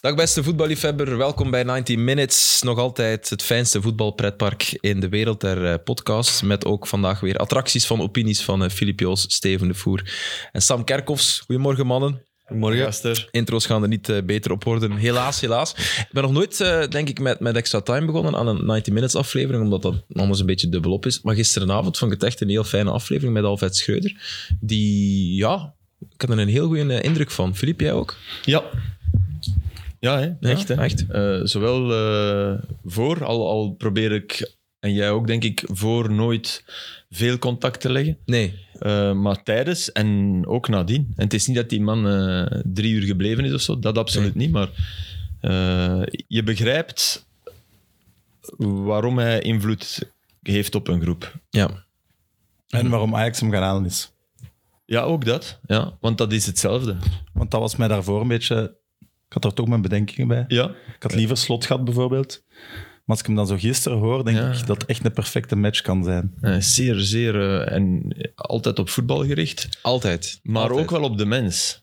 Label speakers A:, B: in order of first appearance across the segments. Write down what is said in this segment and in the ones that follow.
A: Dag beste voetballiefhebber, welkom bij 19 Minutes. Nog altijd het fijnste voetbalpretpark in de wereld der eh, podcast. Met ook vandaag weer attracties van opinies van eh, Filip Joos, Steven de Voer en Sam Kerkhoffs. Goedemorgen mannen.
B: Morgen. Gaster.
A: Intro's gaan er niet eh, beter op worden, helaas, helaas. Ik ben nog nooit, eh, denk ik, met, met Extra Time begonnen aan een 90 Minutes aflevering, omdat dat anders een beetje dubbelop is. Maar gisteravond vond ik het echt een heel fijne aflevering met Alfred Schreuder. Die, ja, ik had er een heel goede eh, indruk van. Filip, jij ook?
B: Ja. Ja, hè? echt. Hè?
A: echt.
B: Eh, zowel eh, voor, al, al probeer ik, en jij ook denk ik, voor nooit veel contact te leggen.
A: Nee,
B: Eh, maar tijdens en ook nadien. En het is niet dat die man eh, drie uur gebleven is of zo, dat absoluut niet. Maar eh, je begrijpt waarom hij invloed heeft op een groep.
A: ja.
C: En waarom Ajax hem gaan halen is.
B: Ja, ook dat. Ja, want dat is hetzelfde.
C: Want dat was mij daarvoor een beetje... Ik had er toch mijn bedenkingen bij.
B: Ja.
C: Ik had liever slot gehad, bijvoorbeeld. Maar als ik hem dan zo gisteren hoor, denk
B: Ja.
C: ik dat het echt een perfecte match kan zijn.
B: Eh, zeer, zeer eh, en altijd op voetbal gericht.
A: Altijd.
B: Maar
A: Altijd.
B: ook wel op de mens.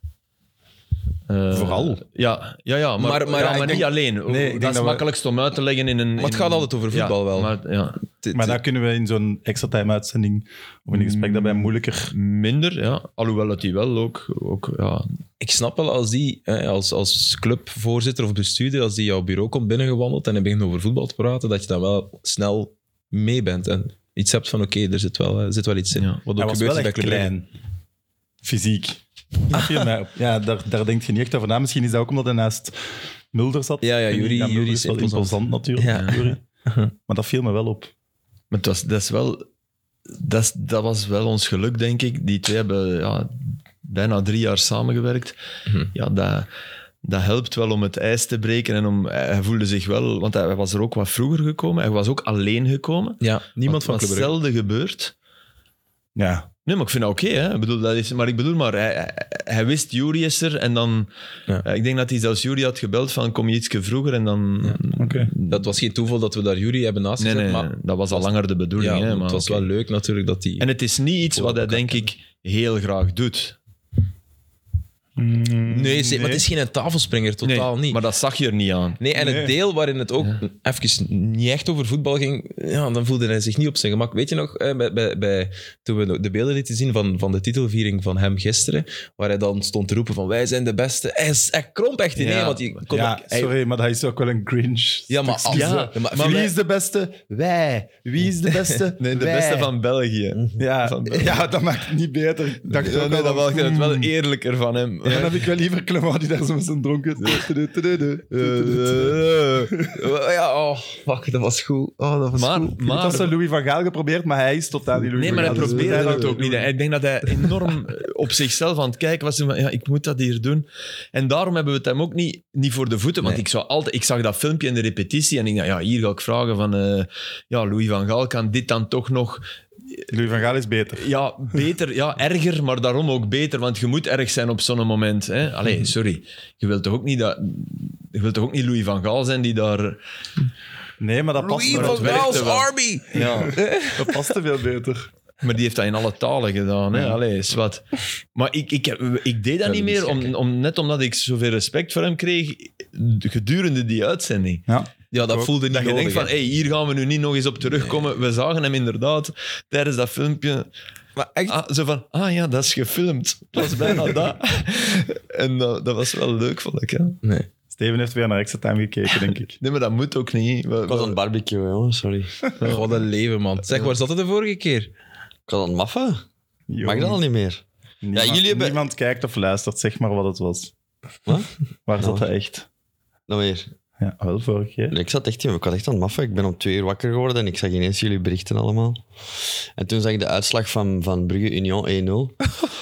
B: Eh,
C: Vooral.
B: Ja, ja, ja maar,
A: Maar-
B: maar,
A: maar
B: ja,
A: ik
B: maar
A: denk-
B: niet alleen.
C: ik denk
B: dat is
C: dat we-
B: makkelijkst om uit te leggen in een... Maar
A: het gaat altijd over voetbal wel.
B: Maar, ja.
A: T- t-
C: Maar daar kunnen we in zo'n extra time-uitzending of in een
A: Mm.
C: gesprek daarbij moeilijker...
B: Minder, ja. Alhoewel dat hij wel ook... ook ja.
A: ik snap wel als die, hè, als, als clubvoorzitter of bestuurder, als die jouw bureau komt binnengewandeld en hij begint over voetbal te praten, dat je dan wel snel mee bent en iets hebt van oké, er zit wel, eh, zit wel iets in.
B: Ja.
A: Wat
C: Hij
A: ook
C: was
A: gebeurt
C: wel
A: in dat
C: echt
A: club.
C: klein. Fysiek. Snap je? Maar Ja, daar, daar denk je niet echt over na. Misschien is dat ook omdat hij naast Mulder zat.
A: Ja, ja,
C: Ik weet niet,
A: Yuri-
C: Mulder
A: Yuri
C: is
A: is
C: wel
A: imposant.
C: imposant natuurlijk.
A: Ja.
C: Yuri. Maar dat viel me wel op.
B: Maar het was, dat is wel... Dat, is- dat was wel ons geluk, denk ik. Die twee hebben ja, bijna drie jaar samengewerkt. Ja, dat, dat helpt wel om het ijs te breken. En om, hij hij voelde zich wel... Want hij was er ook wat vroeger gekomen. Hij was ook alleen gekomen.
A: Ja, niemand van
B: Wat-
A: Club
B: wat
A: Brugge.
B: zelden gebeurt.
C: Ja,
B: Nee, maar ik vind dat oké. hè. Ik bedoel, dat is- maar ik bedoel maar, hij, hij- hij wist Jury is er en dan...
A: Ja.
B: eh, Ik denk dat hij zelfs Jury had gebeld van kom je ietsje vroeger en dan...
C: oké.
A: Dat was geen toeval dat we daar Jury hebben naast
B: Nee,
A: gezet,
B: nee,
A: maar
B: dat was al langer de bedoeling.
A: ja,
B: hè, maar
A: het was
B: oké.
A: wel leuk natuurlijk dat die...
B: En het is niet iets wat hij denk ik heel graag doet.
C: Mm.
A: nee, ze- maar het is geen tafelspringer, totaal
B: Nee,
A: niet.
B: Maar dat zag je er niet aan.
A: Nee, en
C: Nee.
A: het deel waarin het ook even niet echt over voetbal ging, ja, dan voelde hij zich niet op zijn gemak. Weet je nog, eh, bij, bij, bij, toen we de beelden lieten zien van, van de titelviering van hem gisteren, waar hij dan stond te roepen van wij zijn de beste. Hij, is- hij kromp echt ineen,
B: Ja.
A: want hij kon
C: Ja,
A: ook- hij-
C: sorry, maar dat is ook wel een cringe.
A: Ja, maar-
C: Excuus,
A: ja,
C: hè.
A: maar-
C: wie
A: maar-
C: is de beste? Wij. Wie is de beste?
B: Nee, de
C: Wij.
B: beste van België.
C: Ja,
B: van België.
C: ja, dat maakt het niet beter. Ik dacht
B: Ja,
C: ook
B: nee,
C: al
B: dat was
C: van,
B: ik vind het
C: mm,
B: wel e- eerlijker van hem.
C: Dan heb ik wel liever Clement die daar zo met zijn dronken...
A: ja, oh, fuck, dat was goed. Oh, dat was
B: Maar,
A: goed.
C: Maar, dat
B: maar,
C: had ze Louis van Gaal geprobeerd, maar hij is totaal niet Louis
B: Nee, maar
C: van
B: hij
C: Gaal. Dus
B: probeerde
C: hij
B: het
C: dacht,
B: ook niet. Ik denk dat hij enorm eh, op zichzelf aan het kijken was. Van, ja, ik moet dat hier doen. En daarom hebben we het hem ook niet, niet voor de voeten. Want
A: Nee.
B: ik, zou altijd, ik zag dat filmpje in de repetitie en ik dacht, ja, hier ga ik vragen van... eh, ja, Louis van Gaal kan dit dan toch nog...
C: Louis van Gaal is beter.
B: Ja, beter, ja, erger, maar daarom ook beter. Want je moet erg zijn op zo'n moment. Hè? Allee, sorry. Je wilt toch ook niet dat... Je wilt toch ook niet Louis van Gaal zijn die daar...
C: Nee, maar dat past,
A: Louis
C: maar
A: van
C: dat werkt.
A: Gaal's
B: werkte wel.
A: Army.
B: Ja.
C: dat paste veel beter.
B: Maar die heeft dat in alle talen gedaan. Hè? Allee, is wat. Maar ik, ik, heb- ik deed dat
A: Ja,
B: niet
A: dat is
B: meer, om,
A: gek,
B: om, net omdat ik zoveel respect voor hem kreeg gedurende die uitzending.
C: Ja.
A: Ja, dat
C: Ook.
A: voelde niet
B: Dat je
A: nodig,
B: denkt van,
A: hè.
B: hey, hier gaan we nu niet nog eens op terugkomen. We zagen hem inderdaad tijdens dat filmpje.
A: Maar echt,
B: Ah, zo van, ah ja, dat is gefilmd. Dat was bijna dat. En dat, dat was wel leuk, vond ik. Hè?
A: nee.
C: Steven heeft weer naar extra time gekeken, denk ik.
B: Nee, maar dat moet ook niet. We-
D: Ik was aan
B: we-
D: het barbecue, jongen, sorry.
A: Oh, Wat een leven, man. Zeg, waar zat het de vorige keer?
D: Ik was aan het maffen. Mag
C: Jong,
D: ik dat al niet meer?
C: niemand,
D: Ja, jullie hebben-
C: niemand kijkt of luistert, zeg maar wat het was.
D: Wat?
C: Waar zat
D: Nou.
C: dat echt?
D: Nou weer.
C: Ja, wel vorige keer.
D: Nee, Ik zat echt, ik was echt aan het maffen. Ik ben om twee uur wakker geworden en ik zag ineens jullie berichten allemaal. En toen zag ik de uitslag van, van Brugge Union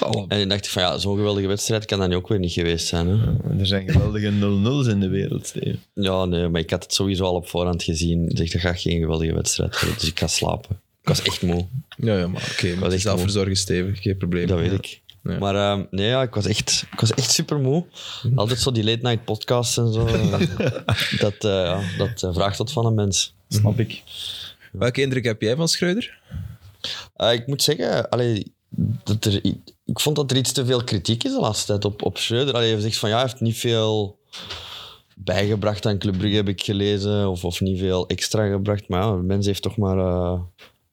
D: 1-0. En ik dacht ik van ja, zo'n geweldige wedstrijd kan dat nu ook weer niet geweest zijn. Hè?
B: Er zijn geweldige 0-0's in de wereld, Steven.
D: Ja, nee, maar ik had het sowieso al op voorhand gezien. Ik dacht, dat gaat geen geweldige wedstrijd worden, dus ik ga slapen. Ik was echt moe,
A: Ja, ja, maar oké. maar
D: echt
A: zelf verzorgen, Steven. Geen probleem.
D: dat weet
A: Ja.
D: ik.
A: Ja.
D: Maar ehm, nee, ja, ik, was echt, ik was echt super moe. Altijd zo die late night podcasts en zo. dat eh, ja, dat eh, vraagt wat van een mens.
C: Snap ik.
A: Welke indruk heb jij van Schreuder?
D: Eh, ik moet zeggen, allee, dat er, i- ik vond dat er iets te veel kritiek is de laatste tijd op, op Schreuder. Allee, je zegt van ja, hij heeft niet veel bijgebracht aan Club Brugge, heb ik gelezen. Of, of niet veel extra gebracht. Maar ja, Mens heeft toch maar eh,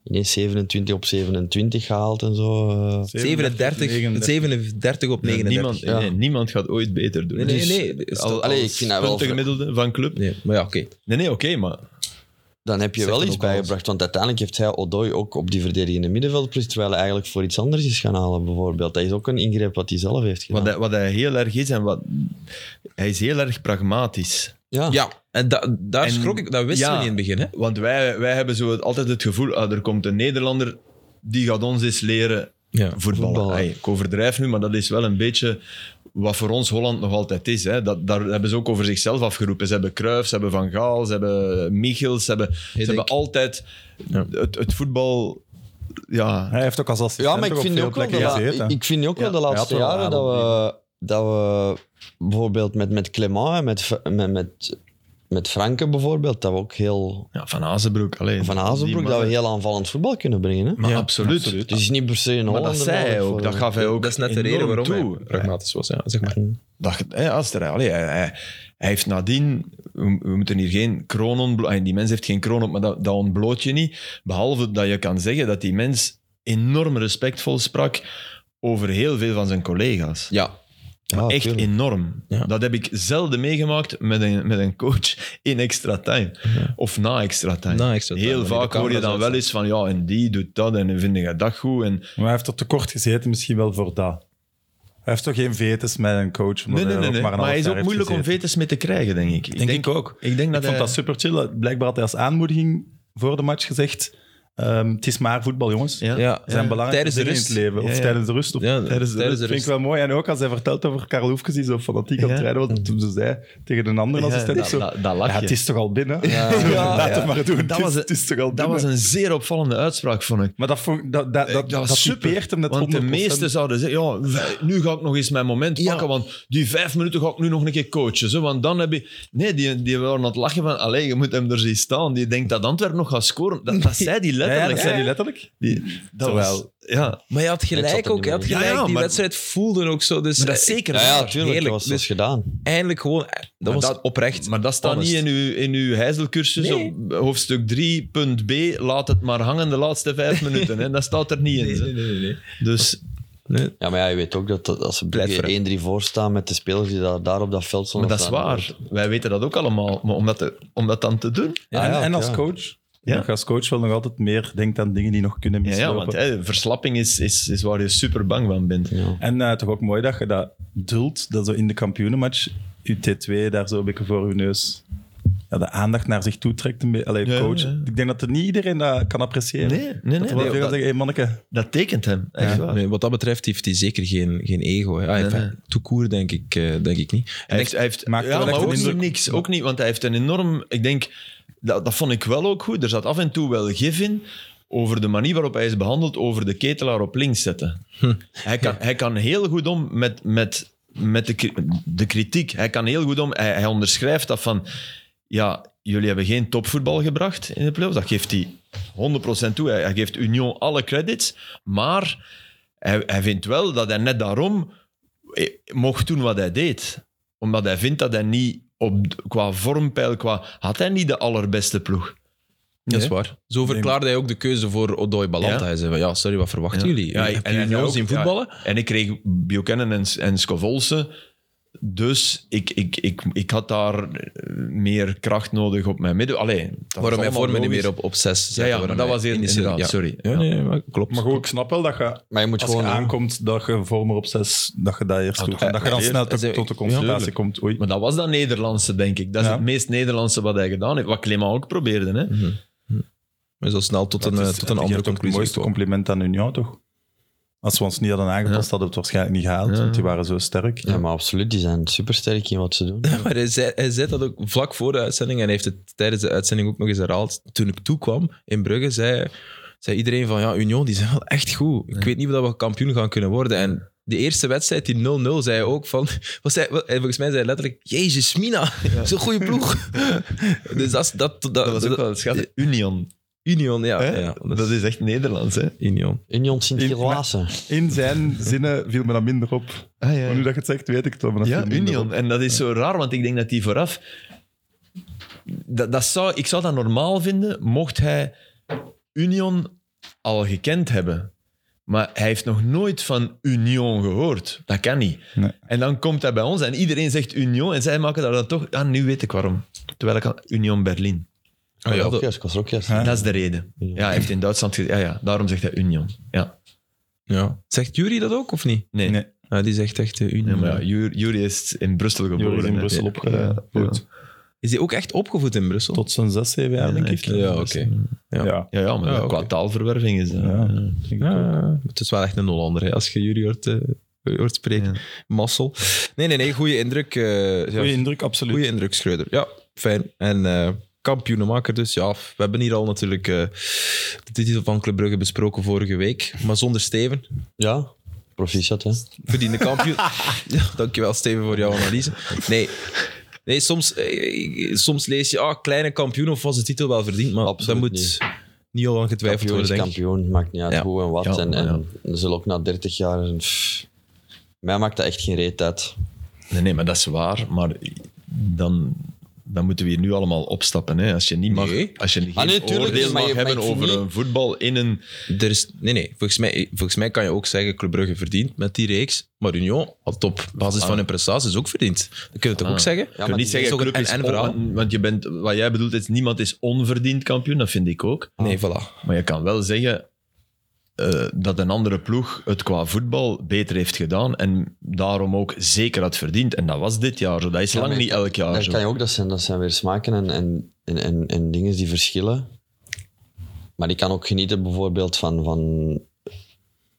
D: ineens 27 op 27 gehaald en zo. eh.
A: 37, 37 op 39.
B: niemand,
D: ja.
B: nee, niemand gaat ooit beter doen.
A: Nee, nee,
B: Dus
A: nee. nee. Is
B: al-
A: dat-
D: Allee,
B: als
D: ik vind dat wel
B: Puntengemiddelde van club.
A: nee maar ja, oké.
B: Nee, nee, oké, maar
D: Dan heb je
A: Zegt
D: wel
A: dan
D: iets
A: ook alles.
D: bijgebracht, want uiteindelijk heeft hij Odoi ook op die verdedigende middenveldplus, terwijl hij eigenlijk voor iets anders is gaan halen, bijvoorbeeld. Dat is ook een ingreep wat hij zelf heeft gedaan.
B: wat hij, wat hij heel erg is en wat... Hij is heel erg pragmatisch.
D: ja.
A: Ja, en da- daar
B: Ah. En-
A: schrok ik, dat wisten
B: ja.
A: we niet in het begin. Hè?
B: Want wij, wij hebben zo het- altijd het gevoel, ah, er komt een Nederlander, die gaat ons eens leren
A: Ja.
B: voetballen.
D: Voetballen.
B: Ai, ik overdrijf nu, maar dat is wel een beetje wat voor ons Holland nog altijd is. Hè. Dat, daar hebben ze ook over zichzelf afgeroepen. Ze hebben Cruyff, ze hebben Van Gaal, ze hebben Michels, ze hebben, ze hebben altijd
A: Ja.
B: het, het voetbal... Ja,
C: Hij heeft ook als assistent
D: Ja, maar ik
C: toch op
D: vind
C: veel
D: ook wel, de,
C: plekken
D: la-
C: gezeten.
D: ik- ik vind ook wel de
C: Ja, hij
D: laatste
C: had wel
D: jaren
C: een
D: dat we, dat we bijvoorbeeld met, met Clement en met, F- met, met, met Franken bijvoorbeeld, dat we ook heel
B: ja, Van Azenbroek. Allee,
D: van
B: die
D: Hazenbroek, dat we
B: mannen.
D: heel aanvallend voetbal kunnen brengen. Hè?
B: Maar
C: Ja,
B: absoluut.
C: absoluut.
D: Dus het is niet per se een
B: Maar
D: Hollander.
B: dat zei hij
D: nodig
B: ook.
D: voor-
B: Dat gaf hij ook
A: Dat is net de reden
B: enorm
A: waarom
B: toe.
A: hij pragmatisch was. Ja, zeg maar.
B: dacht, hè, als er, allee, hij, hij- hij heeft nadien, we, we moeten hier geen kroon ontbloten. Die mens heeft geen kroon op, maar dat, dat ontbloot je niet. Behalve dat je kan zeggen dat die mens enorm respectvol sprak over heel veel van zijn collega's.
A: Ja,
D: Ja,
B: Echt
D: tuurlijk.
B: enorm.
A: Ja.
B: Dat heb ik zelden meegemaakt met een, met een coach in extra time. Of na extra time.
A: Na extra time,
B: heel
A: wanneer de
B: vaak hoor je
A: camera's
B: dan wel
A: uit
B: eens van, ja, en die doet dat en vind je dat goed. En
C: Maar hij heeft er tekort gezeten misschien wel voor dat. Hij heeft toch geen vetes met een coach? omdat
B: Nee, nee,
C: ook
B: nee. nee.
C: maar
B: Maar,
C: een
B: hij
C: half
B: is
C: jaar
B: ook
C: heeft
B: moeilijk om
C: gezeten.
B: vetes mee te krijgen, denk ik. Ik
C: Denk ik ook.
B: Ik denk dat
C: Ik vond
B: hij-
C: dat super chill. Blijkbaar had hij als aanmoediging voor de match gezegd: ehm, Het is maar voetbal, jongens.
B: Ja.
A: ja.
C: Er zijn belangrijke
A: Tijdens de
C: dingen
A: rust.
C: in het leven. Of
B: Ja, ja.
C: tijdens de rust. Of
A: Ja,
C: tijdens de rust. Vind ik wel mooi. En ook als hij vertelt over Karel Hoefkes, die zo fanatiek aan het
B: Ja.
C: rijden was, toen ze zei tegen een andere assistent.
B: dat-
C: zo,
B: dat- dat lach
C: ja,
B: je.
C: het is toch al binnen? Laat het maar doen.
B: Dat
C: het,
B: was
C: is,
B: een-
C: het is toch al
B: Dat
C: binnen?
B: was een zeer opvallende uitspraak, vond ik. Eh,
C: Maar dat, vond, dat, dat, dat,
B: was
C: dat typeert hem net
B: want de
C: 100%.
B: meesten zouden zeggen, ja, wij- nu ga ik nog eens mijn moment pakken, want die vijf minuten ga ik nu nog een keer coachen. Zo, want dan heb je... Nee, die, die waren aan het lachen van, allee, je moet hem er zien staan. Die denkt dat Antwerpen nog gaat scoren. Dat, dat zei die
C: Ja, ja,
B: letterlijk.
C: dat zei hij letterlijk.
B: Die- dat
C: Terwijl-
B: was- ja.
A: Maar je had
D: Het zat
A: gelijk
D: er
A: ook.
D: niet
A: Je had
D: meer
B: in.
A: gelijk.
B: Ja, ja,
A: die
B: maar-
A: wedstrijd voelde ook zo. Dus,
B: dat is zeker
D: Ja, ja,
A: waar.
D: tuurlijk.
A: Heerlijk.
D: Dat was dus
A: Dus
D: gedaan.
A: eindelijk gewoon... Dat
B: Maar
A: was
B: dat-
A: oprecht.
B: Maar dat staat
A: honest.
B: niet in uw, in uw heizelcursus
A: Nee.
B: op hoofdstuk 3.b. Laat het maar hangen de laatste vijf minuten. Hè. Dat staat er niet in. zo.
A: nee, nee.
B: Dus
D: Ja, maar ja, je weet ook dat, dat als ze
A: voor hem.
D: Brugge 1-3 voorstaan met de spelers die daar, daar op dat veld stonden.
B: Maar dat is
D: staan,
B: waar. Wij weten dat ook allemaal. Maar om dat, te- om dat dan te doen.
C: en,
D: ja,
C: en als
D: ja.
C: coach.
B: Ja.
C: Nog Als coach wel nog altijd meer denkt aan dingen die nog kunnen
B: Ja,
C: mislopen.
B: ja want hè, verslapping is, is, is waar je super bang van bent.
D: Ja.
C: En eh, toch ook mooi dat je dat duldt, dat zo in de kampioenenmatch je T2 daar zo een beetje voor je neus ja, de aandacht naar zich toe trekt. een be- Allee,
B: Ja,
C: coach.
B: ja.
C: Ik denk dat er niet iedereen dat kan appreciëren.
B: Nee, nee, nee,
C: dat er wel
B: nee,
C: veel
B: dat-
C: zeggen, hey, manneke,
B: Dat tekent hem. Echt waar.
A: Nee, wat dat betreft heeft hij zeker geen, geen ego. Hè. Ah,
B: Nee,
A: enfin,
B: nee.
A: tout court denk ik, eh, denk ik niet.
B: Hij heeft, hij heeft,
C: Maakt
B: ja,
C: wel
B: maar
C: echt een
B: ook niet
C: indruk.
B: niks. Ook niet, want hij heeft een enorm... Ik denk, dat, dat vond ik wel ook goed. Er zat af en toe wel gif in over de manier waarop hij is behandeld, over de ketelaar op links zetten.
C: Hm.
B: Hij, kan, hij kan heel goed om met, met, met de, kri- de kritiek. Hij kan heel goed om... Hij, hij onderschrijft dat van... Ja, jullie hebben geen topvoetbal gebracht in de playoffs. Dat geeft hij 100% toe. Hij, hij geeft Union alle credits. Maar hij, hij vindt wel dat hij net daarom eh, mocht doen wat hij deed. Omdat hij vindt dat hij niet op, qua vormpeil, qua, had hij niet de allerbeste ploeg.
A: Dat is waar. Zo verklaarde hij ook de keuze voor Odoi Balanta.
B: Ja.
A: Hij zei van, ja, sorry, wat verwachten jullie?
B: Ja,
A: Heb
B: hij
A: je
B: zei
A: ons
B: ook,
A: zien
B: ja,
A: voetballen?
B: en ik kreeg Buchanan en, en Scovolsen. Dus ik, ik, ik, ik had daar eh, meer kracht nodig op mijn midden. Allee, dat is
A: Waarom hij
B: allemaal
A: voor me niet
B: logisch.
A: meer op, op zes zette,
B: Ja, ja,
A: waarom
B: maar dat
A: hij
B: was eerder
A: initieel-
B: inderdaad, sorry.
A: Ja,
B: Ja.
A: nee, maar klopt.
C: maar goed, ik snap wel dat je,
D: Maar je moet
C: als
D: gewoon... eh,
C: je aankomt, dat je vormer op zes, dat je dat eerst doet. En dat je dan
B: ja,
C: snel
A: dat
C: tot,
A: is-
C: tot de
B: ja,
C: concentratie
B: tuurlijk.
C: komt. Oei.
B: Maar dat was dat Nederlandse, denk ik. Dat is
C: Ja.
B: het meest Nederlandse wat hij gedaan heeft. Wat Clément ook probeerde. Hè?
A: Mhm. Maar zo snel tot
C: Dat
A: een, eh,
C: is-
A: tot
C: dat
A: een
C: is
A: andere
C: ook het
A: conclusie
C: mooiste
A: gekomen.
C: compliment aan Union, toch? Als we ons niet hadden aangepast, hadden we het waarschijnlijk niet gehaald, want die waren zo sterk.
D: Ja, maar absoluut. Die zijn supersterk in wat ze doen.
A: Maar hij zei, hij zei dat ook vlak voor de uitzending en hij heeft het tijdens de uitzending ook nog eens herhaald. Toen ik toekwam in Brugge, zei, zei iedereen van ja, Union, die zijn wel echt goed. Ik weet niet of dat we kampioen gaan kunnen worden. En de eerste wedstrijd, die 0-0, zei hij ook van... Was hij, wel, hij- volgens mij zei hij letterlijk, jezus mina, zo'n goede ploeg. dus dat, is- dat, dat,
B: Dat was ook
A: dat-
B: wel schattig. Union.
A: Union, ja.
B: Hè?
A: ja
B: dat, is echt Nederlands, hè?
A: Union.
D: Union Sint-Gilloise.
C: In zijn zinnen viel me dat minder op.
B: Ah,
C: Maar nu dat je het zegt, weet ik het wel. maar dat
B: Ja,
C: viel me minder
B: Union.
C: op.
B: En dat is zo raar, want ik denk dat die vooraf... Dat, dat zou, ik zou dat normaal vinden mocht hij Union al gekend hebben. Maar hij heeft nog nooit van Union gehoord. Dat kan niet.
C: Nee.
B: En dan komt hij bij ons en iedereen zegt Union. En zij maken daar dan toch... Ah, nu weet ik waarom. Terwijl ik al... Union Berlin.
A: Ah, ja,
D: ook
A: dat,
D: juist, ik was er ook juist.
C: Hè?
B: Dat is de reden. Ja, hij heeft in Duitsland... ge- Ja, ja, daarom zegt hij Union. Ja.
A: ja. Zegt Jury dat ook, of niet?
B: Nee.
C: Nee,
A: Ja, die zegt echt eh, Union.
B: Nee, maar ja, Ju- Jury is in Brussel geboren.
C: Joris in
B: hè.
C: Brussel
B: Ja.
C: opgevoed.
A: Is die ook echt opgevoed in Brussel?
C: Tot zo'n zes, zeven jaar,
B: Ja,
C: denk ik.
B: echt,
A: ja, oké.
C: Ja. Ja.
B: Ja, ja maar
A: Ja,
B: qua
A: oké.
B: taalverwerving is dat.
C: Ja.
B: Ja.
A: Ja, ja, het is wel echt een Hollander, hè, als je Jury hoort, eh, hoort spreken.
B: Ja.
A: Massel. Nee, nee, nee, goede indruk. eh, ja,
C: Goeie indruk, absoluut.
A: Goeie indruk, Schreuder. Ja, fijn. En eh kampioenenmaker dus. Ja, we hebben hier al natuurlijk eh, de titel van Club Brugge besproken vorige week. Maar zonder Steven.
D: Ja, proficiat, hè.
A: Verdiende kampioen. Ja, Dankjewel, Steven, voor jouw analyse. Nee, nee soms, eh, soms lees je, ah, kleine kampioen of was de titel wel verdiend. Maar
D: Absoluut
A: dat moet
D: niet.
A: niet, al aan getwijfeld
D: Kampioen is
A: worden, denk ik.
D: kampioen, maakt niet uit
A: Ja.
D: hoe en wat.
B: Ja,
D: en
B: maar
D: en ze zullen ook na 30 jaar... pff, mij maakt dat echt geen reet uit.
B: Nee, nee, maar dat is waar. Maar dan, dan moeten we hier nu allemaal opstappen. Hè. Als je niet mag,
A: Nee.
B: als je geen
D: Ah, nee, tuurlijk,
B: oordeel
D: maar
B: mag
D: je- maar
B: hebben
D: ik vind
B: over
D: niet-
B: een voetbal in een...
A: Er is, nee, nee. Volgens mij, volgens mij kan je ook zeggen, Club Brugge verdient met die reeks. Maar Union had op basis van hun prestaties ook verdiend. Dat kun je toch ook zeggen?
B: Je
D: maar
B: kunt
D: die
B: niet zeggen,
A: is ook een
B: club is
A: en-en verhaal.
B: on- want je bent, wat jij bedoelt is, niemand is onverdiend kampioen. Dat vind ik ook.
A: Nee, voilà.
B: Maar je kan wel zeggen eh, dat een andere ploeg het qua voetbal beter heeft gedaan. En daarom ook zeker had verdiend. En dat was dit jaar zo. Dat is lang
D: maar
B: niet elk jaar
D: Dat
B: zo.
D: kan je ook, dat zijn, dat zijn weer smaken en, en, en, en, en dingen die verschillen. Maar ik kan ook genieten bijvoorbeeld van, van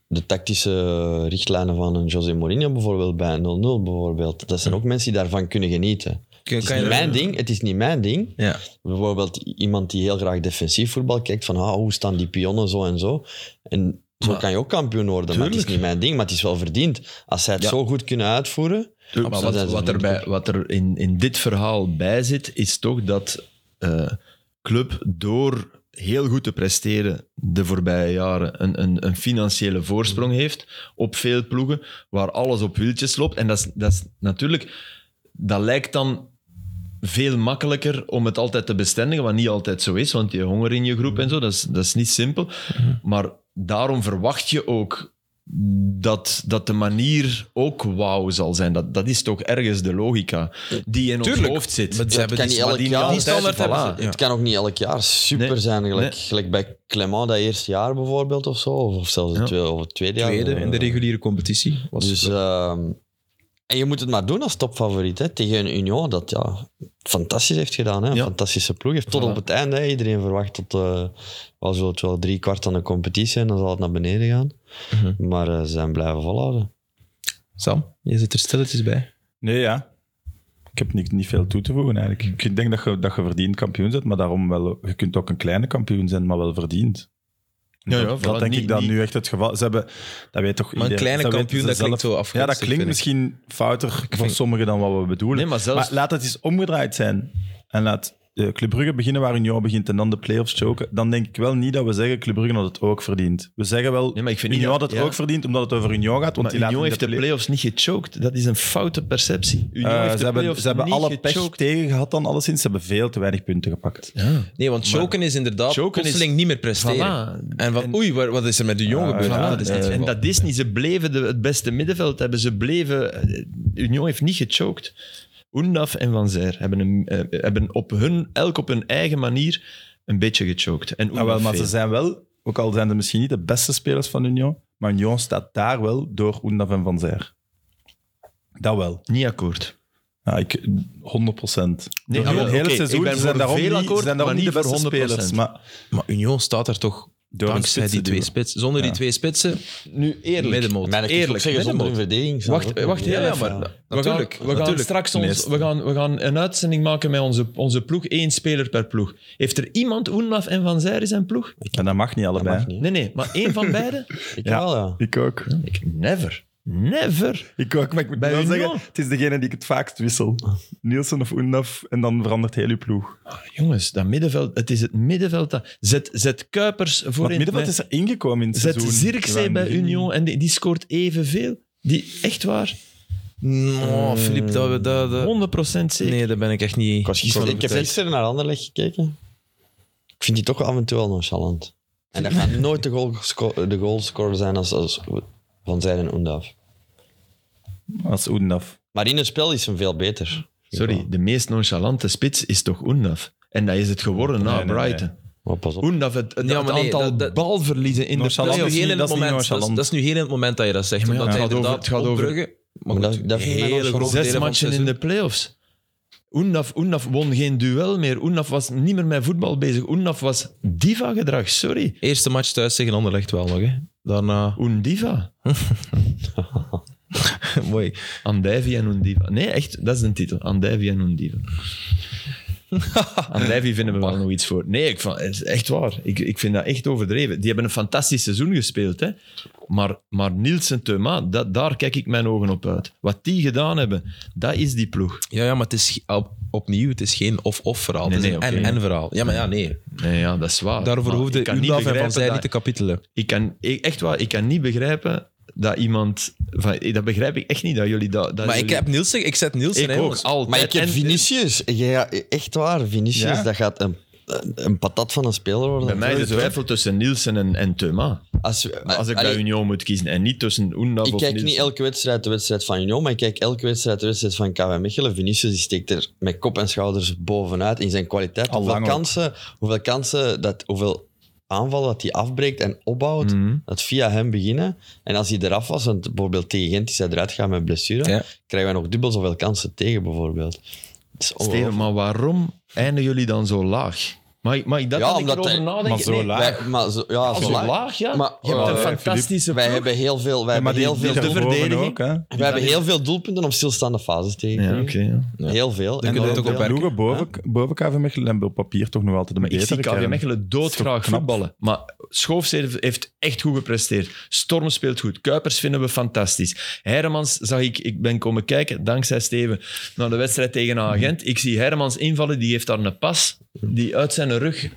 D: de tactische richtlijnen van een José Mourinho bijvoorbeeld bij 0-0 bijvoorbeeld. Dat
B: Hmm.
D: zijn ook mensen die daarvan kunnen genieten.
A: Kun-
D: Het is
A: kan je
D: niet
A: daar-
D: mijn ding, het is niet mijn ding.
A: Ja.
D: Bijvoorbeeld iemand die heel graag defensief voetbal kijkt, van ah, hoe staan die pionnen zo en zo. En zo kan je ook kampioen worden, maar het is
B: Tuurlijk.
D: niet mijn ding, maar het is wel verdiend. Als zij het
B: Ja.
D: zo goed kunnen uitvoeren...
B: Tuurlijk,
D: Maar
B: maar
D: dat
B: wat,
D: is
B: wat
D: een
B: er, bij, wat er in, in dit verhaal bij zit, is toch dat eh, club door heel goed te presteren de voorbije jaren een, een, een financiële voorsprong heeft op veel ploegen, waar alles op wieltjes loopt. En dat is, dat is natuurlijk... Dat lijkt dan veel makkelijker om het altijd te bestendigen, wat niet altijd zo is, want je honger in je groep en zo, dat is, dat is niet simpel. Maar daarom verwacht je ook dat, dat de manier ook wauw zal zijn. Dat, dat is toch ergens de logica die in
A: Tuurlijk.
B: ons hoofd zit.
A: Maar ze hebben
D: kan
A: die-
D: niet elk
A: maar die
D: jaar
A: niet
D: die
A: standaard
B: standaard
A: hebben ze-
B: voilà.
A: ja.
D: Het kan ook niet elk jaar super
B: Nee,
D: zijn, gelijk,
B: nee.
D: gelijk bij Clement dat eerste jaar bijvoorbeeld of zo, of, of zelfs het,
B: Ja.
D: tweede, of het tweede jaar.
A: Tweede in de reguliere competitie. Was
D: Dus, ehm, en je moet het maar doen als topfavoriet hè, tegen een Union dat ja, fantastisch heeft gedaan. Hè, een
B: Ja.
D: fantastische ploeg. Heeft tot
B: Voilà.
D: op het einde, hè, iedereen verwacht tot eh wel, zullen het wel drie kwart aan de competitie zijn, dan zal het naar beneden gaan.
A: Mhm.
D: Maar eh, ze zijn blijven volhouden.
A: Sam, je zit er stilletjes bij.
C: Nee, ja. Ik heb niet, niet veel toe te voegen eigenlijk.
A: Mm.
C: Ik denk dat je, dat je verdiend kampioen bent, maar daarom wel, je kunt ook een kleine kampioen zijn, maar wel verdiend.
B: Ja, ja,
C: dat,
B: voilà,
C: dat denk
B: niet-
C: ik dat
B: niet-
C: nu echt het geval is. Ze hebben, dat weet
A: Maar
C: toch
A: een
C: iedereen,
A: kleine
C: dat weten
A: kampioen,
C: ze
A: dat klinkt
C: zelf.
A: zo afgunstig.
C: Ja, dat klinkt
A: vind ik.
C: misschien fouter voor
A: vind-
C: sommigen dan wat we bedoelen.
B: Nee, maar zelfs-
C: laat het eens omgedraaid zijn. En laat eh, Club Brugge beginnen waar Union begint en dan de play-offs choken. Dan denk ik wel niet dat we zeggen Club Brugge had het ook verdiend. We zeggen wel
B: Nee, maar ik vind niet
C: Union had
B: dat-
C: het
B: ja.
C: ook verdiend omdat het over Union gaat. Want
B: Maar
C: die laten
B: Union
C: in
B: heeft de
C: play-
B: play-offs niet gechoked. Dat is een foute perceptie. Union
C: Eh,
B: heeft
C: ze
B: de
C: hebben,
B: play-offs
C: ze hebben
B: niet
C: alle pech
B: gechoked.
C: tegen gehad dan alleszins. Ze hebben veel te weinig punten gepakt.
A: Nee, want choken is inderdaad
B: Choken is-
A: plotseling niet meer presteren.
B: Voilà.
A: En van, oei, waar- wat is er met de jongen gebeurd?
B: Voilà,
A: Ah, dat is niet het
B: eh, en
A: geval.
B: dat is niet. Ze bleven de, het beste middenveld hebben. Ze bleven... eh, Union heeft niet gechoked. Oendaf en Van Zijr hebben, een, eh, hebben op hun, elk op hun eigen manier een beetje gechoked. En
C: Nou, wel,
B: Oendaf
C: maar
B: veel.
C: ze zijn wel, ook al zijn ze misschien niet de beste spelers van Union, maar Union staat daar wel door Oendaf en Van Zijr. Dat wel.
B: Niet akkoord.
C: Ja, ik, 100 procent.
B: Nee, ah,
C: het
B: oké,
C: hele
B: ik
C: seizoen
B: ben
C: ze
B: voor
C: zijn daarom,
B: veel
C: niet, ze
B: akkoord,
C: zijn daarom
B: maar
C: niet de
B: niet
C: beste
B: voor 100%.
C: spelers. Maar
A: Maar Union staat er toch
C: Door een
A: dankzij
C: spits
A: die
C: te
A: twee
C: duwen.
A: spitsen. Zonder die twee spitsen,
B: Nu eerlijk.
A: middenmoot.
D: Maar dat kun je ook
B: Eerlijk,
D: zeggen zonder hun
A: middenmoot.
D: verdediging. zou
B: Wacht,
D: het ook
B: wacht
D: niet.
B: heel
A: ja,
B: even.
A: maar-
B: We gaan-
A: natuurlijk,
B: We gaan,
A: natuurlijk.
B: straks ons,
C: Meest-
B: we gaan, we gaan een uitzending maken met onze, onze ploeg. Eén speler per ploeg. Heeft er iemand Oendaf en Van Zijr in zijn ploeg?
C: en dat mag niet allebei.
D: mag niet.
B: Nee, nee. Maar één van beiden?
D: Ik
C: Ja.
D: wel, ja.
C: Ik ook.
B: Ik never. Never.
C: Ik ook, maar ik moet
B: Bij
C: wel
B: Union? Ah.
C: zeggen, het is degene die ik het vaakst wissel. Nielsen of Undaf, en dan verandert heel uw ploeg. Maar
B: Jongens, dat middenveld, het is het middenveld. Dat, zet, zet Kuipers voor
C: het middenveld is er ingekomen in het
B: Zet
C: seizoen.
B: Zirkzee
C: Van
B: bij
C: Begin.
B: Union en die, die scoort evenveel. Die, echt waar,
A: Oh, Filip, dat, we- dat, dat-
B: 100% zeker.
A: Eh, Nee, daar ben ik echt niet...
D: was gisteren,
A: van
D: ik heb
A: overtuigd.
D: gisteren naar Anderlecht gekeken. Ik vind die toch af en toe wel nonchalant. En dat gaat nooit de, goal gesco- de goalscorer zijn als, als Van Zijl en Oendaf.
C: Als Oendaf.
D: Maar in het spel is hem veel beter.
B: Sorry, de meest nonchalante spits is toch Oendaf? En dat is het geworden na
C: Nee, nee,
B: Brighton.
D: Maar pas op.
B: Oendaf, het, het,
A: Ja,
B: het
A: maar nee,
B: aantal
A: dat- dat-
B: balverliezen in de
A: Dat is,
C: Nonchalant
A: nu
B: playoffs.
A: heel
C: niet-
A: in
C: dat
A: het
C: is niet
A: moment, dat, is,
C: nonchalant.
A: dat is nu heel in het moment dat je dat zegt.
B: Ja, maar
A: omdat
B: ja,
A: hij
B: het gaat over-
A: inderdaad
B: het gaat over-
A: opbruggen- Maar
D: Maar dat-
A: goed,
D: dat vind ik
A: hele
D: nog een
A: grote
B: Zes
A: delen van
B: matchen
A: het
B: in de playoffs. Oendaf, Oendaf won geen duel meer. Oendaf was niet meer met voetbal bezig. Oendaf was diva-gedrag, sorry.
A: Eerste match thuis tegen Anderlecht wel nog, hè. Daarna...
B: Oendiva.
A: Mooi.
B: Andijvi en Oendiva. Nee, echt, dat is een titel. Andijvi en Oendiva. Andijvi vinden we wel nog iets voor. Nee, ik vond, het is echt waar. Ik, ik vind dat echt overdreven. Die hebben een fantastisch seizoen gespeeld. Hè? Maar, maar Nielsen, Thuma, dat, daar kijk ik mijn ogen op uit. Wat die gedaan hebben, dat is die ploeg.
A: Ja, ja, maar het is ge- op- opnieuw, het is geen of-of verhaal.
B: Nee,
A: het is
B: nee,
A: een
B: oké.
A: en-en verhaal. Ja, maar ja, nee.
B: Nee, ja, dat is waar.
A: Daarvoor
B: Maar
A: hoefde
B: ik kan niet
A: Udaf en Van
B: begrijpen
A: Zij
B: dat-
A: niet te kapitelen.
B: ik kan, ik, echt waar, ik kan niet begrijpen dat iemand... Van, dat begrijp ik echt niet, dat jullie dat... dat
A: Maar ik
B: jullie-
A: heb Nielsen, ik zet Nielsen,
B: Ik
A: hè,
B: ook,
A: want-
B: altijd.
D: Maar ik heb
B: En-
D: Vinicius. Ja, echt waar, Vinicius.
C: Ja?
D: Dat gaat een, een, een patat van een speler worden.
B: Bij mij de twijfel tussen Nielsen en, en Thuma.
D: Als,
B: Maar als ik bij
D: allee,
B: Union moet kiezen en niet tussen Oendaf
D: ik
B: of
D: kijk
B: Nielsen.
D: niet elke wedstrijd de wedstrijd van Union, maar ik kijk elke wedstrijd de wedstrijd van KW Mechelen. Vinicius die steekt er met kop en schouders bovenuit in zijn kwaliteit.
C: Al
D: hoeveel
C: lang ook.
D: kansen, hoeveel kansen, dat, hoeveel aanvallen dat hij afbreekt en opbouwt,
B: Mhm.
D: dat via hem beginnen. En als hij eraf was, want bijvoorbeeld tegen Gent is hij eruit gegaan met blessure,
A: Ja.
D: krijgen wij nog dubbel zoveel kansen tegen bijvoorbeeld. Het is ongelooflijk.
B: Steven, maar waarom eindigen jullie dan zo laag? Mag ik, mag ik dat
D: Ja,
B: dan
D: omdat
B: erover
D: hij-
B: nadenken?
C: Maar zo
B: Nee,
C: laag.
D: Wij- maar zo, ja,
B: Zo
D: zo laag.
B: laag, ja.
D: Maar,
B: je hebt
D: eh,
B: een
C: Filip,
B: fantastische
D: Wij
B: ploeg.
D: hebben heel veel, wij
C: Ja, maar
D: hebben
C: die,
D: heel
C: die
B: de
D: veel, doel-
C: daarboven
B: verdediging.
C: ook, hè.
D: wij hebben heel veel doelpunten op stilstaande fases tegen.
B: Ja, oké. ja.
D: Heel veel.
A: Dan
D: En
A: kunnen we
D: heel
A: het ook
D: veel-
A: op
C: De ploegen boven, boven KV Mechelen hebben op papier toch nog altijd een
B: Maar ik zie
C: betere
B: KV
C: kern.
B: Mechelen
C: Dat is
B: doodgraag
C: toch knap?
B: voetballen. Maar Schoofstede heeft echt goed gepresteerd. Storm speelt goed. Kuipers vinden we fantastisch. Hermans zag ik, ik ben komen kijken, dankzij Steven, naar de wedstrijd tegen
D: Hmm.
B: Agent. Ik zie Hermans invallen, die heeft daar een pas, die uit zijn rug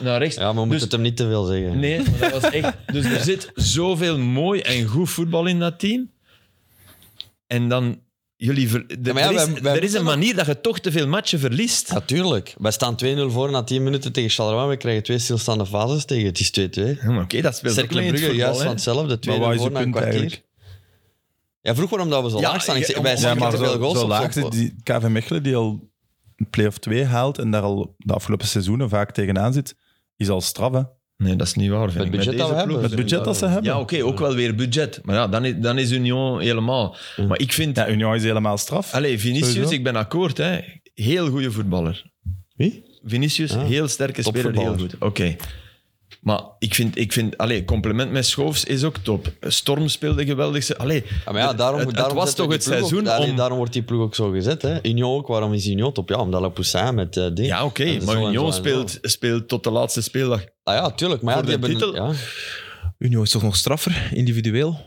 B: naar rechts.
D: Ja, maar we moeten
B: Dus-
D: het hem niet te veel zeggen.
B: Nee, maar dat was echt... Dus er zit zoveel mooi en goed voetbal in dat team. En dan... Jullie ver-
D: Ja,
B: er,
D: maar ja,
B: is,
D: wij- wij
B: er is een
D: moeten
B: manier dat je toch te veel matchen verliest.
D: Natuurlijk. Wij staan 2-0 voor na 10 minuten tegen Charleroi. We krijgen twee stilstaande fases tegen. Het is 2-2.
B: Ja, maar Hm, Oké, dat speelt ook
D: Cercle
B: mee in het
D: Brugge,
B: voetbal,
D: juist
B: hè.
D: van hetzelfde. 2-0
C: Maar wat is
D: voor
C: uw
D: na een
C: punt
D: kwartier.
C: eigenlijk?
D: Ja, vroeg waarom dat we zo
B: Ja,
D: laag staan. Ik zeg,
B: ja,
D: wij
B: om-
C: Ja,
D: staan
C: maar
D: te veel
C: zo,
D: goals
C: zo
D: op.
C: laag zit die KV Mechelen, die al play-off 2 haalt en daar al de afgelopen seizoenen vaak tegenaan zit, is al straf, hè.
B: Nee, dat is niet waar. Vind
D: Met
B: ik.
D: budget
B: deze
D: dat we
B: ploeg
D: hebben.
B: is
D: Met
B: het
C: budget
B: niet
C: dat ze
B: waar.
C: hebben.
B: Ja, oké, ook wel weer budget. Maar ja, dan is, dan is Union helemaal. Maar ik vind...
C: Ja, Union is helemaal straf.
B: Allee, Vinicius,
C: Sowieso.
B: ik ben akkoord. Hè. Heel goede voetballer.
D: Wie?
B: Vinicius,
D: Ja.
B: heel sterke speler, heel
D: Topvoetballer.
B: goed. Oké. Maar ik vind, ik vind allee, compliment met Schoofs is ook top. Storm speelde geweldig. Ze- Allee,
D: Ja, Ah, maar ja, daarom,
B: het, het
D: daarom
B: was
D: zetten
B: toch
D: we
B: het
D: die ploeg ook-
B: seizoen
D: Allee,
B: om...
D: Daarom wordt die ploeg ook zo gezet. Hè. Union ook. Waarom is Union top? Ja, omdat Le Poussin met eh ding.
B: Ja, oké,
D: En zo en
B: maar
D: zo en
B: Union
D: zo.
B: speelt, speelt tot de laatste speeldag.
D: Ah ja, tuurlijk. Maar ja,
B: Voor
D: die
B: de
D: hebben...
B: titel.
D: Ja.
A: Union is toch nog straffer, individueel?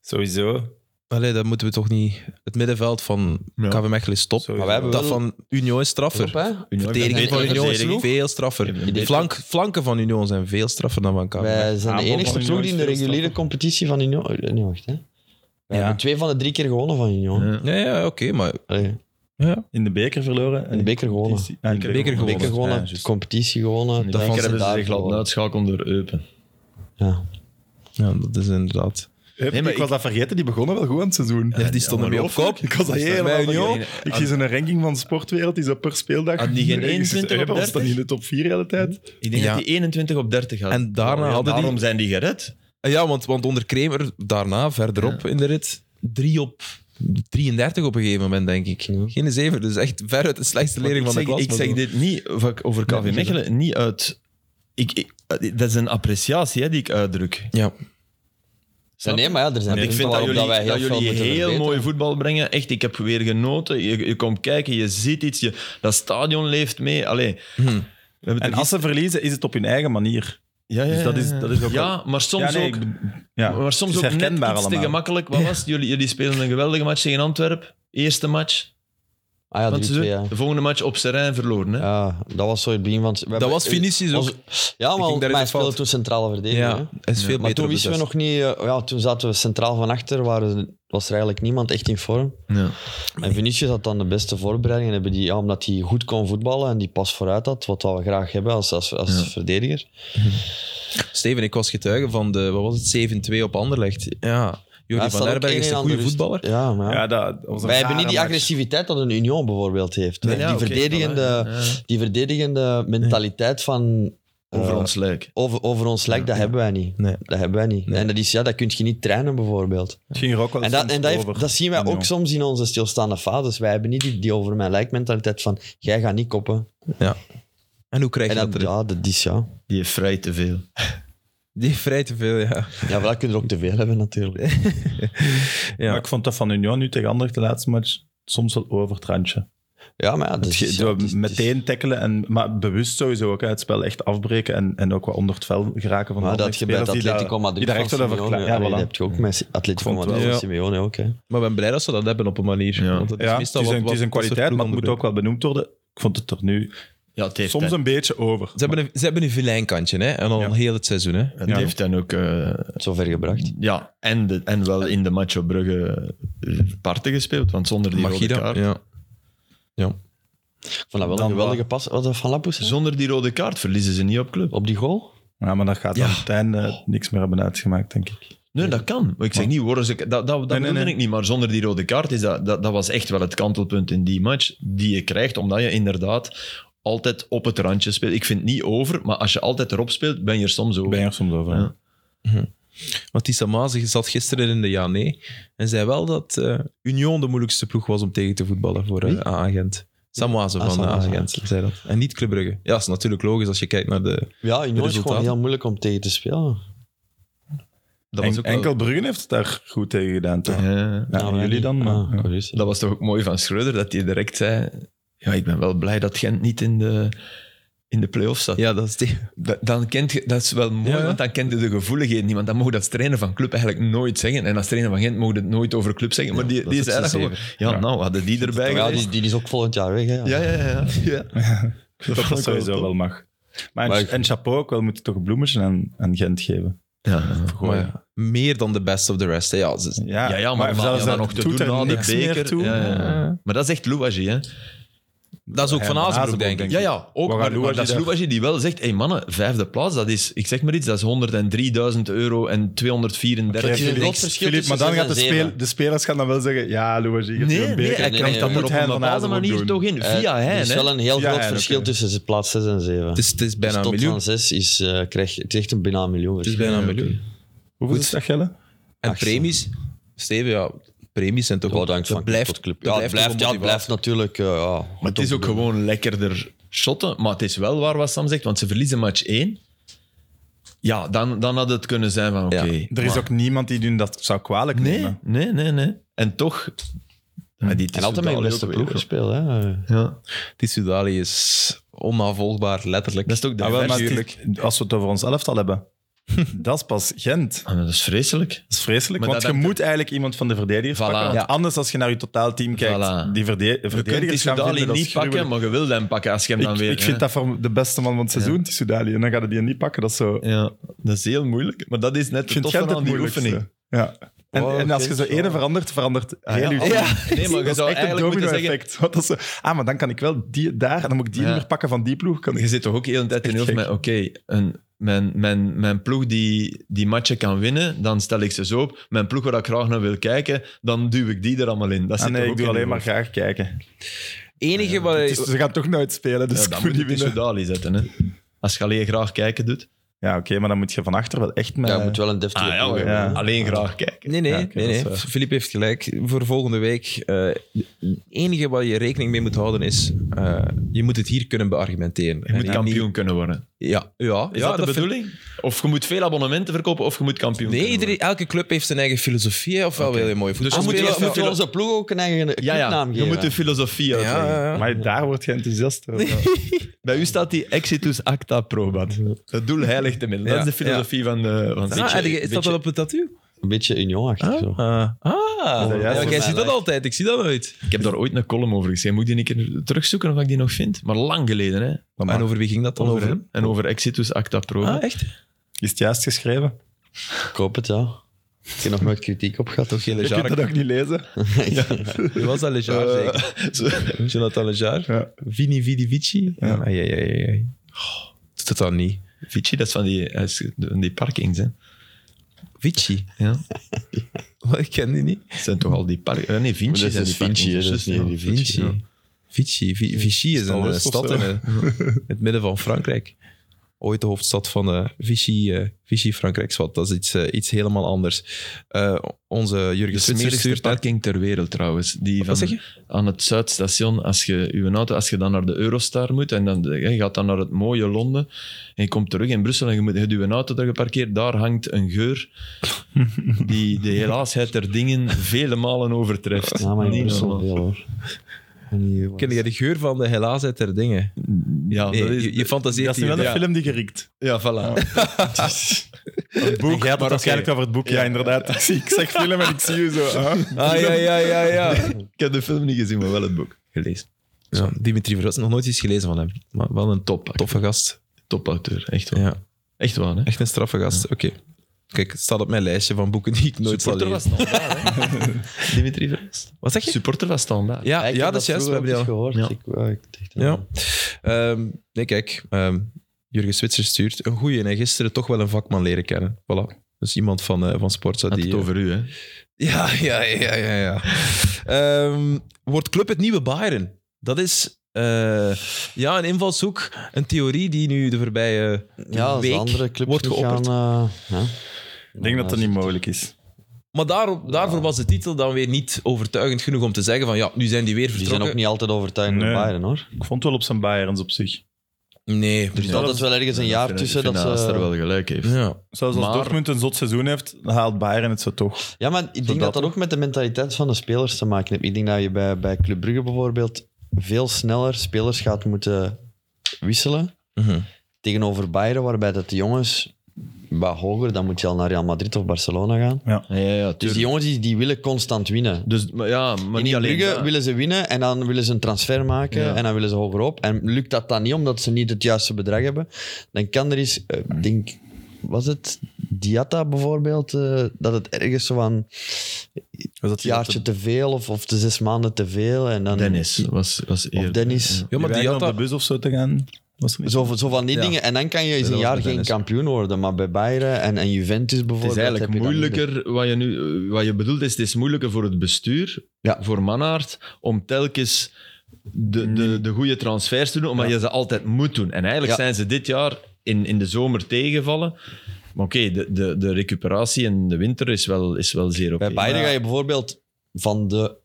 C: Sowieso.
A: Allee, dat moeten we toch niet... Het middenveld van
B: Ja.
A: KV Mechelen is top.
C: Sowieso.
D: Maar wij hebben
A: Dat
D: wel-
A: van Union is straffer.
D: Top, hè.
B: Union
A: Verdediging
B: heeft een
A: van
D: betere
A: Union is
B: verdediging.
A: veel
B: Heeft
A: straffer.
B: een
A: Die flank, flanken van Union zijn veel straffer dan van KV Mechelen.
D: Wij zijn de
C: Aanbod
D: enigste
C: van
D: ploeg
C: Union is
D: die in de
C: veel
D: reguliere
C: straffer.
D: competitie van Union... eh, Nee, wacht. Hè. We
C: Ja.
D: hebben twee van de drie keer gewonnen van Union.
B: Ja.
A: Ja, ja oké, maar...
D: Allee,
A: Ja.
C: In de beker verloren. en
D: de beker gewonnen.
C: competitie- Ah, in de
A: Beker gewonnen.
D: beker
C: Ja,
D: gewonnen,
C: juist.
D: competitie gewonnen.
B: Dat
D: dan
B: hebben ze
D: daar
B: zich laten
D: gewonnen.
B: uitschakelen door Eupen.
D: Ja.
A: ja, dat is inderdaad...
C: Hup,
B: Nee, maar
C: ik, was dat vergeten, die begonnen wel goed aan het seizoen.
A: Ja, die stonden mee op
C: ongelooflijk.
A: kop.
C: Ik was dat
A: Bij
C: helemaal
A: Union.
C: vergeten. Ik zie zo'n ranking van sportwereld, die zo per speeldag...
B: Had die geen
C: Nee, ik zit-
B: 21 op
C: Hup, was dan
B: 30?
C: in de top 4 de hele tijd.
B: Ik denk
A: Ja.
B: dat die 21 op 30 had.
A: En daarna hadden die-
B: daarom zijn die gered.
A: Ah, Ja, want, want onder Kramer, daarna, verderop in de rit, 3 op 33 op een gegeven moment, denk ik. Geen 7, dus echt veruit de slechtste leerling
B: ik
A: van de
B: zeg,
A: klas.
B: ik
A: maar
B: zeg
A: zo.
B: dit niet van- over KV
A: Nee,
B: Mechelen, niet uit... Ik, ik- dat is een appreciatie hè, die ik uitdruk.
A: Ja,
D: Ja, nee, maar ja, er zijn
B: Want ik
D: punten
B: vind dat
D: waarop
B: jullie,
D: wij
B: dat
D: heel veel
B: jullie
D: moeten
B: heel
D: verbeteren.
B: mooi voetbal brengen. Echt, ik heb weer genoten. Je, je komt kijken, je ziet iets. Je, dat stadion leeft mee. Allee, we hebben het
C: Hm. En
B: er
C: als ze verliezen, is het op hun eigen manier.
B: Ja, ja,
C: Dus dat is-
B: ja, ja.
C: dat is ook
B: ja, maar soms
C: ja,
B: ook...
C: ik bedo- ja.
B: Maar soms
C: Het
B: ook
C: is
B: net
C: herkenbaar
B: iets te
C: allemaal.
B: gemakkelijk. Wat was het? Jullie, jullie spelen een geweldige match tegen Antwerpen. Eerste match.
D: Ah ja,
B: Want
D: 3-2,
B: ze doen-
D: ja.
B: De volgende match op Serijn verloren. Hè?
D: Ja, dat was zo het begin van... het- we hebben-
A: was Vinicius ook.
D: Ja,
A: ging daar
D: maar
A: even
D: hij
A: fout.
D: speelde toen centrale verdediger. hè.
A: Ja, hij is veel
D: Maar
A: beter
D: toen
A: op de
D: wisten we
A: zes.
D: nog niet... eh, ja, toen zaten we centraal van achter, waren, was er eigenlijk niemand echt in vorm.
B: Ja.
D: En Vinicius had dan de beste voorbereiding. En hebben die, ja, omdat hij goed kon voetballen en die pas vooruit had, wat we graag hebben als, als, als verdediger.
A: Steven, ik was getuige van de, wat was het, 7-2 op Anderlecht. Ja, Jordi
D: Hij staat
A: van
D: ook
A: Herberg
D: één
A: is een
D: aan
A: goede
D: de rust.
A: voetballer.
D: Ja, maar ja.
C: Ja, dat was een
D: Wij hebben
C: rare
D: niet die
C: match.
D: agressiviteit dat een Union bijvoorbeeld heeft.
B: Nee,
D: die,
B: ja, oké,
D: verdedigende,
B: voilà, ja, ja.
D: die verdedigende mentaliteit van... eh,
B: Over ons lijk.
D: over, over ons lijk, dat hebben wij niet.
A: Nee.
D: Dat hebben wij niet. En dat, is, ja, dat kun je niet trainen, bijvoorbeeld.
C: Het ging er ook wel
D: En, dat,
C: soms
D: en dat, heeft-
C: over.
D: dat zien wij
C: Ja.
D: ook soms in onze stilstaande fases. Wij hebben niet die, die over mijn lijk mentaliteit van jij gaat niet koppen.
A: En hoe krijg
D: En
A: je dat
D: dat,
A: erin?
D: ja, dat is ja.
B: Die heeft vrij te veel.
A: Die heeft vrij te veel, ja.
D: Ja, maar dat kun je er ook te veel hebben natuurlijk.
A: Ja.
C: Maar ik vond dat van Union nu tegen Anderlecht de laatste match soms wel over het randje.
D: Ja, maar ja, dat is,
C: Je-
D: Dus ja,
C: door
D: het is- het is-
C: meteen tackelen, en, maar bewust sowieso ook. Hè, het spel echt afbreken en, en ook wat onder het vel geraken van
D: Maar
C: de
D: dat je bij het
C: spelers die
D: Atletico
C: daar-
D: Madrid
C: die daar
D: van
C: echt wel over
D: Simeone-
C: klaar- ja,
D: allee,
C: voilà.
D: dat heb je ook met Atletico
C: Ik vond het
D: Madrid
A: wel.
D: van Simeone ook. Hè.
A: Maar ik ben blij dat ze dat hebben op een manier.
B: Ja.
A: Want dat is
C: Ja, het is
A: meestal
C: een,
A: wat-
C: het is
A: wat
C: een kwaliteit,
A: ploegen
C: maar het moet ook
A: onderbreken.
C: wel benoemd worden. Ik vond het er nu
B: Ja, het heeft,
C: soms
B: hij,
C: een beetje over.
A: Ze hebben een, ze hebben een vilijnkantje, hè. En al
C: Ja.
A: heel het seizoen, hè.
B: het
C: Ja.
B: heeft hen ook... eh,
D: Zover gebracht.
B: ja, en, de, en wel in de match op Brugge eh, parten gespeeld. Want zonder die rode
A: Magida,
B: kaart...
A: ja.
D: Ik vond dat wel
C: Dan
D: een geweldige pas. Was dat van Lappus? hè?
B: Zonder die rode kaart verliezen ze niet op club.
D: Op die goal?
C: Ja, maar dat gaat
A: Ja.
C: aan het einde eh, niks meer hebben uitgemaakt, denk ik.
B: Nee, dat kan. Ik zeg niet, worden ze, dat dat, dat
C: nee,
B: bedoelde
C: nee.
B: ik niet. Maar zonder die rode kaart, is dat, dat, dat was echt wel het kantelpunt in die match die je krijgt. Omdat je inderdaad altijd op het randje speelt. Ik vind het niet over, maar als je altijd erop speelt, ben je er soms over.
C: Ben je er soms over.
B: Ja.
C: hè?
A: Want Tissa Maas zat gisteren in de ja nee en zei wel dat eh, Union de moeilijkste ploeg was om tegen te voetballen voor eh, A-agent. Samoise
D: Ah,
A: van
D: Samoise,
A: A-agent zei dat. En niet Club Brugge. Ja, dat is natuurlijk logisch als je kijkt naar de...
D: Ja, Union is gewoon
A: resultaten?
D: heel moeilijk om tegen te spelen. Nou,
A: Dat
C: En-
A: was ook wel-
C: enkel Bruggen heeft het daar goed tegen gedaan, toch? Ja.
B: Ja.
D: Ja, wij
C: jullie
D: niet.
C: dan? maar-
D: Ah,
C: ja.
D: Corus.
B: Dat was toch ook mooi van Schreuder, dat hij direct zei... Ja, ik ben wel blij dat Gent niet in de, in de play-offs zat.
A: Ja, dat is die...
B: Da- Dan kent je, dat is wel mooi,
A: Ja, ja.
B: want dan kent je de gevoeligheden niet. Want dan mogen dat trainer van club eigenlijk nooit zeggen. En als trainer van Gent mogen het nooit over club zeggen. Maar die,
A: dat
B: die
A: is
B: is
A: het
B: eigenlijk gewoon... Ja, nou, hadden die erbij
D: Ja,
B: geweest?
D: die, die is ook volgend jaar weg. Hè.
B: Ja, ja, ja. ja. vond
C: Dat, dat
B: ik wel
C: sowieso
B: top.
C: wel mag. Maar,
D: Maar
C: en,
D: ik-
C: en chapeau ook wel, moet je toch een bloemetje aan, aan Gent geven.
B: ja.
A: Maar ja, meer dan de best of the rest. hè. Ja, ze-
C: Ja,
B: Ja, ja, maar, maar
C: zelfs
B: ja,
C: dat
B: dan nog te
C: doet
B: doen
C: er
B: na de
C: niks meer
B: beker.
C: toe.
B: Ja, ja, ja. Maar dat is echt Louwagie, hè?
A: dat is ook
C: Ja,
A: van
C: Van
A: Azenbroek,
C: Azenbroek,
A: denk ik.
C: denk
B: Ja, ja, ook.
C: gaan
B: Maar, maar
C: Louwagie
B: dat is
C: daar-
B: Louwagie die wel zegt, hé hey, mannen, vijfde plaats, dat is, ik zeg maar iets, dat is 103.000 euro en 234...
D: is een groot verschil
C: Filip, maar
D: tussen
C: dan
D: zes
C: gaat
D: en
C: de,
D: zeven.
C: speel- de spelers gaan dan wel zeggen, ja, Louis, je hebt
B: Nee,
C: een
B: nee,
C: beker.
B: hij
D: nee,
B: krijgt
D: nee,
B: dat
D: moet
B: er op
C: hij
B: een
C: Van
B: bepaalde
C: Azenbroek
B: manier
C: doen.
B: toch in,
D: Eh,
B: via
D: Er
B: hen.
D: is
B: hè.
D: wel een heel
C: Via
D: groot
C: Heijn,
D: verschil
C: oké.
D: tussen ze plaats 6 en 7.
A: Het is, het is
D: Dus
A: bijna een
D: tot
A: miljoen.
D: van 6 is, eh, krijg, je- het is echt een bijna een miljoen.
A: Het is bijna een miljoen.
C: Hoeveel is dat, Gelle?
A: En
D: Ach,
A: premies? Steven, ja, premies zijn toch...
D: Ja,
A: wel
D: Oh, dat hangt van club tot
A: blijft,
D: club.
A: dat
D: Ja, het blijft,
A: toch
D: ja,
A: een
D: het blijft natuurlijk... eh, ja,
B: Maar het is ook gewoon lekkerder shotten. Maar het is wel waar wat Sam zegt, want ze verliezen match 1. Ja, dan, dan had het kunnen zijn van, oké...
A: Ja.
C: Er is
B: maar-
C: ook niemand die hun dat zou kwalijk
B: Nee,
C: nemen.
B: nee, nee, nee. En toch... Ja, die
D: En altijd met
B: Tissoudali
D: je beste
B: ook
D: ploeg
B: weer.
D: gespeeld. Hè.
B: Ja.
A: Tissoudali is onnavolgbaar, letterlijk.
B: Dat is toch de
C: Ah, wel, maar
B: versie-
C: het is- als we het over ons elftal hebben, dat is pas Gent.
B: Ah, dat is vreselijk.
C: Dat is vreselijk,
B: Maar dat
C: want je
B: hangt
C: moet eigenlijk iemand van de verdedigers
B: Voilà.
C: pakken. want
B: Ja.
C: Anders, als je naar je totaalteam kijkt,
B: Voilà.
C: die verde
B: Je kunt die
C: verdedigers gaan
B: Soudali
C: vinden dat
B: niet
C: gruwelijk.
B: pakken, maar je wil hem pakken als je hem dan
C: ik,
B: weer...
C: ik vind
B: hè.
C: dat voor de beste man van het seizoen, die Soudali. En dan gaat hij die niet pakken. Dat is zo...
B: Ja, dat is heel moeilijk. Maar dat is net
C: Ik
B: het
C: vind
B: toffe
C: Gent
B: aan
C: het
B: die
C: moeilijkste.
B: oefening.
C: Ja. En,
D: Oh,
C: en als
D: oké,
C: je zo
D: zo.
C: ene verandert, verandert
B: Ah,
C: heel
B: ja,
C: je
B: alles. Nee, maar je zou
C: echt een
B: eigenlijk moeten zeggen...
C: domino-effect. Want dat is zo, Ah, maar dan kan ik wel die daar, en dan moet ik die
B: Ja.
C: niet meer pakken van die ploeg. Kan ik-
B: Je zit toch ook heel de tijd in je hoofd
C: gek.
B: met, oké, een- mijn, mijn, mijn ploeg die die matchen kan winnen, dan stel ik ze zo op. Mijn ploeg waar ik graag naar wil kijken, dan duw ik die er allemaal in. Dat
C: Ah,
B: zit
C: nee,
B: toch
C: ik
B: ook
C: doe
B: in je
C: alleen maar
B: hoofd.
C: graag kijken.
A: enige waar...
C: Het is- ze gaan toch nooit spelen, dus
B: Ja,
C: ik
B: dan
C: moet
B: moet je
C: niet
B: die
C: winnen.
B: Soudali zetten, hè. Als je alleen graag kijken doet.
C: Ja, oké, maar dan moet je van achter wel echt met...
D: Ja, je moet wel een deftige
B: Ah, ja,
D: ploeg hebben.
C: ja.
D: hè.
B: Alleen graag kijken.
A: Nee, nee,
C: Ja, oké,
A: nee,
C: dat
A: nee.
C: is waar.
A: Filip heeft gelijk. Voor volgende week, eh, het enige waar je rekening mee moet houden is, eh, je moet het hier kunnen beargumenteren.
B: Je
A: En
B: moet
A: niet-
B: kampioen kunnen worden.
A: Ja, ja.
B: Is
A: ja,
B: dat de
A: vind-
B: bedoeling? Of je moet veel abonnementen verkopen, of je moet kampioen
A: Nee,
B: kunnen worden.
A: iedereen, elke club heeft zijn eigen filosofie, hè, ofwel wil je mooi voetbal
D: Maar
B: je
D: moeten
A: spelen,
D: we-
B: moet- je
D: moeten we
B: moet-
D: onze ploeg ook een eigen
B: Ja,
D: clubnaam
B: ja. Je
D: geven?
B: moet de filosofie
A: ofwel-
B: uitleggen.
A: ja, ja, ja.
C: Maar daar word je enthousiast over.
B: Bij u staat die exitus acta probat. Het doel heiligt de middel. Dat
A: Ja,
B: is de filosofie van de... Van
A: Ah, heb je- is dat al op het tattoo?
D: Een beetje unionachtig zo.
A: Ah, ah.
C: juist?
A: ja, jij
D: Volgens
A: ziet
D: mij
A: dat altijd. Ik zie dat nooit.
B: Ik heb daar ooit een column over geschreven. Moet ik die een keer terugzoeken of ik die nog vind? Maar lang geleden, hè.
C: Maar
A: En over wie ging dat dan?
B: Over
A: Over hem?
B: En over exitus acta probat.
A: Ah, echt?
C: Is het juist geschreven?
D: Ik hoop het, ja. Ik heb nog nooit kritiek op gehad.
A: Toch geen
C: Je kunt dat ook niet lezen.
A: Wie was dat Lejar zeker? Jonathan Lejar?
C: Ja.
A: Vini Vidi Vici? Ja. Ai, ai, ai, ai. Oh, doet dat dan niet?
B: Vici, dat is van die, eh, s- van die parkings, hè.
A: Vici?
B: Ja.
A: Wat, Ik ken die niet.
B: Het zijn toch al die parkingen... Nee, Vinci
D: Maar
B: zijn
D: dat is
B: die
D: dus Vinci,
B: parkings.
D: hè, dat is
B: Dus,
D: niet
B: ja.
D: die Vinci.
A: Vinci. Vichy. Vi- Vichy is een eh,
C: Stad
A: stad
C: of
A: in
C: zo.
A: eh, het midden van Frankrijk. Ooit de hoofdstad van eh, Vichy, eh, Vichy Frankrijk. Wat, dat is iets, eh, iets helemaal anders. Eh, onze Jurgen
B: De
A: Switzer
B: smerigste
A: stuurt net...
B: parking ter wereld, trouwens. Die
A: Wat
B: van,
A: zeg je?
B: aan het Zuidstation, als je uw auto, als je dan naar de Eurostar moet en dan je gaat dan naar het mooie Londen en je komt terug in Brussel en je moet je hebt uw auto daar geparkeerd, daar hangt een geur die de helaasheid der dingen vele malen overtreft.
D: Ja, maar in
B: Niet
D: Brussel
B: normaal.
D: veel, hoor. En hier,
A: Ken jij de geur van de helaasheid der dingen?
B: Ja,
A: Nee,
B: Ah, dat is,
A: je, je fantaseert
C: Dat is nu
A: hier.
C: wel een
A: Ja.
C: film die gerikt.
B: ja, voilà.
C: Het boek, gaat het waarschijnlijk over het boek. Ja, inderdaad. Ik, zie, ik zeg film en ik zie je zo. ah.
A: Ah, ja, ja, ja, ja.
B: Ik heb de film niet gezien, maar wel het boek gelezen.
A: ja Dimitri Verhulst, nog nooit iets gelezen van hem. Maar wel een top, toffe gast.
B: Topauteur, echt waar.
A: Ja,
B: Echt waar, hè?
A: echt een straffe gast. Oké. Kijk, het staat op mijn lijstje van boeken die ik nooit zal
B: Supporter
A: lezen.
B: was standaard, hè? Dimitri Verhulst.
A: Wat zeg je?
B: Supporter was standaard.
A: Ja,
D: ik heb
A: ja dat is juist. We
D: vroeger
A: hebben die
D: ook
A: al-
D: eens
B: Ja.
D: gehoord. Ik, ja, ik dacht, nou,
A: Ja. Ehm, nee, kijk. ehm, Jurgen Switzer stuurt een goeie. En gisteren toch wel een vakman leren kennen. Voilà. Dus iemand van, eh, van Sportza
B: Had
A: die...
B: het over u, hè?
A: eh, Ja, ja, ja, ja. ja. Ehm, wordt club het nieuwe Bayern? Dat is... eh, ja, een invalshoek. Een theorie die nu de voorbije
D: ja, als de
A: week
D: andere clubs
A: wordt
D: niet
A: geopperd.
D: gaan, eh, ja.
C: Ik denk dat dat niet mogelijk is.
A: Maar daar, daarvoor was de titel dan weer niet overtuigend genoeg om te zeggen van ja, nu zijn die weer
D: Die
A: vertrokken.
D: zijn ook niet altijd overtuigend
C: Nee.
D: door Bayern, hoor. Dus
C: Ik vond het wel op zijn Bayerns op zich.
A: Nee.
D: Er is altijd wel ergens een jaar tussen dat ze...
B: er wel gelijk heeft.
A: Ja.
C: Zelfs als
B: Maar-
C: Dortmund een zot seizoen heeft, dan haalt Bayern het zo toch.
D: Ja, maar ik denk dat dat ook met de mentaliteit van de spelers te maken heeft. Ik denk dat je bij, bij Club Brugge bijvoorbeeld veel sneller spelers gaat moeten wisselen
A: Mhm.
D: tegenover Bayern, waarbij dat de jongens wat hoger, dan moet je al naar Real Madrid of Barcelona gaan.
B: Ah, Ja, ja, ja,
D: Dus
B: tuurlijk.
D: die jongens die, die willen constant winnen.
B: Dus, maar ja, maar
D: In
B: niet
D: die
B: alleen
D: Brugge
B: dat.
D: willen ze winnen en dan willen ze een transfer maken
B: Ja.
D: en dan willen ze hoger op. En lukt dat dan niet omdat ze niet het juiste bedrag hebben, dan kan er eens, eh, ik denk, was het Diatta bijvoorbeeld, eh, dat het ergens zo aan
C: Was dat
D: het jaartje te veel of, of de zes maanden te veel. En dan,
B: Dennis was, was
D: Of
B: eerder.
D: Dennis.
A: ja, maar
C: die
A: die
C: weigeren
A: had
C: op de bus of zo te gaan. Was er niet.
D: Zo, zo van die
A: Ja.
D: dingen. En dan kan je eens
A: Dat
D: een
A: was
D: jaar
A: met
D: geen
A: Dennis.
D: kampioen worden. Maar bij Bayern en, en Juventus
B: Het
D: bijvoorbeeld...
B: is eigenlijk
D: heb je dat
B: moeilijker, wat je, nu, eh, wat je bedoelt is, het is moeilijker voor het bestuur,
D: Ja.
B: voor Mannaert, om telkens de, de, de goede transfers te doen, omdat je ze altijd moet doen. En eigenlijk
D: Ja.
B: zijn ze dit jaar in, in de zomer tegengevallen. Maar oké, de, de, de recuperatie in de winter is wel, is wel zeer oké.
D: Bij Bayern ga je bijvoorbeeld van de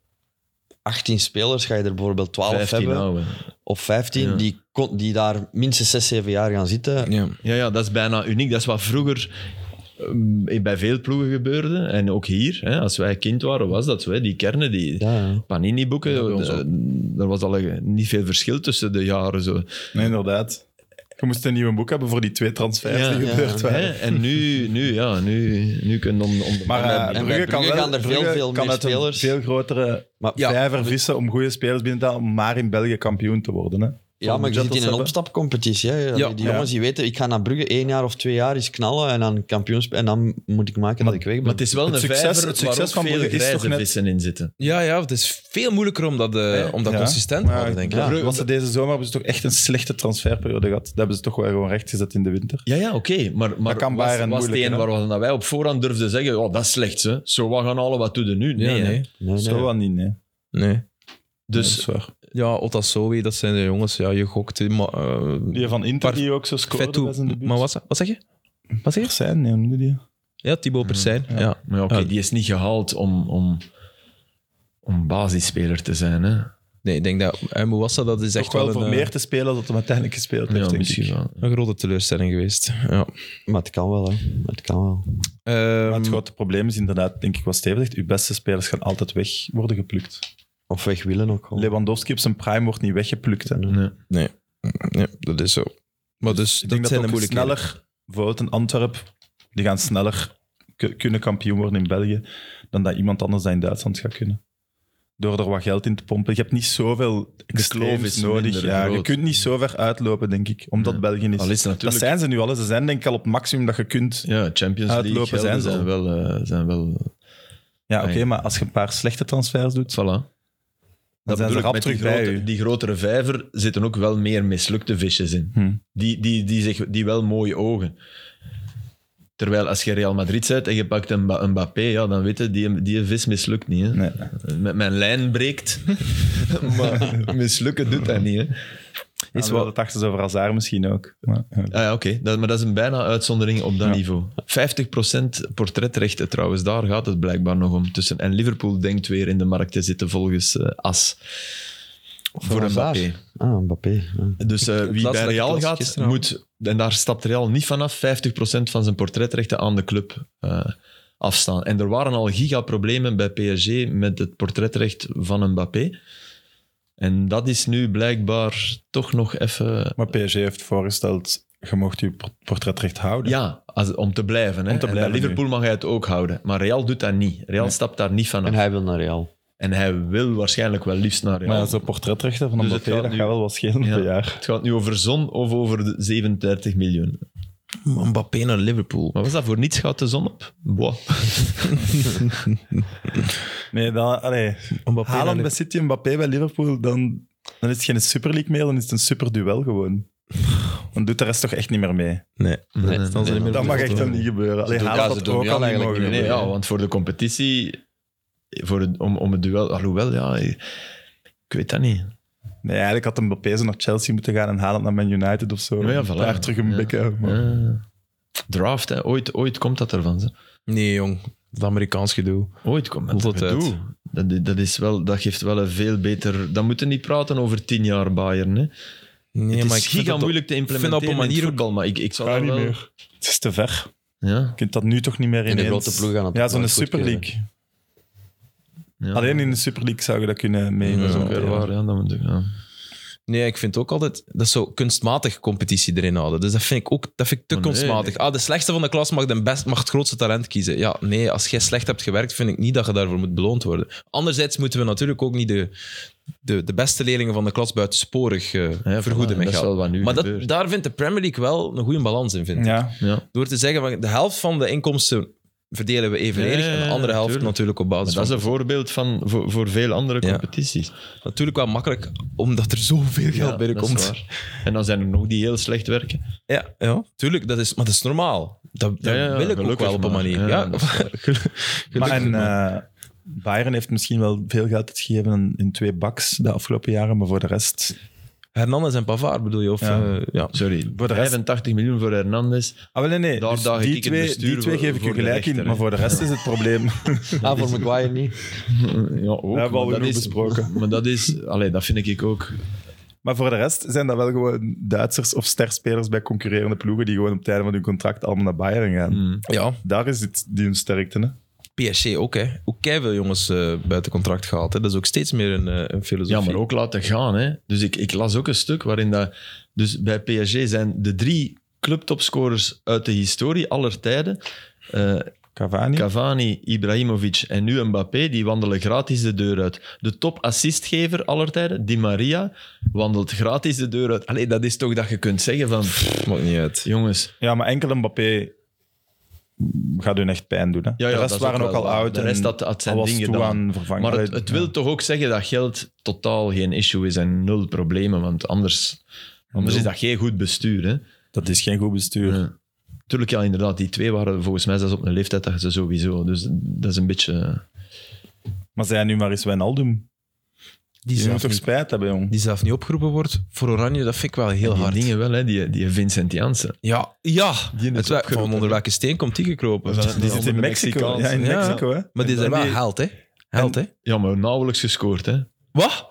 D: 18 spelers ga je er bijvoorbeeld 12
B: 15
D: hebben.
B: ouwe.
D: Of 15
B: Ja.
D: die, kon- die daar minstens 6, 7 jaar gaan zitten.
A: Ja.
B: Ja, ja, dat is bijna uniek. Dat is wat vroeger eh, bij veel ploegen gebeurde. En ook hier, hè, als wij kind waren, was dat zo. Hè, die kernen, die
D: Ja, ja.
B: Panini-boeken,
A: Ja, bij ons
B: eh,
A: ook.
B: er was al een- niet veel verschil tussen de jaren. Zo.
C: Nee, inderdaad. Je moest een nieuw boek hebben voor die twee transfers
B: Ja,
C: die
D: ja,
C: gebeurd
B: Hè?
C: waren.
B: En nu, nu, ja, nu, nu kunnen om, om de
C: Maar
B: bal-
C: eh,
D: bij
C: Brugge kan
D: Brugge
C: wel,
D: gaan er veel,
C: Brugge
D: veel
C: kan
D: meer
C: uit een
D: spelers.
C: veel grotere
D: Maar,
A: Ja.
C: vijver vissen om goede spelers binnen te halen, om maar in België kampioen te worden. Hè.
D: ja, maar je zit in een
C: hebben.
D: opstapcompetitie. Hè. Die-
A: Ja.
D: die
C: Ja.
D: jongens die weten, ik ga naar Brugge één jaar of twee jaar eens knallen en dan kampioens... En dan moet ik maken dat ik weg ben.
B: maar het is wel
C: het
B: een
C: succes-
B: vijver
C: het
B: waar
C: succes
B: ook
C: van
B: veel
C: Brugge is
B: grijze
C: toch net-
B: vissen in zitten.
A: Ja, ja, het is veel moeilijker om dat, eh, om dat
C: Ja.
A: consistent te
C: Maar
A: houden, denk ik.
D: Ja.
C: Brugge- Want ze deze zomer hebben ze toch echt een slechte transferperiode gehad. Dat hebben ze toch wel gewoon rechtgezet in de winter.
B: Ja, ja, oké. Maar, maar
C: Dat kan
B: was,
C: Bayern
B: was het
C: moeilijk,
B: een
C: hè?
B: waarvan wij op voorhand durfden zeggen, oh, dat is slecht. Hè. Zo, wat gaan alle wat doen nu? Nee,
A: Ja,
B: hè.
A: nee.
D: Nee, nee.
C: Zo wel niet, nee.
A: nee.
C: Nee, dat
B: Dus
C: is waar.
A: Ja, Otasowi, dat zijn de jongens. Ja, je gokt. eh, Maar, eh,
C: Die van Inter
A: Par-
C: die ook zo scoorde,
A: Vetou.
C: dat is in de buurt.
A: Maar wat, ze- wat zeg je? Wat zeg je?
C: zijn, nee, hoe noemde die?
A: Ja, Thibaut Persijn. Ja. Ja.
B: Maar ja, oké,
A: Ja.
B: die is niet gehaald om, om, om basisspeler te zijn. Hè?
A: Nee, ik denk dat eh, Mouassa, dat is echt
C: toch wel,
A: een,
C: voor
A: eh,
C: meer te spelen dan dat hem uiteindelijk gespeeld heeft,
B: Ja,
C: denk
B: misschien
C: ik.
B: wel.
A: een grote teleurstelling geweest. Ja.
D: Maar het kan wel, hè. Het kan wel.
C: Maar het
A: Ehm,
C: grote probleem is inderdaad, denk ik, wat Steven zegt, uw beste spelers gaan altijd weg worden geplukt.
D: Of weg willen ook gewoon.
C: Lewandowski op zijn prime wordt niet weggeplukt. hè.
B: Nee.
A: nee. Ja, dat is zo. Maar dus,
C: Ik denk
A: zijn
C: dat,
A: de
C: ook
A: moeilijkheden.
C: sneller, bijvoorbeeld een Antwerp, die gaan sneller ku- kunnen kampioen worden in België dan dat iemand anders dat in Duitsland gaat kunnen. Door er wat geld in te pompen. Je hebt niet zoveel
B: kloof
C: extremes
B: is
C: nodig.
B: minder
C: Ja, je
B: groot.
C: kunt niet zo ver uitlopen, denk ik, omdat
B: Ja.
C: België is.
B: Al is het
C: dat
B: natuurlijk...
C: zijn ze nu al. Ze zijn denk ik al op het maximum dat je kunt.
B: Ja, Champions League
C: Uitlopen
B: gelden
C: zijn
B: zijn,
C: ze al.
B: wel... eh, zijn wel
C: Ja, oké,
B: Ja.
C: maar als je een paar slechte transfers doet,
B: voilà.
C: dan zijn ze
B: bedoel ik,
C: rap
B: met
C: terug
B: die,
C: bij
B: grote-
C: u.
B: die grotere vijver zitten ook wel meer mislukte visjes in.
C: Hm.
B: Die, die, die, zich, die wel mooie ogen. Terwijl als je Real Madrid bent en je pakt een, Mba- een Mbappé, ja, dan weet je, die, die vis mislukt niet. Hè.
C: Nee.
B: Met mijn lijn breekt, maar mislukken doet dat niet. Hè.
C: Is wel, dat dachten ze over Hazard misschien ook. Maar, ja.
B: Ah ja, oké. Dat, maar dat is een bijna uitzondering op dat
C: Ja.
B: niveau. 50% portretrechten trouwens, daar gaat het blijkbaar nog om. Tussen, en Liverpool denkt weer in de markt te zitten volgens eh, AS. Voor een
D: Hazard.
B: Mbappé.
D: Ah, Mbappé. ja.
B: Dus eh,
A: laatste
B: wie bij
A: dat ik
B: Real
A: las
B: gaat,
A: gisteravond.
B: moet, en daar stapt Real niet vanaf, 50% van zijn portretrechten aan de club eh, afstaan. En er waren al gigaproblemen bij PSG met het portretrecht van Mbappé. En dat is nu blijkbaar toch nog even...
C: maar PSG heeft voorgesteld, je mocht je por- portretrecht houden.
B: Ja, als, om te blijven. Hè?
C: Om te
B: En bij
C: blijven
B: Liverpool mag hij het ook houden. Maar Real doet dat niet. Real
C: Nee.
B: stapt daar niet vanaf. En
D: En
B: hij,
D: hij wil naar Real.
B: wil waarschijnlijk wel liefst naar Real.
C: Maar ja, zo'n portretrechten van een
B: Dus
C: Mbappé,
B: het gaat
C: dat
B: nu-
C: gaat wel wat schelen
B: Ja.
C: per jaar.
B: Het gaat nu over zon of over de 37 miljoen.
A: Mbappé naar Liverpool.
B: Maar was dat voor niets? Gaat de zon op? Boah.
C: Nee, dan, allee,
A: Mbappé
C: Haaland
A: naar
C: bij City en Mbappé bij Liverpool, dan, dan is het geen Super League meer, dan is het een superduel gewoon. Dan doet de rest toch echt niet meer mee.
A: Nee,
D: Nee,
B: nee,
A: staan ze
D: nee,
A: niet meer
C: Dat
A: op de
C: mag
A: foto.
C: echt dan niet gebeuren. Allee,
D: doen-
C: Haaland
D: ja, ze
C: had
D: doen
C: ook
D: Real
C: al niet
D: eigenlijk
C: mogen
B: Nee,
D: niet meer,
C: gebeuren.
B: ja, want voor de competitie, voor het, om, om het duel, alhoewel, ja, ik weet dat niet.
C: Nee, eigenlijk had Mbappé zo naar Chelsea moeten gaan en Haaland naar Man United of zo.
B: Ja, ja, voilà.
C: Daar terug een
B: Ja.
C: bikken. maar-
B: Ja. Eh, Draft, hè. Ooit, ooit komt dat ervan. Ze.
A: Nee, jong. Dat Amerikaans gedoe.
B: Ooit komt dat
A: Hoeveel
B: ervan.
A: tijd?
B: Dat, i- dat, is wel, dat geeft wel een veel beter... Dan moeten we niet praten over tien jaar Bayern. Hè.
A: Nee,
B: het
A: maar
B: is
A: ik vind
B: giga
A: dat
B: moeilijk te
A: vind dat op een
B: implementeren op een manier
A: manier
B: in
A: ook-
B: het voetbal, maar ik, ik zou
C: Ga
B: dat
C: niet
B: wel...
C: meer. Het is te ver.
B: Ja,
C: Je kunt dat nu toch niet meer
D: In de
C: ineens-
D: grote ploeg aan het
C: Ja, zo'n
D: nooit
C: Super
D: goedkeuren.
C: League.
B: ja.
C: Alleen in de Super League zou je dat kunnen
B: Ja, dat
C: meenemen.
B: is
C: zo
B: ook wel
C: meteen.
B: waar. Ja, dat moet ik, ja.
A: Nee, ik vind ook altijd dat is zo kunstmatig competitie erin houden. Dus dat vind ik ook dat vind ik te
B: Maar nee,
A: kunstmatig.
B: nee.
A: Ah, de slechtste van de klas mag, de best, mag het grootste talent kiezen. Ja, nee, als jij slecht hebt gewerkt, vind ik niet dat je daarvoor moet beloond worden. Anderzijds moeten we natuurlijk ook niet de, de, de beste leerlingen van de klas buitensporig eh,
B: Ja,
A: vergoeden.
B: voilà,
A: met
B: Dat is
A: geld.
B: wel wat nu
A: maar
B: gebeurt.
A: dat, daar vindt de Premier League wel een goede balans in, vind ik.
C: Ja,
B: ja.
A: Door te zeggen, van, de helft van de inkomsten verdelen we evenredig
B: Ja, ja, ja,
A: en de andere helft
B: tuurlijk.
A: natuurlijk op basis
B: Maar dat is
A: van...
B: een voorbeeld van, voor, voor veel andere
A: Ja.
B: competities.
A: Natuurlijk wel makkelijk, omdat er zoveel geld
B: Ja,
A: binnenkomt.
B: dat is waar. En dan zijn er nog die heel slecht werken.
A: Ja, ja, tuurlijk, dat is, maar dat is normaal. Dat, dat
B: Ja, ja, ja,
A: wil ik ook
B: gelukkig
A: wel op een
B: maar.
A: manier. Ja,
B: Ja, dat is
C: Maar
A: gelukkig
C: en,
A: maar.
C: eh, Bayern heeft misschien wel veel geld gegeven in, in twee baks de afgelopen jaren, maar voor de rest...
A: Hernandez en Pavard bedoel je? Of,
C: Ja.
A: eh, ja.
B: Sorry,
C: Voor de rest-
B: 85 miljoen voor Hernandez.
C: Ah, wel, nee, nee.
B: Daar
C: dus
B: daag ik
C: die,
B: het
C: twee,
B: bestuur
C: die twee
B: voor-
C: geef ik je
B: voor de
C: gelijk
B: rechter,
C: in,
B: hè.
C: maar voor de rest is het probleem...
D: Ah, voor Maguire niet.
B: Ja, ook,
C: we al
B: maar dat
C: genoeg
B: is-
C: besproken.
B: Maar dat is, allee, dat vind ik ook.
C: maar voor de rest zijn dat wel gewoon Duitsers of sterspelers bij concurrerende ploegen die gewoon op het einde van hun contract allemaal naar Bayern
B: Hmm.
C: gaan.
A: ja,
C: Daar is het, die hun sterkte, hè.
A: PSG ook. Hè. Ook veel jongens eh, buiten contract gehaald. Hè. Dat is ook steeds meer een, eh, een
C: Dus
A: filosofie.
B: Ja, maar ook laten gaan. Hè. Dus ik, ik las ook een stuk waarin dat. Dus bij PSG zijn de drie clubtopscorers uit de historie aller tijden. eh,
C: Cavani.
B: Cavani, Ibrahimovic en nu Mbappé, die wandelen gratis de deur uit. De topassistgever aller tijden, Di Maria, wandelt gratis de deur uit. Allee, dat is toch dat je kunt zeggen van...
A: Maakt niet uit.
B: Jongens,
C: ja, maar enkel Mbappé gaat hun echt pijn doen, hè.
B: ja,
C: de
B: dat
C: rest
B: is
C: waren
B: ook
C: ook
B: wel
C: al
B: waar.
C: oud
B: De rest
C: en
B: had- had zijn
C: al was
B: ding
C: toe
B: gedaan.
C: aan vervangen.
B: maar het,
C: Allee,
B: het
C: ja.
B: wil toch ook zeggen dat geld totaal geen issue is en nul problemen, want anders, anders
C: Nul.
B: is dat geen goed bestuur. Hè?
C: Dat is geen goed bestuur.
B: Ja. Tuurlijk, ja, inderdaad, die twee waren volgens mij zelfs op een leeftijd dat ze sowieso... Dus dat is een beetje... eh,
C: Maar zij nu maar eens Wijnaldum.
A: Die
C: Die moet
A: zelf,
C: toch
A: niet,
C: spijt hebben, jong.
A: die zelf niet opgeroepen wordt voor Oranje, dat vind ik wel heel
B: die
A: hard.
B: dingen wel, hè, die, die Vincent Janssen.
A: Ja, ja.
B: Die is
A: Het wa-
B: opgeroepen,
A: van onder
B: hè.
A: welke steen komt die gekropen?
C: Die zit in
B: Onder de
C: Mexico. Ja,
B: Mexicaanse.
C: in
A: Ja.
C: Mexico, hè.
A: Maar die
C: En
A: zijn
C: dan
A: wel held, hè. Held, hè.
B: Ja, maar nauwelijks gescoord, hè.
A: Wat?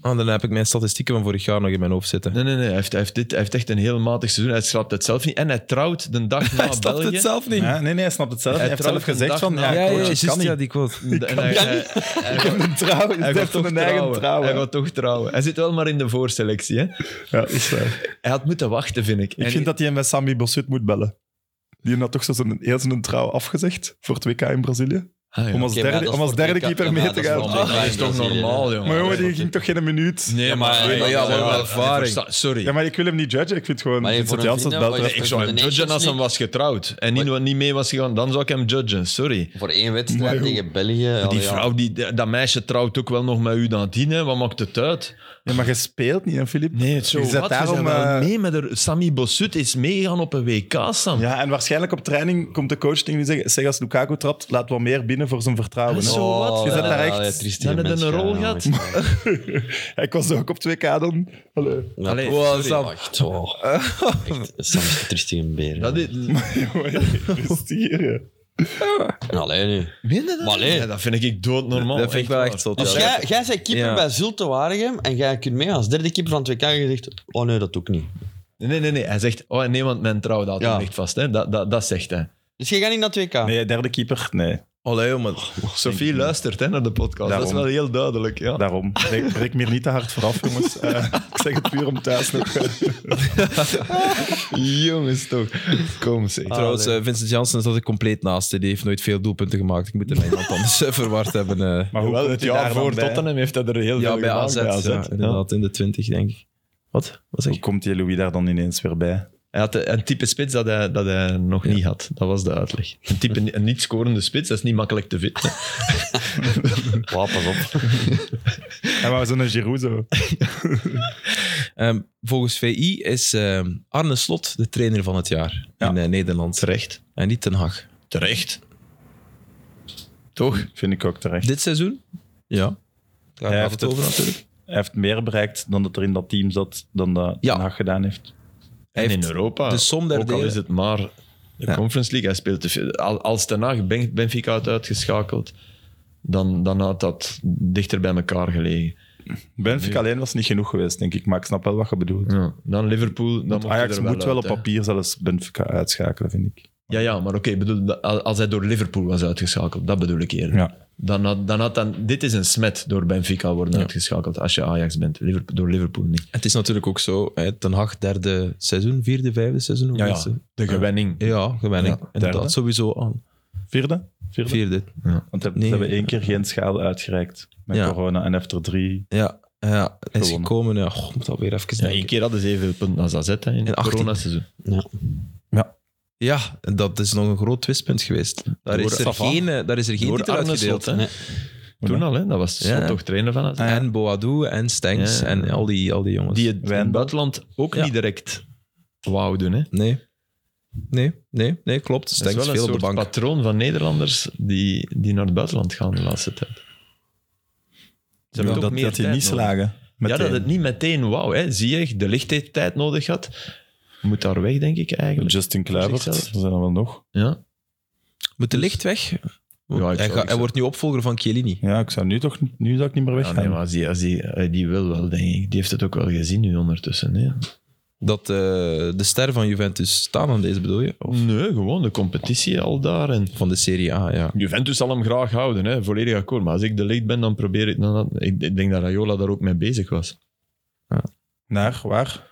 A: Ah, dan heb ik mijn statistieken van vorig jaar nog in mijn hoofd zitten.
B: Nee, nee, nee. Hij heeft, hij heeft, dit, hij heeft echt een heel matig seizoen. Hij schrapt het zelf niet. En hij trouwt de dag na
A: Hij snapt
B: België.
A: het zelf niet.
C: Ja, nee, nee, hij snapt het zelf. Hij,
B: Hij
C: heeft zelf
B: trouwt een
C: gezegd
B: dag
C: van,
B: na-
C: ja,
B: Ja,
C: coach,
B: ja,
C: het
A: juist,
C: kan niet.
A: ja, die quote.
B: En hij, hij, hij gaat-
C: Een
B: hij
C: trouw, hij
B: gaat
C: heeft
B: toch
C: een eigen
B: trouwen.
C: trouw.
B: Hij
C: hè.
B: gaat toch trouwen. Hij zit wel maar in de voorselectie. Hè?
C: Ja, dat is waar.
B: Hij had moeten wachten, vind ik.
C: Ik
B: En-
C: vind dat hij met Sami Bossut moet bellen. Die had toch zo zijn, heel zijn trouw afgezegd voor het WK in Brazilië.
B: Ah, ja.
C: Om als
D: Oké, maar
C: derde,
D: dat is
C: om als
D: voor
C: derde
D: WK
C: keeper
D: ja,
C: mee
D: maar
C: te
D: dat is
C: gaan.
D: voor
B: Maar dat is toch normaal, jongen.
C: Maar jongen,
D: dat
C: die
D: is
C: ging toch geen minuut?
B: Nee,
D: Ja,
B: maar...
D: maar- maar
B: ja,
D: ja, wel
A: ervaring.
B: Sorry.
C: Ja, maar ik wil hem niet judgen. Ik vind gewoon
D: Maar je
C: Vincent
D: voor een
C: Janssens
D: vriend,
C: belt er
D: hè, wat
B: Ik
C: echt.
B: zou hem
D: de Nations
B: judgen als hij
D: League.
B: was getrouwd. En niet, niet mee was gegaan. Dan zou ik hem judgen. Sorry.
D: Voor één wedstrijd
C: Maar joh.
D: tegen België.
B: Die
D: allee, ja.
B: vrouw, die, dat meisje trouwt ook wel nog met u nadien. Hè? Wat maakt het uit?
C: Ja, maar je speelt niet, hè, Filip?
B: Nee, het zo
C: Je zet
B: wat.
C: daarom,
B: we zijn wel
C: eh,
B: mee met haar. Sammy Bossut is meegegaan op een WK, Sam.
C: Ja, en waarschijnlijk op training komt de coach tegen u zeggen, zeg als Lukaku trapt, laat wat meer binnen voor zijn vertrouwen. hè.
B: Zo wat.
D: Oh,
C: Je zet
D: ja,
C: daar
D: ja,
C: echt-
D: ja, triestige
B: Dan heb je
D: mens,
B: een
D: ja,
B: rol
D: ja,
B: gehad.
D: ja.
C: Ik was ook op 2K dan. Allee.
D: Ja,
B: Allee,
D: wow,
B: sorry.
D: Sam. Echt, wow. Echt, Sam is de triestige beer.
B: Dat
D: ja.
B: is,
C: Jongen, rustig hier, hè.
D: Allee, nu.
B: meen je dat?
D: Maar nee.
B: Ja, dat vind ik doodnormaal.
A: dat vind ik wel
B: waar.
A: echt zot.
D: Dus
A: ja.
D: jij, jij bent keeper
A: Ja.
D: bij Zulte Waregem en jij kunt mee als derde keeper van 2K en je zegt, oh nee, dat doe ik niet.
B: Nee, nee, nee. Hij zegt, oh nee, want mijn trouwdatum
D: Ja.
B: ligt vast. Hè. Dat, dat, dat zegt hij.
D: Dus jij gaat niet naar 2K?
C: Ah. Nee, derde keeper? Nee,
A: Allee, joh, maar...
B: Sophie luistert hè, naar de podcast. Dat
C: Daarom.
B: is wel heel duidelijk. Ja.
C: daarom. Breek, breek meer niet te hard vooraf, jongens. Eh, ik zeg het puur om thuis nog.
B: Jongens toch. Kom zeg.
A: Trouwens, eh, Vincent Janssen zat er compleet naast. hè. Die heeft nooit veel doelpunten gemaakt. Ik moet hem met iemand anders eh, verward hebben. eh.
C: Maar hoe
B: Hoewel,
C: komt
B: het
C: hij daar
B: jaar
C: dan
B: voor
C: bij?
B: Tottenham heeft hij er heel
A: Ja,
B: veel
A: bij
B: gedaan,
A: AZ. ja,
B: Ja.
A: inderdaad, in de 20, denk ik. Wat? Wat zeg
C: Hoe
A: ik?
C: komt die Louis daar dan ineens weer bij?
B: Hij had een type spits dat hij, dat hij nog
A: Ja.
B: niet had. Dat was de uitleg. Een, type, een niet scorende spits, dat is niet makkelijk te vinden.
D: Wauw, pas op.
C: En we zijn een Giroud zo.
A: Ehm, volgens VI is ehm, Arne Slot de trainer van het jaar
C: Ja.
A: in eh, Nederland.
B: Terecht.
A: En niet Ten Hag.
B: Terecht. Toch?
C: Vind ik ook terecht.
A: Dit seizoen? Ja. Daar
C: Hij
A: gaat
C: heeft
A: het
C: het-
A: over natuurlijk.
C: Hij heeft meer bereikt dan dat er in dat team zat, dan dat
A: Ja.
C: Ten Hag gedaan heeft.
A: Hij
B: en
A: heeft
B: in Europa.
A: de som der
B: ook al
A: delen.
B: is het maar de
A: Ja.
B: Conference League. Hij speelt te veel. Al- Als Ten Hag Ben- Benfica had uitgeschakeld, dan, dan had dat dichter bij elkaar gelegen.
C: Benfica alleen was niet genoeg geweest, denk ik. Maar ik snap wel wat je bedoelt.
B: Ja. Dan Liverpool. Dan
C: Want
B: mocht je
C: Ajax
B: er
C: moet wel
B: uit,
C: op
B: hè.
C: papier zelfs Benfica uitschakelen, vind ik.
B: Ja, ja, maar oké, ik bedoel, da- al- als hij door Liverpool was uitgeschakeld, dat bedoel ik eerder.
C: Ja.
B: Dan had, dan had dan, dit is een smet door Benfica worden uitgeschakeld als je Ajax bent, Liverpool, door Liverpool niet.
A: Het is natuurlijk ook zo. Hè, ten Hag, derde seizoen, vierde, vijfde seizoen. hoe heet ze?
B: de gewenning.
A: ja gewenning.
B: Ja,
A: inderdaad,
C: derde.
A: sowieso aan.
C: Vierde? Vierde?
A: Vierde.
C: Want ze
A: Nee.
C: hebben één keer geen schade uitgereikt met
A: Ja.
C: corona en heeft er drie.
A: Ja, ja hij is
C: Gewonnen.
A: gekomen. Ja, goh, moet alweer even
B: Ja,
A: denken.
B: één keer hadden ze evenveel punten als AZ hè, in het
A: 18.
B: coronaseizoen.
A: Ja, en dat is nog een groot twistpunt geweest. Daar,
B: Door
A: is er,
B: Safa.
A: geen, eh, daar is er geen
B: Door
A: titel
B: Arne
A: uitgedeeld.
B: Slot, hè.
D: Nee.
B: Toen al, hè, dat was
A: Ja.
B: Slot toch trainer van AZ.
A: En Boadou en Stengs
B: Ja.
A: en al die, al die jongens.
B: Die het in het
C: Wijndal.
B: buitenland ook
A: Ja.
B: niet direct wou doen. Hè.
A: Nee. Nee, nee, nee, klopt.
B: Dat
A: Stengs
B: is wel een
A: veel op de
B: soort
A: bank.
B: patroon van Nederlanders die, die naar het buitenland gaan de laatste tijd. Ze hebben
C: dat
B: toch meer
C: dat die
B: tijd
C: niet
B: nodig.
C: slagen.
B: Ja,
C: meteen.
B: dat het niet meteen wauw. hè. Zie je, de lichttijd nodig had. Moet daar weg, denk ik eigenlijk.
C: Justin Kluivert, er
B: Zichzelf.
C: zijn er wel nog.
B: Ja.
A: Moet de licht weg?
B: zou-
A: hij,
B: ik
A: gaat, hij
B: zou-
A: wordt nu opvolger van Chiellini.
C: Ja, ik zou nu toch nu zou ik niet meer
B: Ja,
C: weggaan.
B: nee, maar als die, als die, eh, die wil wel, denk ik. Die heeft het ook wel gezien nu ondertussen. Hè.
A: Dat eh, de ster van Juventus staan aan deze, bedoel je? Of
B: Nee, gewoon de competitie al daar. En
A: van de Serie A, ja.
B: Juventus zal hem graag houden, hè. volledig akkoord. Maar als ik de licht ben, dan probeer ik... Dan, dat- ik, ik denk dat Rayola daar ook mee bezig was.
C: Naar waar?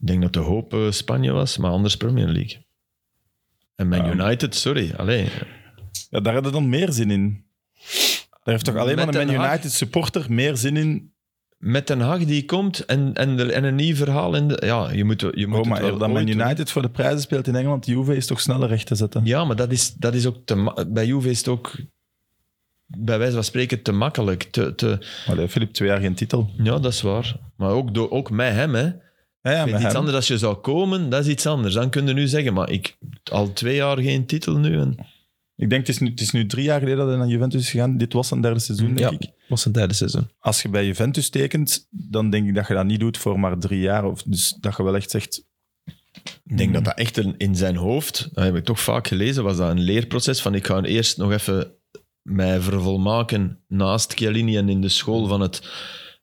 B: Ik denk dat de hoop eh, Spanje was, maar anders Premier League. En Man
C: Ja.
B: United, sorry. Allee,
C: Ja, daar hadden dan meer zin in. Daar heeft toch alleen
B: Met
C: maar een
B: Den
C: Man
B: Haag?
C: United supporter meer zin in.
B: met Den Haag die komt en, en, de, en een nieuw verhaal. In de, ja, je moet, je moet
C: Oh, maar
B: het wel
C: dat Man
B: ooit doen.
C: United voor de prijzen speelt in Engeland, Juve is toch sneller recht te zetten.
B: Ja, maar dat is, dat is ook te ma- Bij Juve is het ook, bij wijze van spreken, te makkelijk. Te, te,
C: Allee, Filip, twee jaar geen titel.
B: ja, dat is waar. Maar ook, door, ook met hem, hè.
C: Ja, ja,
B: Met
C: met
B: iets
C: hem.
B: anders, als je zou komen, dat is iets anders. Dan kun je nu zeggen, maar ik al twee jaar geen titel nu. En,
C: Ik denk, het is, nu, het is nu drie jaar geleden dat hij naar Juventus is gegaan. Dit was zijn derde seizoen, denk
A: Mm, Ja,
C: ik.
A: was zijn derde seizoen.
C: Als je bij Juventus tekent, dan denk ik dat je dat niet doet voor maar drie jaar. Of, dus dat je wel echt zegt,
B: ik
C: Mhm.
B: denk dat dat echt een, in zijn hoofd, dat heb ik toch vaak gelezen, was dat een leerproces van ik ga eerst nog even mij vervolmaken naast Chiellini en in de school van het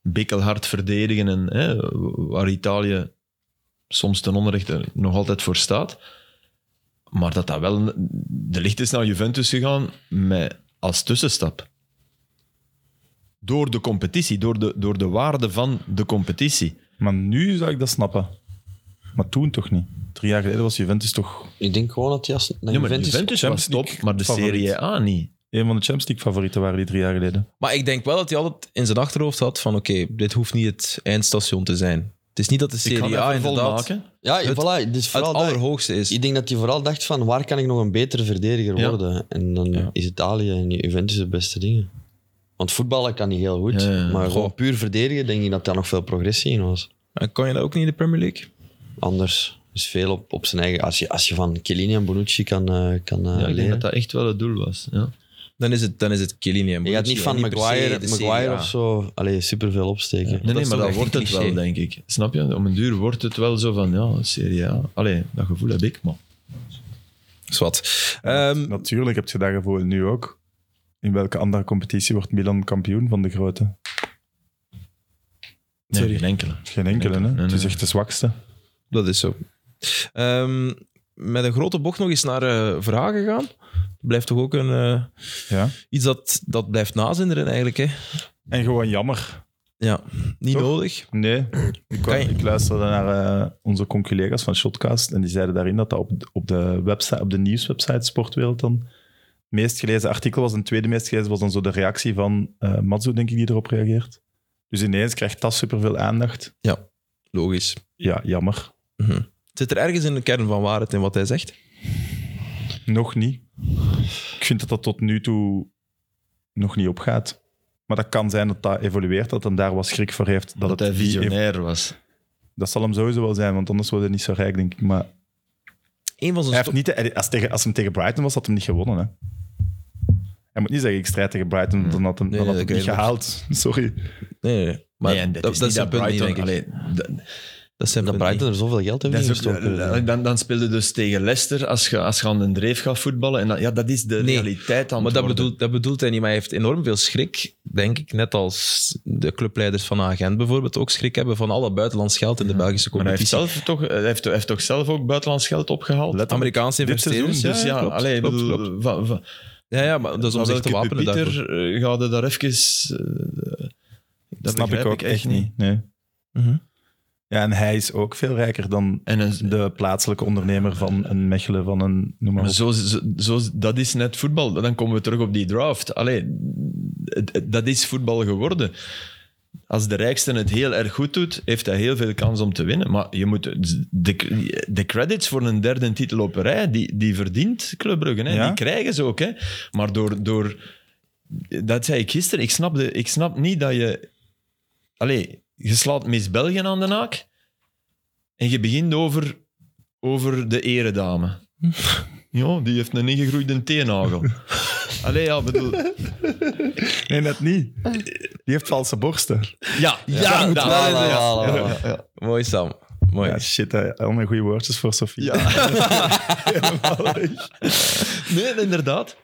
B: bikkelhard verdedigen en hè, waar Italië soms ten onrechte nog altijd voor staat. Maar dat dat wel... De licht is naar Juventus gegaan met, als tussenstap. Door de competitie, door de, door de waarde van de competitie.
C: Maar nu zou ik dat snappen. Maar toen toch niet. Drie jaar geleden was Juventus toch
D: Ik denk gewoon dat Jas naar
B: Ja, maar
D: Juventus...
B: Juventus was
C: Champions
B: top,
C: League
B: maar de
C: favoriet.
B: Serie A niet.
C: een van de Champions League favorieten waren die drie jaar geleden.
A: Maar ik denk wel dat hij altijd in zijn achterhoofd had van oké, dit hoeft niet het eindstation te zijn. Het is niet dat de
B: Ik kan
A: Serie A
B: even
A: inderdaad
B: volmaken.
D: Ja,
A: Het-
D: voilà. Dus
A: het
D: vooral dat-
A: allerhoogste is.
D: Ik denk dat hij vooral dacht van, waar kan ik nog een betere verdediger
B: Ja.
D: worden? En dan is Italië en Juventus de beste dingen. Want voetballen kan hij heel goed,
B: Ja, ja, ja.
D: maar
A: Goh.
D: gewoon puur verdedigen denk ik dat daar nog veel progressie in was.
A: En Kan je dat ook niet in de Premier League?
D: Anders is veel op, op zijn eigen... Als je, als je van Chiellini en Bonucci kan, eh, kan eh,
B: Ja, ik denk
D: leren.
B: dat dat echt wel het doel was. Ja.
A: Dan is het, dan is het Chiellini en
D: Je gaat
A: Bonucci,
D: niet van
A: en per se
D: Maguire,
A: de Serie
D: Maguire
A: A.
D: of zo allee, superveel opsteken.
B: Nee,
A: dat
B: nee,
A: is toch
B: maar dat
A: echt
B: wordt
A: een
B: het
A: cliché.
B: wel, denk ik. Snap je? Om een duur wordt het wel zo van, ja, Serie A. Allee, dat gevoel heb ik, man.
A: Zwat. Ehm,
C: Natuurlijk heb je dat gevoel nu ook. In welke andere competitie wordt Milan kampioen van de grote?
B: Nee,
A: Sorry.
B: geen enkele.
C: Geen enkele, hè?
B: Nee, nee.
C: Het is echt de zwakste.
A: dat is zo. Ehm, met een grote bocht nog eens naar eh vragen gaan. Blijft toch ook een, eh,
C: Ja.
A: iets dat, dat blijft nazinderen eigenlijk. Hè?
C: En gewoon jammer.
A: Ja, niet
C: Toch?
A: nodig.
C: Nee, ik, kwam-
A: je-
C: ik luisterde naar eh, onze conculega's van Shotcast en die zeiden daarin dat dat op, de- op, de, website, op de nieuwswebsite Sportwereld dan het meest gelezen artikel was. En het tweede meest gelezen was dan zo de reactie van eh Matsu, denk ik, die erop reageert. Dus ineens krijgt dat superveel aandacht.
A: Logisch.
C: Ja, jammer.
A: Zit er ergens in de kern van waarheid in wat hij zegt?
C: Nog niet. Ik vind dat dat tot nu toe nog niet opgaat. Maar dat kan zijn dat dat evolueert, dat hem daar wat schrik voor heeft. Dat,
B: Dat,
C: het
B: hij
C: niet ev-
B: visionair was.
C: Dat zal hem sowieso wel zijn, want anders wordt hij niet zo rijk, denk ik. Maar
A: Een van zijn
C: hij heeft
A: sto-
C: niet, de- als, tegen, als hem tegen Brighton was, had hem niet gewonnen. Hè. Hij moet niet zeggen, ik strijd tegen Brighton, want dan had hij
A: Nee,
C: dan had
A: nee,
C: hem niet
A: dat kan
C: gehaald. Sorry.
A: Nee, nee, nee. Maar
B: nee, en
A: dat,
B: dat, is
A: dat
B: niet
A: zijn
B: dat
A: punt niet,
B: Brighton...
A: denk ik.
B: allee, dat-
A: Dat zijn
D: Dat
A: punt niet.
D: Brighton er zoveel geld heeft
B: dat
D: in
B: is ook-
D: gestoken.
B: dan, dan speelde dus tegen Leicester, als je, als je aan den dreef gaat voetballen. En dat, ja, dat is de
A: Nee,
B: realiteit aan
A: Maar
B: het
A: dat
B: worden.
A: bedoelt, dat bedoelt hij niet. Maar hij heeft enorm veel schrik, denk ik. Net als de clubleiders van Agent bijvoorbeeld ook schrik hebben van alle buitenlands geld in de Belgische
B: Maar hij heeft,
A: competitie.
B: zelf toch, hij, heeft, hij heeft toch zelf ook buitenlands geld opgehaald?
C: Let
A: Amerikaanse
C: Dit seizoen,
A: investeerders.
B: dus ja,
A: klopt,
B: allee, ik
A: klopt,
B: bedoel,
A: klopt.
B: va- va-
A: Ja, ja, maar dat is om
B: Maar
A: zich te
B: welke
A: wapenen daarvoor.
B: Pieter eh, gaat er daar even... eh, dat
C: snap
B: begrijp
C: ik ook echt niet. Nee.
A: Mhm.
C: Ja, en hij is ook veel rijker dan
B: En een,
C: de plaatselijke ondernemer van een Mechelen, van een... Noem maar
B: maar
C: op.
B: zo, zo, zo- dat is net voetbal. Dan komen we terug op die draft. Allee, het- het- dat is voetbal geworden. Als de rijkste het heel erg goed doet, heeft hij heel veel kans om te winnen. Maar je moet de, de credits voor een derde titel op rij, die, die verdient Club Brugge. Hè?
C: Ja.
B: Die krijgen ze ook. Hè? Maar door, door... Dat zei ik gisteren. Ik snap, de, ik snap niet dat je... Allee, je slaat Miss België aan de naak en je begint over, over de eredame. Ja, die heeft een ingegroeide teennagel. Allee, ja, bedoel...
C: Nee, net niet. Die heeft valse borsten.
B: Ja, ja, ja,
D: La, la, la, la, la.
A: Mooi, Sam. Mooi.
C: Oh, Ja, shit, hè. allemaal goede woordjes voor Sofie.
B: Nee, inderdaad.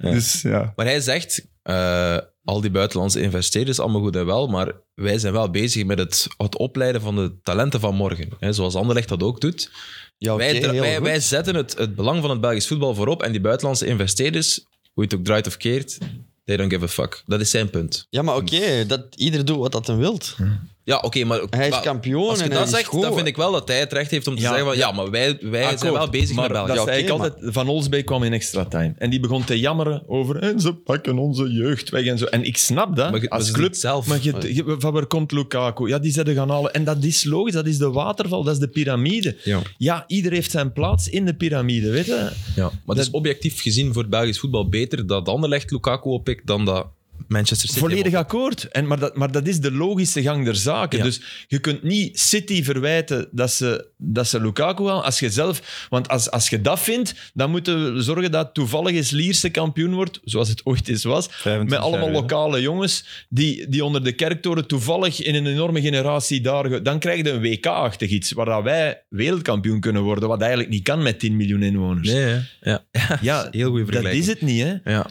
C: Dus ja.
A: Maar hij zegt, eh, al die buitenlandse investeerders, allemaal goed en wel, maar wij zijn wel bezig met het, het opleiden van de talenten van morgen. Hè, zoals Anderlecht dat ook doet.
D: Ja, oké,
A: wij, dra-
D: heel
A: wij,
D: goed.
A: wij zetten het, het belang van het Belgisch voetbal voorop en die buitenlandse investeerders, hoe je het ook draait of keert, they don't give a fuck. Dat is zijn punt.
D: Ja, maar oké, dat ieder doet wat dat hem wilt.
A: Ja, oké, maar...
D: Hij is
A: maar
D: kampioen
A: Als je
D: en hij
A: dat
D: is
A: zegt,
D: goed.
A: dan vind ik wel dat hij het recht heeft om te
B: Ja,
A: zeggen van, ja, maar wij, wij zijn wel bezig
B: maar
A: met België.
B: Dat
D: Ja,
B: zei
D: oké,
B: ik altijd, Van Olsbeek kwam in extra time. En die begon te jammeren over... En ze pakken onze jeugd weg en zo. En ik snap dat.
A: Maar je- maar
B: als
A: ze
B: club...
A: doen het zelf.
B: Maar je, je- van waar komt Lukaku? Ja, die zetten gaan halen. En dat is logisch. Dat is de waterval. Dat is de piramide.
A: Ja.
B: Ja, ieder heeft zijn plaats in de piramide, weet je?
A: Ja, maar het is objectief gezien voor het Belgisch voetbal beter dat Anderlecht Lukaku oppikt dan dat Manchester City.
B: Volledig akkoord. En, maar, dat, maar dat is de logische gang der zaken.
A: Ja.
B: Dus je kunt niet City verwijten dat ze, dat ze Lukaku halen. Als je zelf, want als, als je dat vindt, dan moeten we zorgen dat toevallig eens Lierse kampioen wordt, zoals het ooit eens was.
C: 25
B: Met
C: jaar
B: allemaal
C: geleden.
B: lokale jongens die, die onder de kerktoren toevallig in een enorme generatie daar... ge- Dan krijg je een WK-achtig iets, waar dat wij wereldkampioen kunnen worden, wat eigenlijk niet kan met 10 miljoen inwoners.
A: Nee, hè. ja.
B: ja,
A: Heel goede
B: dat
A: vergelijking.
B: is het niet, hè.
A: Ja.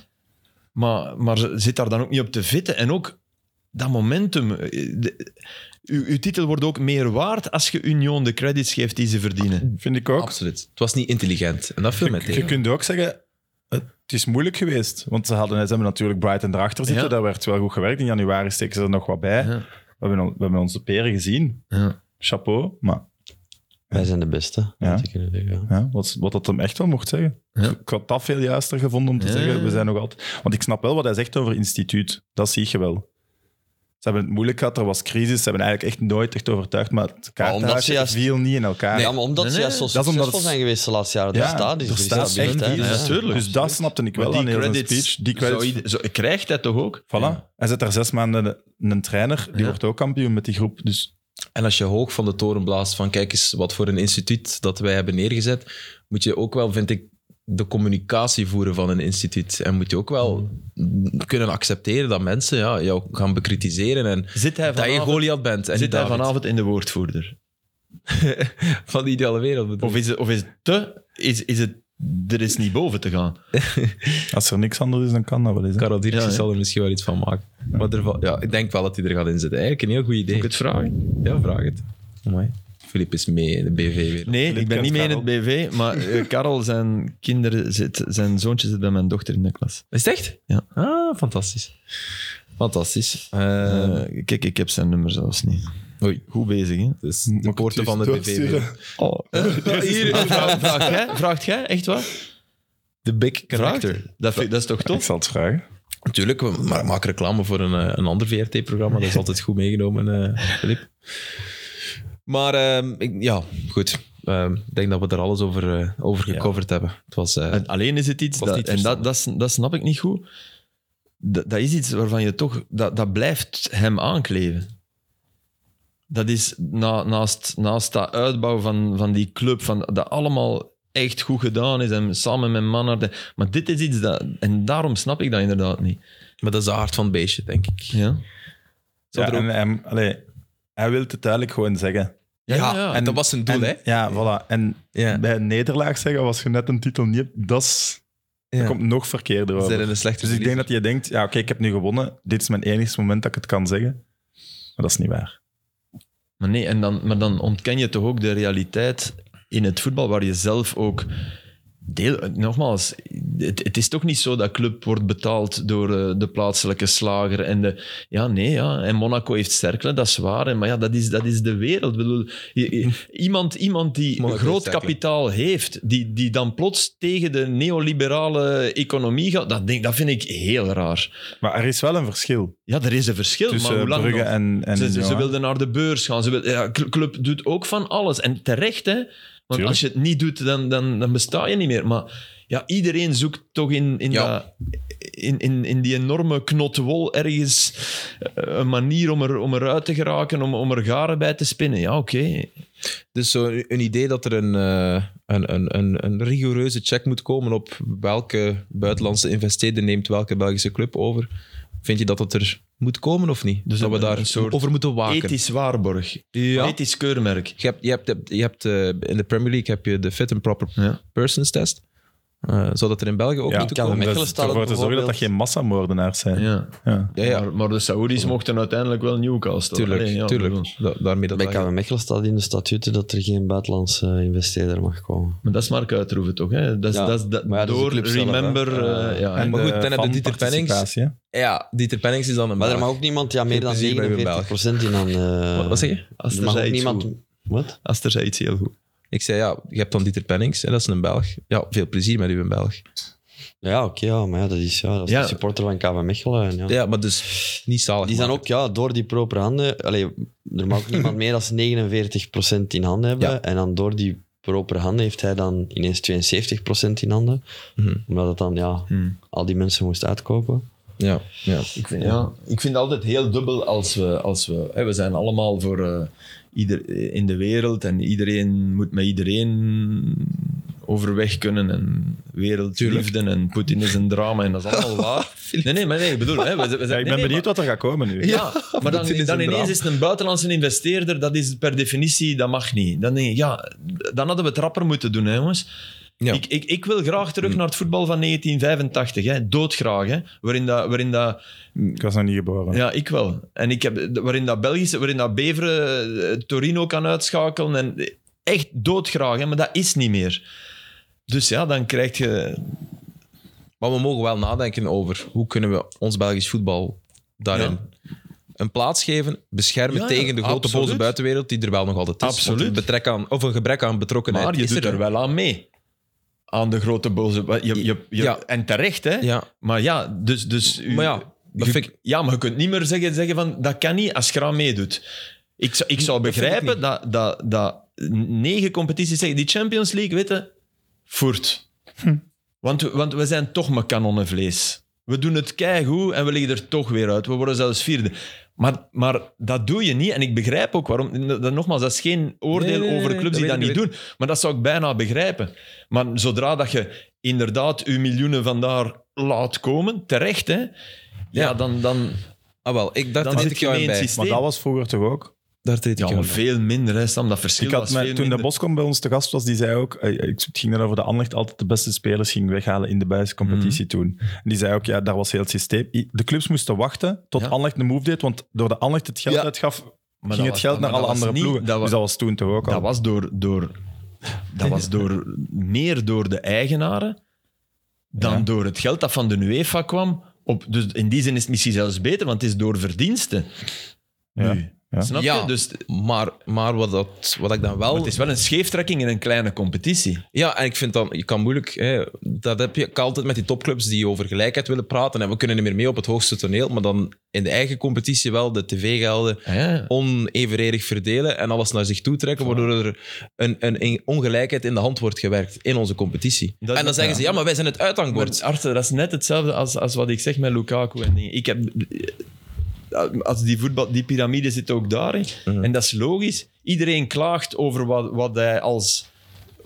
B: Maar, maar zit daar dan ook niet op te vitten. En ook, dat momentum. eh, de- uw, uw titel wordt ook meer waard als je Union de credits geeft die ze verdienen.
C: Vind ik ook.
A: Absoluut. Het was niet intelligent. En dat viel mij
C: Je
A: tegen.
C: kunt ook zeggen, het is moeilijk geweest. Want ze, hadden, ze hebben natuurlijk Brighton erachter zitten.
B: Ja.
C: Dat werd wel goed gewerkt. In januari steken ze er nog wat bij.
B: Ja.
C: We, hebben, on- we hebben onze peren gezien.
B: Ja.
C: Chapeau. Maar
D: Wij zijn de beste.
C: Ja.
D: moet ik kunnen zeggen, ja.
C: ja, wat, wat dat hem echt wel mocht zeggen.
B: Ja.
C: Ik had dat veel juister gevonden om te
B: Ja.
C: zeggen, we zijn nog altijd... Want ik snap wel wat hij zegt over instituut. Dat zie je wel. Ze hebben het moeilijk gehad, er was crisis. Ze hebben eigenlijk echt nooit echt overtuigd. Maar het
D: omdat ze
C: kaarthuisje
D: juist-
C: viel niet in elkaar.
D: Ja, maar omdat
B: Nee,
D: ze
B: nee,
D: juist zo
C: dat is omdat
D: succesvol
C: het-
D: zijn geweest de laatste jaren. Daar
C: Ja,
D: staat iets.
C: er
D: Er
C: staat
D: staat echt
C: echt
D: hè.
C: iets,
D: Ja.
B: natuurlijk.
C: Dus dat snapte ik wel
B: Maar
C: aan
B: die
C: heel zijn
B: credits,
C: speech. Die
B: zou
C: credits
B: ieder- zo, krijgt hij toch ook?
C: Voilà. Hij zit daar zes maanden een, een trainer. Die
B: Ja.
C: wordt ook kampioen met die groep. Dus
A: En als je hoog van de toren blaast van kijk eens wat voor een instituut dat wij hebben neergezet, moet je ook wel, vind ik, de communicatie voeren van een instituut. En moet je ook wel kunnen accepteren dat mensen ja, jou gaan bekritiseren en
B: Zit hij
A: dat je
B: vanavond,
A: Goliath bent. En
B: zit
A: niet
B: hij
A: David.
B: vanavond in de woordvoerder?
A: van de ideale wereld bedoel
B: Of is het, of is het te... Is, is het, er is niet boven te gaan.
C: als er niks anders is, dan kan dat wel eens. hè.
A: Karel Diertjes
B: Ja, hè?
A: zal er misschien wel iets van maken. Maar er, va- ja, ik denk wel dat hij er gaat in zitten. Eigenlijk een heel goed idee.
B: Moet ik het vragen?
A: Ja, vraag het. Mooi. Filip is mee in de BV weer.
B: Nee,
C: Dit
B: ik ben
C: kent
B: niet mee in het BV, maar eh, Karel, zijn, kinderen zit, zijn zoontje zit bij mijn dochter in de klas.
A: Is het echt?
B: Ja.
A: Ah, fantastisch. Fantastisch. Eh,
B: Eh, kijk, ik heb zijn nummer zelfs niet.
A: Oei.
B: Goed bezig, hè?
A: dus de poorten van de BV.
C: Doorsturen.
A: weer.
B: Oh.
A: Hier,
B: Vraag- Vraagt jij? Vraagt jij? Echt waar?
A: de big
B: Vraagt?
A: connector.
B: Dat, vind- dat is toch
C: Ik
B: tof?
C: zal het vragen.
A: Natuurlijk, we ma- maken reclame voor een, eh, een ander VRT-programma. Dat is altijd goed meegenomen, eh Filip. Maar ehm, ik- ja, goed. Ehm, ik denk dat we er alles over, eh, over gecoverd hebben. Het was, eh,
B: En alleen is het iets,
A: Was
B: dat,
A: niet
B: en dat,
A: verstandig.
B: dat, s- dat snap ik niet goed. Dat, dat is iets waarvan je toch, dat, dat blijft hem aankleven. Dat is na, naast, naast dat uitbouw van, van die club, van, dat allemaal echt goed gedaan is en samen met mannen. de- Maar dit is iets dat, en daarom snap ik dat inderdaad niet.
A: maar dat is de hart van het beestje, denk ik.
B: Ja,
A: Zou
C: Ja,
A: er ook-
C: en, hem- allee, hij wil het duidelijk gewoon zeggen.
B: ja,
A: Ja,
B: ja.
A: en dat was zijn doel,
C: en,
A: hè?
C: Ja, voilà. En
A: Ja.
C: bij een nederlaag zeggen, als je net een titel niet hebt, dat is- dat
A: Ja.
C: komt nog verkeerder
A: Ze
C: over.
A: zijn in een slechte
C: Dus ik denk
A: verliezer.
C: dat je denkt, ja, oké, ik heb nu gewonnen. Dit is mijn enigste moment dat ik het kan zeggen. Maar dat is niet waar.
B: Maar nee, en dan, maar dan ontken je toch ook de realiteit in het voetbal, waar je zelf ook deel. Nogmaals, het, het is toch niet zo dat club wordt betaald door eh, de plaatselijke slager en de. Ja, nee, ja. En Monaco heeft cerkelen, dat is waar. En, maar ja, dat is, dat is de wereld. Ik bedoel, je- je- iemand, iemand die
A: Monaco heeft
B: groot
A: cerkelen.
B: kapitaal heeft, die, die dan plots tegen de neoliberale economie gaat, dat, denk, dat vind ik heel raar.
C: Maar er is wel een verschil
B: Ja, er is een verschil, maar
C: tussen
B: hoe lang
C: Brugge
B: nog?
C: en, en
B: ze, ze, ze
C: Union, hè.
B: wilden naar de beurs gaan. Ze wil, ja, cl- club doet ook van alles. En terecht, hè. Want
C: Tuurlijk.
B: als je het niet doet, dan, dan, dan besta je niet meer. Maar ja, iedereen zoekt toch in, in,
A: Ja.
B: dat, in, in, in die enorme knot wol ergens eh, een manier om, er, om eruit te geraken, om, om er garen bij te spinnen. Ja, oké.
A: Dus zo een een idee dat er een, eh, een, een, een, een rigoureuze check moet komen op welke buitenlandse investeerder neemt welke Belgische club over. Vind je dat dat er moet komen of niet?
B: Dus
A: dat we
B: een-
A: daar
B: een soort
A: over moeten waken.
B: Ethisch waarborg.
A: Ja.
B: Ethisch keurmerk.
A: Je hebt, je hebt, je hebt eh, in de Premier League heb je de fit and proper
B: Ja.
A: persons test. Eh, zou dat er in België ook
C: Ja,
A: moeten
D: kan
A: komen?
D: met- Mechelen
C: om
D: staat
C: ervoor
D: ook
C: te zorgen dat dat
D: bijvoorbeeld.
C: geen massamoordenaars zijn.
B: Ja.
C: Ja.
A: Ja, ja,
B: Maar, maar de Saoedi's mochten uiteindelijk wel Newcastle.
A: tuurlijk.
B: Allee, ja, bedoel.
A: tuurlijk. Da- daarmee dat
D: Bij
A: dat-
D: KW Mechelen staat in de statuten dat er geen buitenlandse eh, investeerder mag komen.
B: Maar dat is Mark Uitroeven toch? Hè? Dat is,
D: Ja.
B: dat is, dat,
D: Maar ja, dat is
B: door
D: de club zelf, hè.
B: Remember. eh,
D: Eh,
B: ja,
C: En
A: Maar goed,
C: de
A: dan hebben Dieter Pennings-
C: fanparticipatie, hè.
A: Ja, Dieter Pennings is dan een
D: Maar er
A: Belg.
D: mag ook niemand ja, meer
A: Geen
D: dan
A: plezier bij
D: 49 procent in aan... eh,
A: Wat- Wat zeg je?
B: Als
D: Er
B: er
D: mag
B: zei
D: ook
B: iets
D: niemand...
B: goed.
D: Wat?
B: Als er zei iets heel goed.
A: Ik zei ja, je hebt dan Dieter Pennings en dat is een Belg. Ja, veel plezier met u in Belg.
D: Ja, oké, ja, maar ja, dat is, ja, dat is
B: Ja.
D: de supporter van KV Mechelen. Ja.
A: Ja, maar dus niet zalig.
D: Die zijn
A: maken.
D: ook ja, door die propere handen. Allee, er mag ook niemand meer dan 49% in handen hebben.
A: Ja.
D: En dan door die propere handen heeft hij dan ineens 72% in handen.
A: Mhm.
D: Omdat het dan ja, al die mensen moest uitkopen.
A: Ja, ja.
B: Ik, vind, ja, ik vind het altijd heel dubbel als we... Als we, hè, we zijn allemaal voor eh, ieder, in de wereld en iedereen moet met iedereen overweg kunnen en wereldliefde en Poetin is een drama en dat is allemaal waar. Nee, nee, maar nee, ik bedoel... Hè, we, we zijn,
C: Ja, ik ben
B: nee, nee,
C: benieuwd wat er gaat komen nu.
B: Ja, maar dan,
A: Poetin is
B: dan
A: een
B: ineens
A: drama.
B: is het een buitenlandse investeerder, dat is per definitie, dat mag niet. Dan denk je, ja, dan hadden we het rapper moeten doen, hè, jongens.
A: Ja.
B: Ik, ik, ik wil graag terug naar het voetbal van 1985, hè? doodgraag. Hè? Waarin dat, waarin dat,
C: Ik was nog niet geboren.
B: ja, ik wel. En ik heb, waarin dat Belgische, waarin dat Beveren eh, Torino kan uitschakelen. En echt doodgraag, hè? maar dat is niet meer. Dus ja, dan krijg je
A: Maar we mogen wel nadenken over hoe kunnen we ons Belgisch voetbal daarin een plaats geven, beschermen
B: Ja, ja,
A: tegen de grote
B: absoluut.
A: boze buitenwereld die er wel nog altijd is. Want
B: Absoluut.
A: Een, betrek aan, of een gebrek aan betrokkenheid
B: Maar je
A: is
B: doet er wel aan mee. Aan de grote boze. Je, je, je,
A: Ja.
B: En terecht, hè?
A: Ja,
B: Maar ja, dus. dus u-
A: maar ja, dat
B: je-
A: vind ik...
B: ja, maar je kunt niet meer zeggen, zeggen van dat kan niet als je eraan meedoet. Ik, zou- ik zou
A: Dat vind ik
B: begrijpen dat, dat, dat negen competities zeggen, die Champions League, weten, voert. Want, we- want we zijn toch maar kanonnenvlees. We doen het keigoed en we liggen er toch weer uit. We worden zelfs vierde. Maar, maar dat doe je niet. En ik begrijp ook waarom. Dat, nogmaals, dat is geen oordeel
A: Nee, nee, nee,
B: over
A: nee,
B: clubs die
A: dat
B: dat
A: weet
B: niet
A: ik,
B: doen. Maar dat zou ik bijna begrijpen. Maar zodra dat je inderdaad je miljoenen vandaar laat komen, terecht, hè, ja,
A: Ja.
B: dan, dan,
A: Ah wel, ik, daar
B: dan
A: treed
B: zit
A: ik
B: je
A: jou
B: mee
A: in
B: in het
A: bij.
C: Maar
B: systeem.
C: dat was vroeger toch ook?
A: Daar treed ik
B: ja,
A: jou
B: maar
A: in bij.
B: veel minder, hè, Sam. Dat verschil
C: Ik had
B: was
C: mij-
B: veel
C: toen de
B: minder.
C: Boskom bij ons te gast was, die zei ook... eh, Ik het ging dan over de Anderlecht altijd de beste spelers ging weghalen in de Belgische competitie
B: Mhm.
C: toen. En die zei ook, ja, daar was heel het systeem. I- De clubs moesten wachten tot
B: Ja.
C: Anderlecht een move deed, want door de Anderlecht het geld
A: Ja.
C: uitgaf,
B: Maar dat
C: ging
B: was-
C: het geld
B: maar
C: naar alle
B: dat was
C: andere
B: niet-
C: ploegen.
B: dat wa-
C: dus dat was toen toch ook al.
B: Dat was, door, door, dat was door, meer door de eigenaren dan
C: Ja.
B: door het geld dat van de UEFA kwam. Op, dus in die zin is het misschien zelfs beter, want het is door verdiensten.
C: Ja.
B: Nu.
C: Ja.
B: Snap je?
A: Ja.
B: Dus t-
A: Maar, maar wat, dat, wat ik dan wel...
B: het is wel een scheeftrekking in een kleine competitie.
A: Ja, en ik vind dan, je kan moeilijk, hè, dat heb je ik altijd met die topclubs die over gelijkheid willen praten. En we kunnen niet meer mee op het hoogste toneel, maar dan in de eigen competitie wel de tv-gelden
B: Ah, Ja.
A: onevenredig verdelen en alles naar zich toe trekken, waardoor er een, een, een ongelijkheid in de hand wordt gewerkt in onze competitie.
B: Dat-
A: en dan zeggen ze, ja, maar wij zijn het uithangbord.
B: Maar Arthur, dat is net hetzelfde als, als wat ik zeg met Lukaku en dingen. Ik heb, als die, voetbal, die piramide zit ook daarin.
A: Mhm.
B: En dat is logisch. Iedereen klaagt over wat, wat hij als...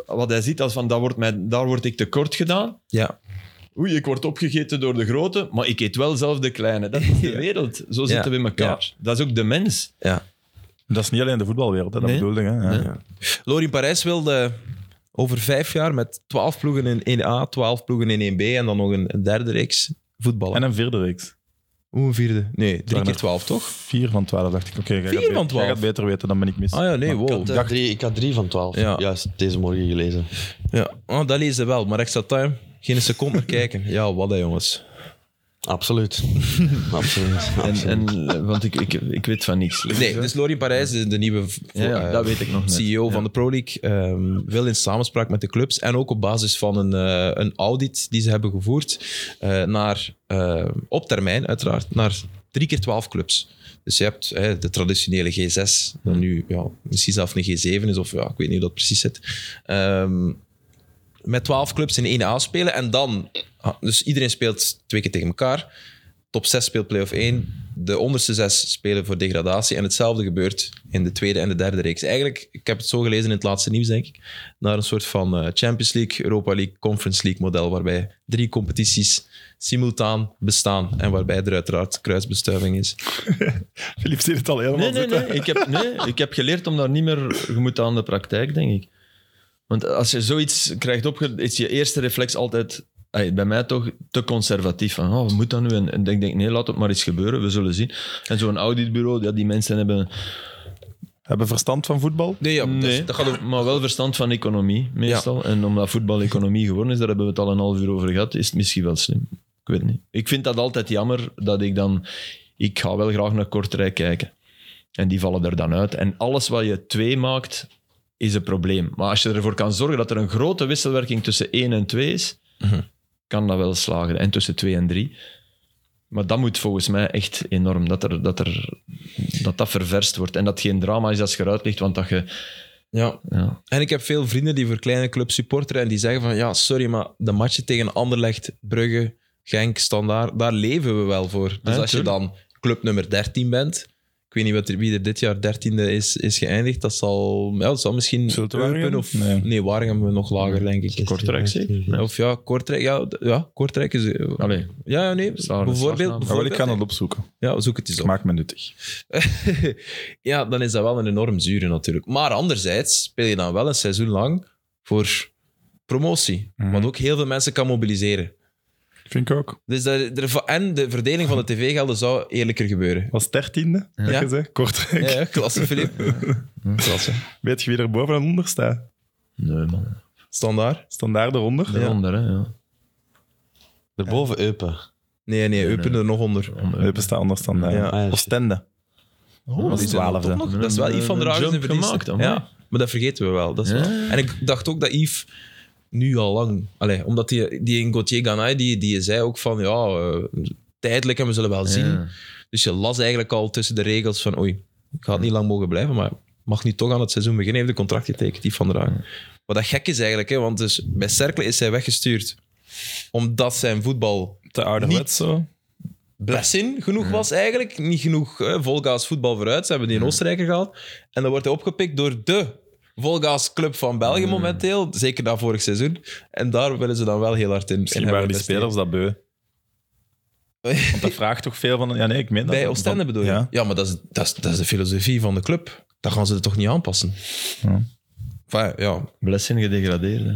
B: Wat hij ziet als van, dat wordt mij, daar word ik tekort gedaan.
A: Ja,
B: Oei, ik word opgegeten door de grote, maar ik eet wel zelf de kleine. Dat is de wereld. Zo zitten we in elkaar. Dat is ook de mens.
A: ja.
C: Dat is niet alleen de voetbalwereld, hè, dat
B: Nee.
C: bedoelde ik. hè. Ja.
B: Nee.
A: Lorien Parijs wilde over vijf jaar met twaalf ploegen in 1A, twaalf ploegen in 1B en dan nog een een derde reeks voetballen.
C: En een vierde reeks.
A: hoe een vierde? Nee, drie
C: Waren
A: keer
C: er
A: twaalf, toch?
C: Vier van twaalf, dacht ik. Oké, jij
A: Vier
C: gaat be-
A: van twaalf?
C: Jij gaat beter weten, dan ben ik mis.
A: Ah ja, nee,
C: Maar-
A: wow.
D: Ik had, eh, drie, ik had drie van twaalf.
A: Ja.
D: Juist, deze morgen gelezen.
A: Ja, oh, dat lezen wel, maar extra time. Geen seconde meer kijken. Ja, wat hè, jongens.
D: Absoluut. Absoluut.
B: En,
D: Absoluut.
B: en, eh, want ik, ik, ik weet van niks.
A: Nee, dus Lorien Parijs, de de nieuwe v-
B: Ja, ja,
A: eh,
B: dat weet ik nog net.
A: CEO van de Pro League, ehm, wil in samenspraak met de clubs en ook op basis van een, eh, een audit die ze hebben gevoerd, eh, naar, eh, op termijn uiteraard, naar drie keer twaalf clubs. Dus je hebt eh, de traditionele G6, dan nu ja, misschien zelf een G7 is, of ja, ik weet niet hoe dat precies zit. Ehm, met 12 clubs in 1A spelen. En dan, ah, dus iedereen speelt twee keer tegen elkaar. Top 6 speelt play-off 1. De onderste zes spelen voor degradatie. En hetzelfde gebeurt in de tweede en de derde reeks. Eigenlijk, ik heb het zo gelezen in het laatste nieuws, denk ik. Naar een soort van eh, Champions League, Europa League, Conference League model. Waarbij drie competities simultaan bestaan. En waarbij er uiteraard kruisbestuiving is.
C: Filip ziet het al helemaal
B: Nee, nee,
C: zitten.
B: nee. Ik heb, nee. Ik heb geleerd om daar niet meer... Je moet aan de praktijk, denk ik. Want als je zoiets krijgt opge... is je eerste reflex altijd... ey, bij mij toch te conservatief. Van, oh, moet dat nu? En, en ik denk, nee, laat het maar eens gebeuren. We zullen zien. En zo'n auditbureau, ja, die mensen hebben...
C: Hebben verstand van voetbal?
A: Nee, ja, dus
B: nee,
A: dat, dat gaat over...
B: maar wel verstand van economie, meestal. En omdat voetbal economie geworden is, daar hebben we het al een half uur over gehad, is het misschien wel slim. Ik weet niet. Ik vind dat altijd jammer dat ik dan... Ik ga wel graag naar Kortrijk kijken. En die vallen er dan uit. En alles wat je twee maakt, is een probleem. Maar als je ervoor kan zorgen dat er een grote wisselwerking tussen 1 en 2 is,
A: Mhm.
B: kan dat wel slagen. En tussen 2 en 3. Maar dat moet volgens mij echt enorm, dat, er, dat, er, dat dat ververst wordt. En dat geen drama is als je eruit ligt, want dat je...
A: Ja.
B: Ja,
A: En ik heb veel vrienden die voor kleine clubs supporteren en die zeggen van ja, sorry, maar de matchen tegen Anderlecht, Brugge, Genk, Standaard, daar leven we wel voor. Dus
B: Ja,
A: als je
B: tuurlijk.
A: dan club nummer 13 bent, ik weet niet wat er, wie er dit jaar 13e is, is geëindigd, dat zal, ja, dat zal misschien
C: Zult het
A: Eupen
C: Waregem?
A: of nee,
C: Nee.
A: Waregem we nog lager, denk ik.
B: Kortrijk zeker? Ja.
A: Of ja, Kortrijk, ja, d- ja Kortrijk is... eh,
B: Allee,
A: Ja, ja, nee,
B: Slagen-
A: bijvoorbeeld.
B: slagnaam.
C: Ah, wel,
A: bijvoorbeeld
C: ik kan het opzoeken.
A: ja, zoek het eens
C: Het
A: op.
C: maakt me nuttig.
A: ja, dan is dat wel een enorm zure natuurlijk. Maar anderzijds speel je dan wel een seizoen lang voor promotie.
C: Mhm.
A: Wat ook heel veel mensen kan mobiliseren.
C: Vind ik ook.
A: Dus daar, er- en de verdeling van de tv-gelden zou eerlijker gebeuren.
C: Was dertiende, e
A: Ja.
C: dat je zei? Kortrijk.
A: Ja, ja, klasse, Filip. Klasse.
C: Weet je wie er boven en onder staat?
B: Nee, man.
A: Standaard?
C: Standaard eronder.
B: Daaronder, hè. Ja.
D: Daarboven Eupen.
A: Nee, nee, Eupen er nog onder.
C: Eupen staat onder standaard.
A: Ja.
D: Ah, ja,
C: Oostende.
B: Oh,
A: Dat is
C: die
A: wel
C: twaalfde.
A: top nog. Dat is wel
B: Een-
A: Yves van der
B: een
A: Hagen zijn
B: jump
A: verdienste.
B: gemaakt, amai.
A: ja, maar dat vergeten we wel. Dat is
B: Ja.
A: wel- En ik dacht ook dat Yves nu al lang... Allee, omdat die, die in Gauthier Ganay, die, die zei ook van... Ja, eh, tijdelijk en we zullen wel zien.
B: Ja.
A: Dus je las eigenlijk al tussen de regels van... Oei, ik ga het niet lang mogen blijven, maar mag nu toch aan het seizoen beginnen. Heeft een contract getekend, Yves van der Hagen. Wat dat gek is eigenlijk, hè, want dus bij Cercle is hij weggestuurd omdat zijn voetbal
C: Te ouderwet zo.
A: blessin genoeg was eigenlijk. Niet genoeg hè, volgaas voetbal vooruit. Ze hebben die in Oostenrijker gehaald. En dan wordt hij opgepikt door de volgaas club van België momenteel. Zeker na vorig seizoen. En daar willen ze dan wel heel hard in.
C: Misschien
A: in hem
C: waren die
A: investeren.
C: spelers dat beu. Want dat vraagt toch veel van... Ja, nee, ik meen dat.
A: Bij Oostende bedoel je? Ja,
C: Ja.
A: maar dat is, dat, is, dat is de filosofie van de club. Dat gaan ze er toch niet aanpassen?
C: Ja.
A: Enfin, ja.
B: Blessing gedegradeerd, hè.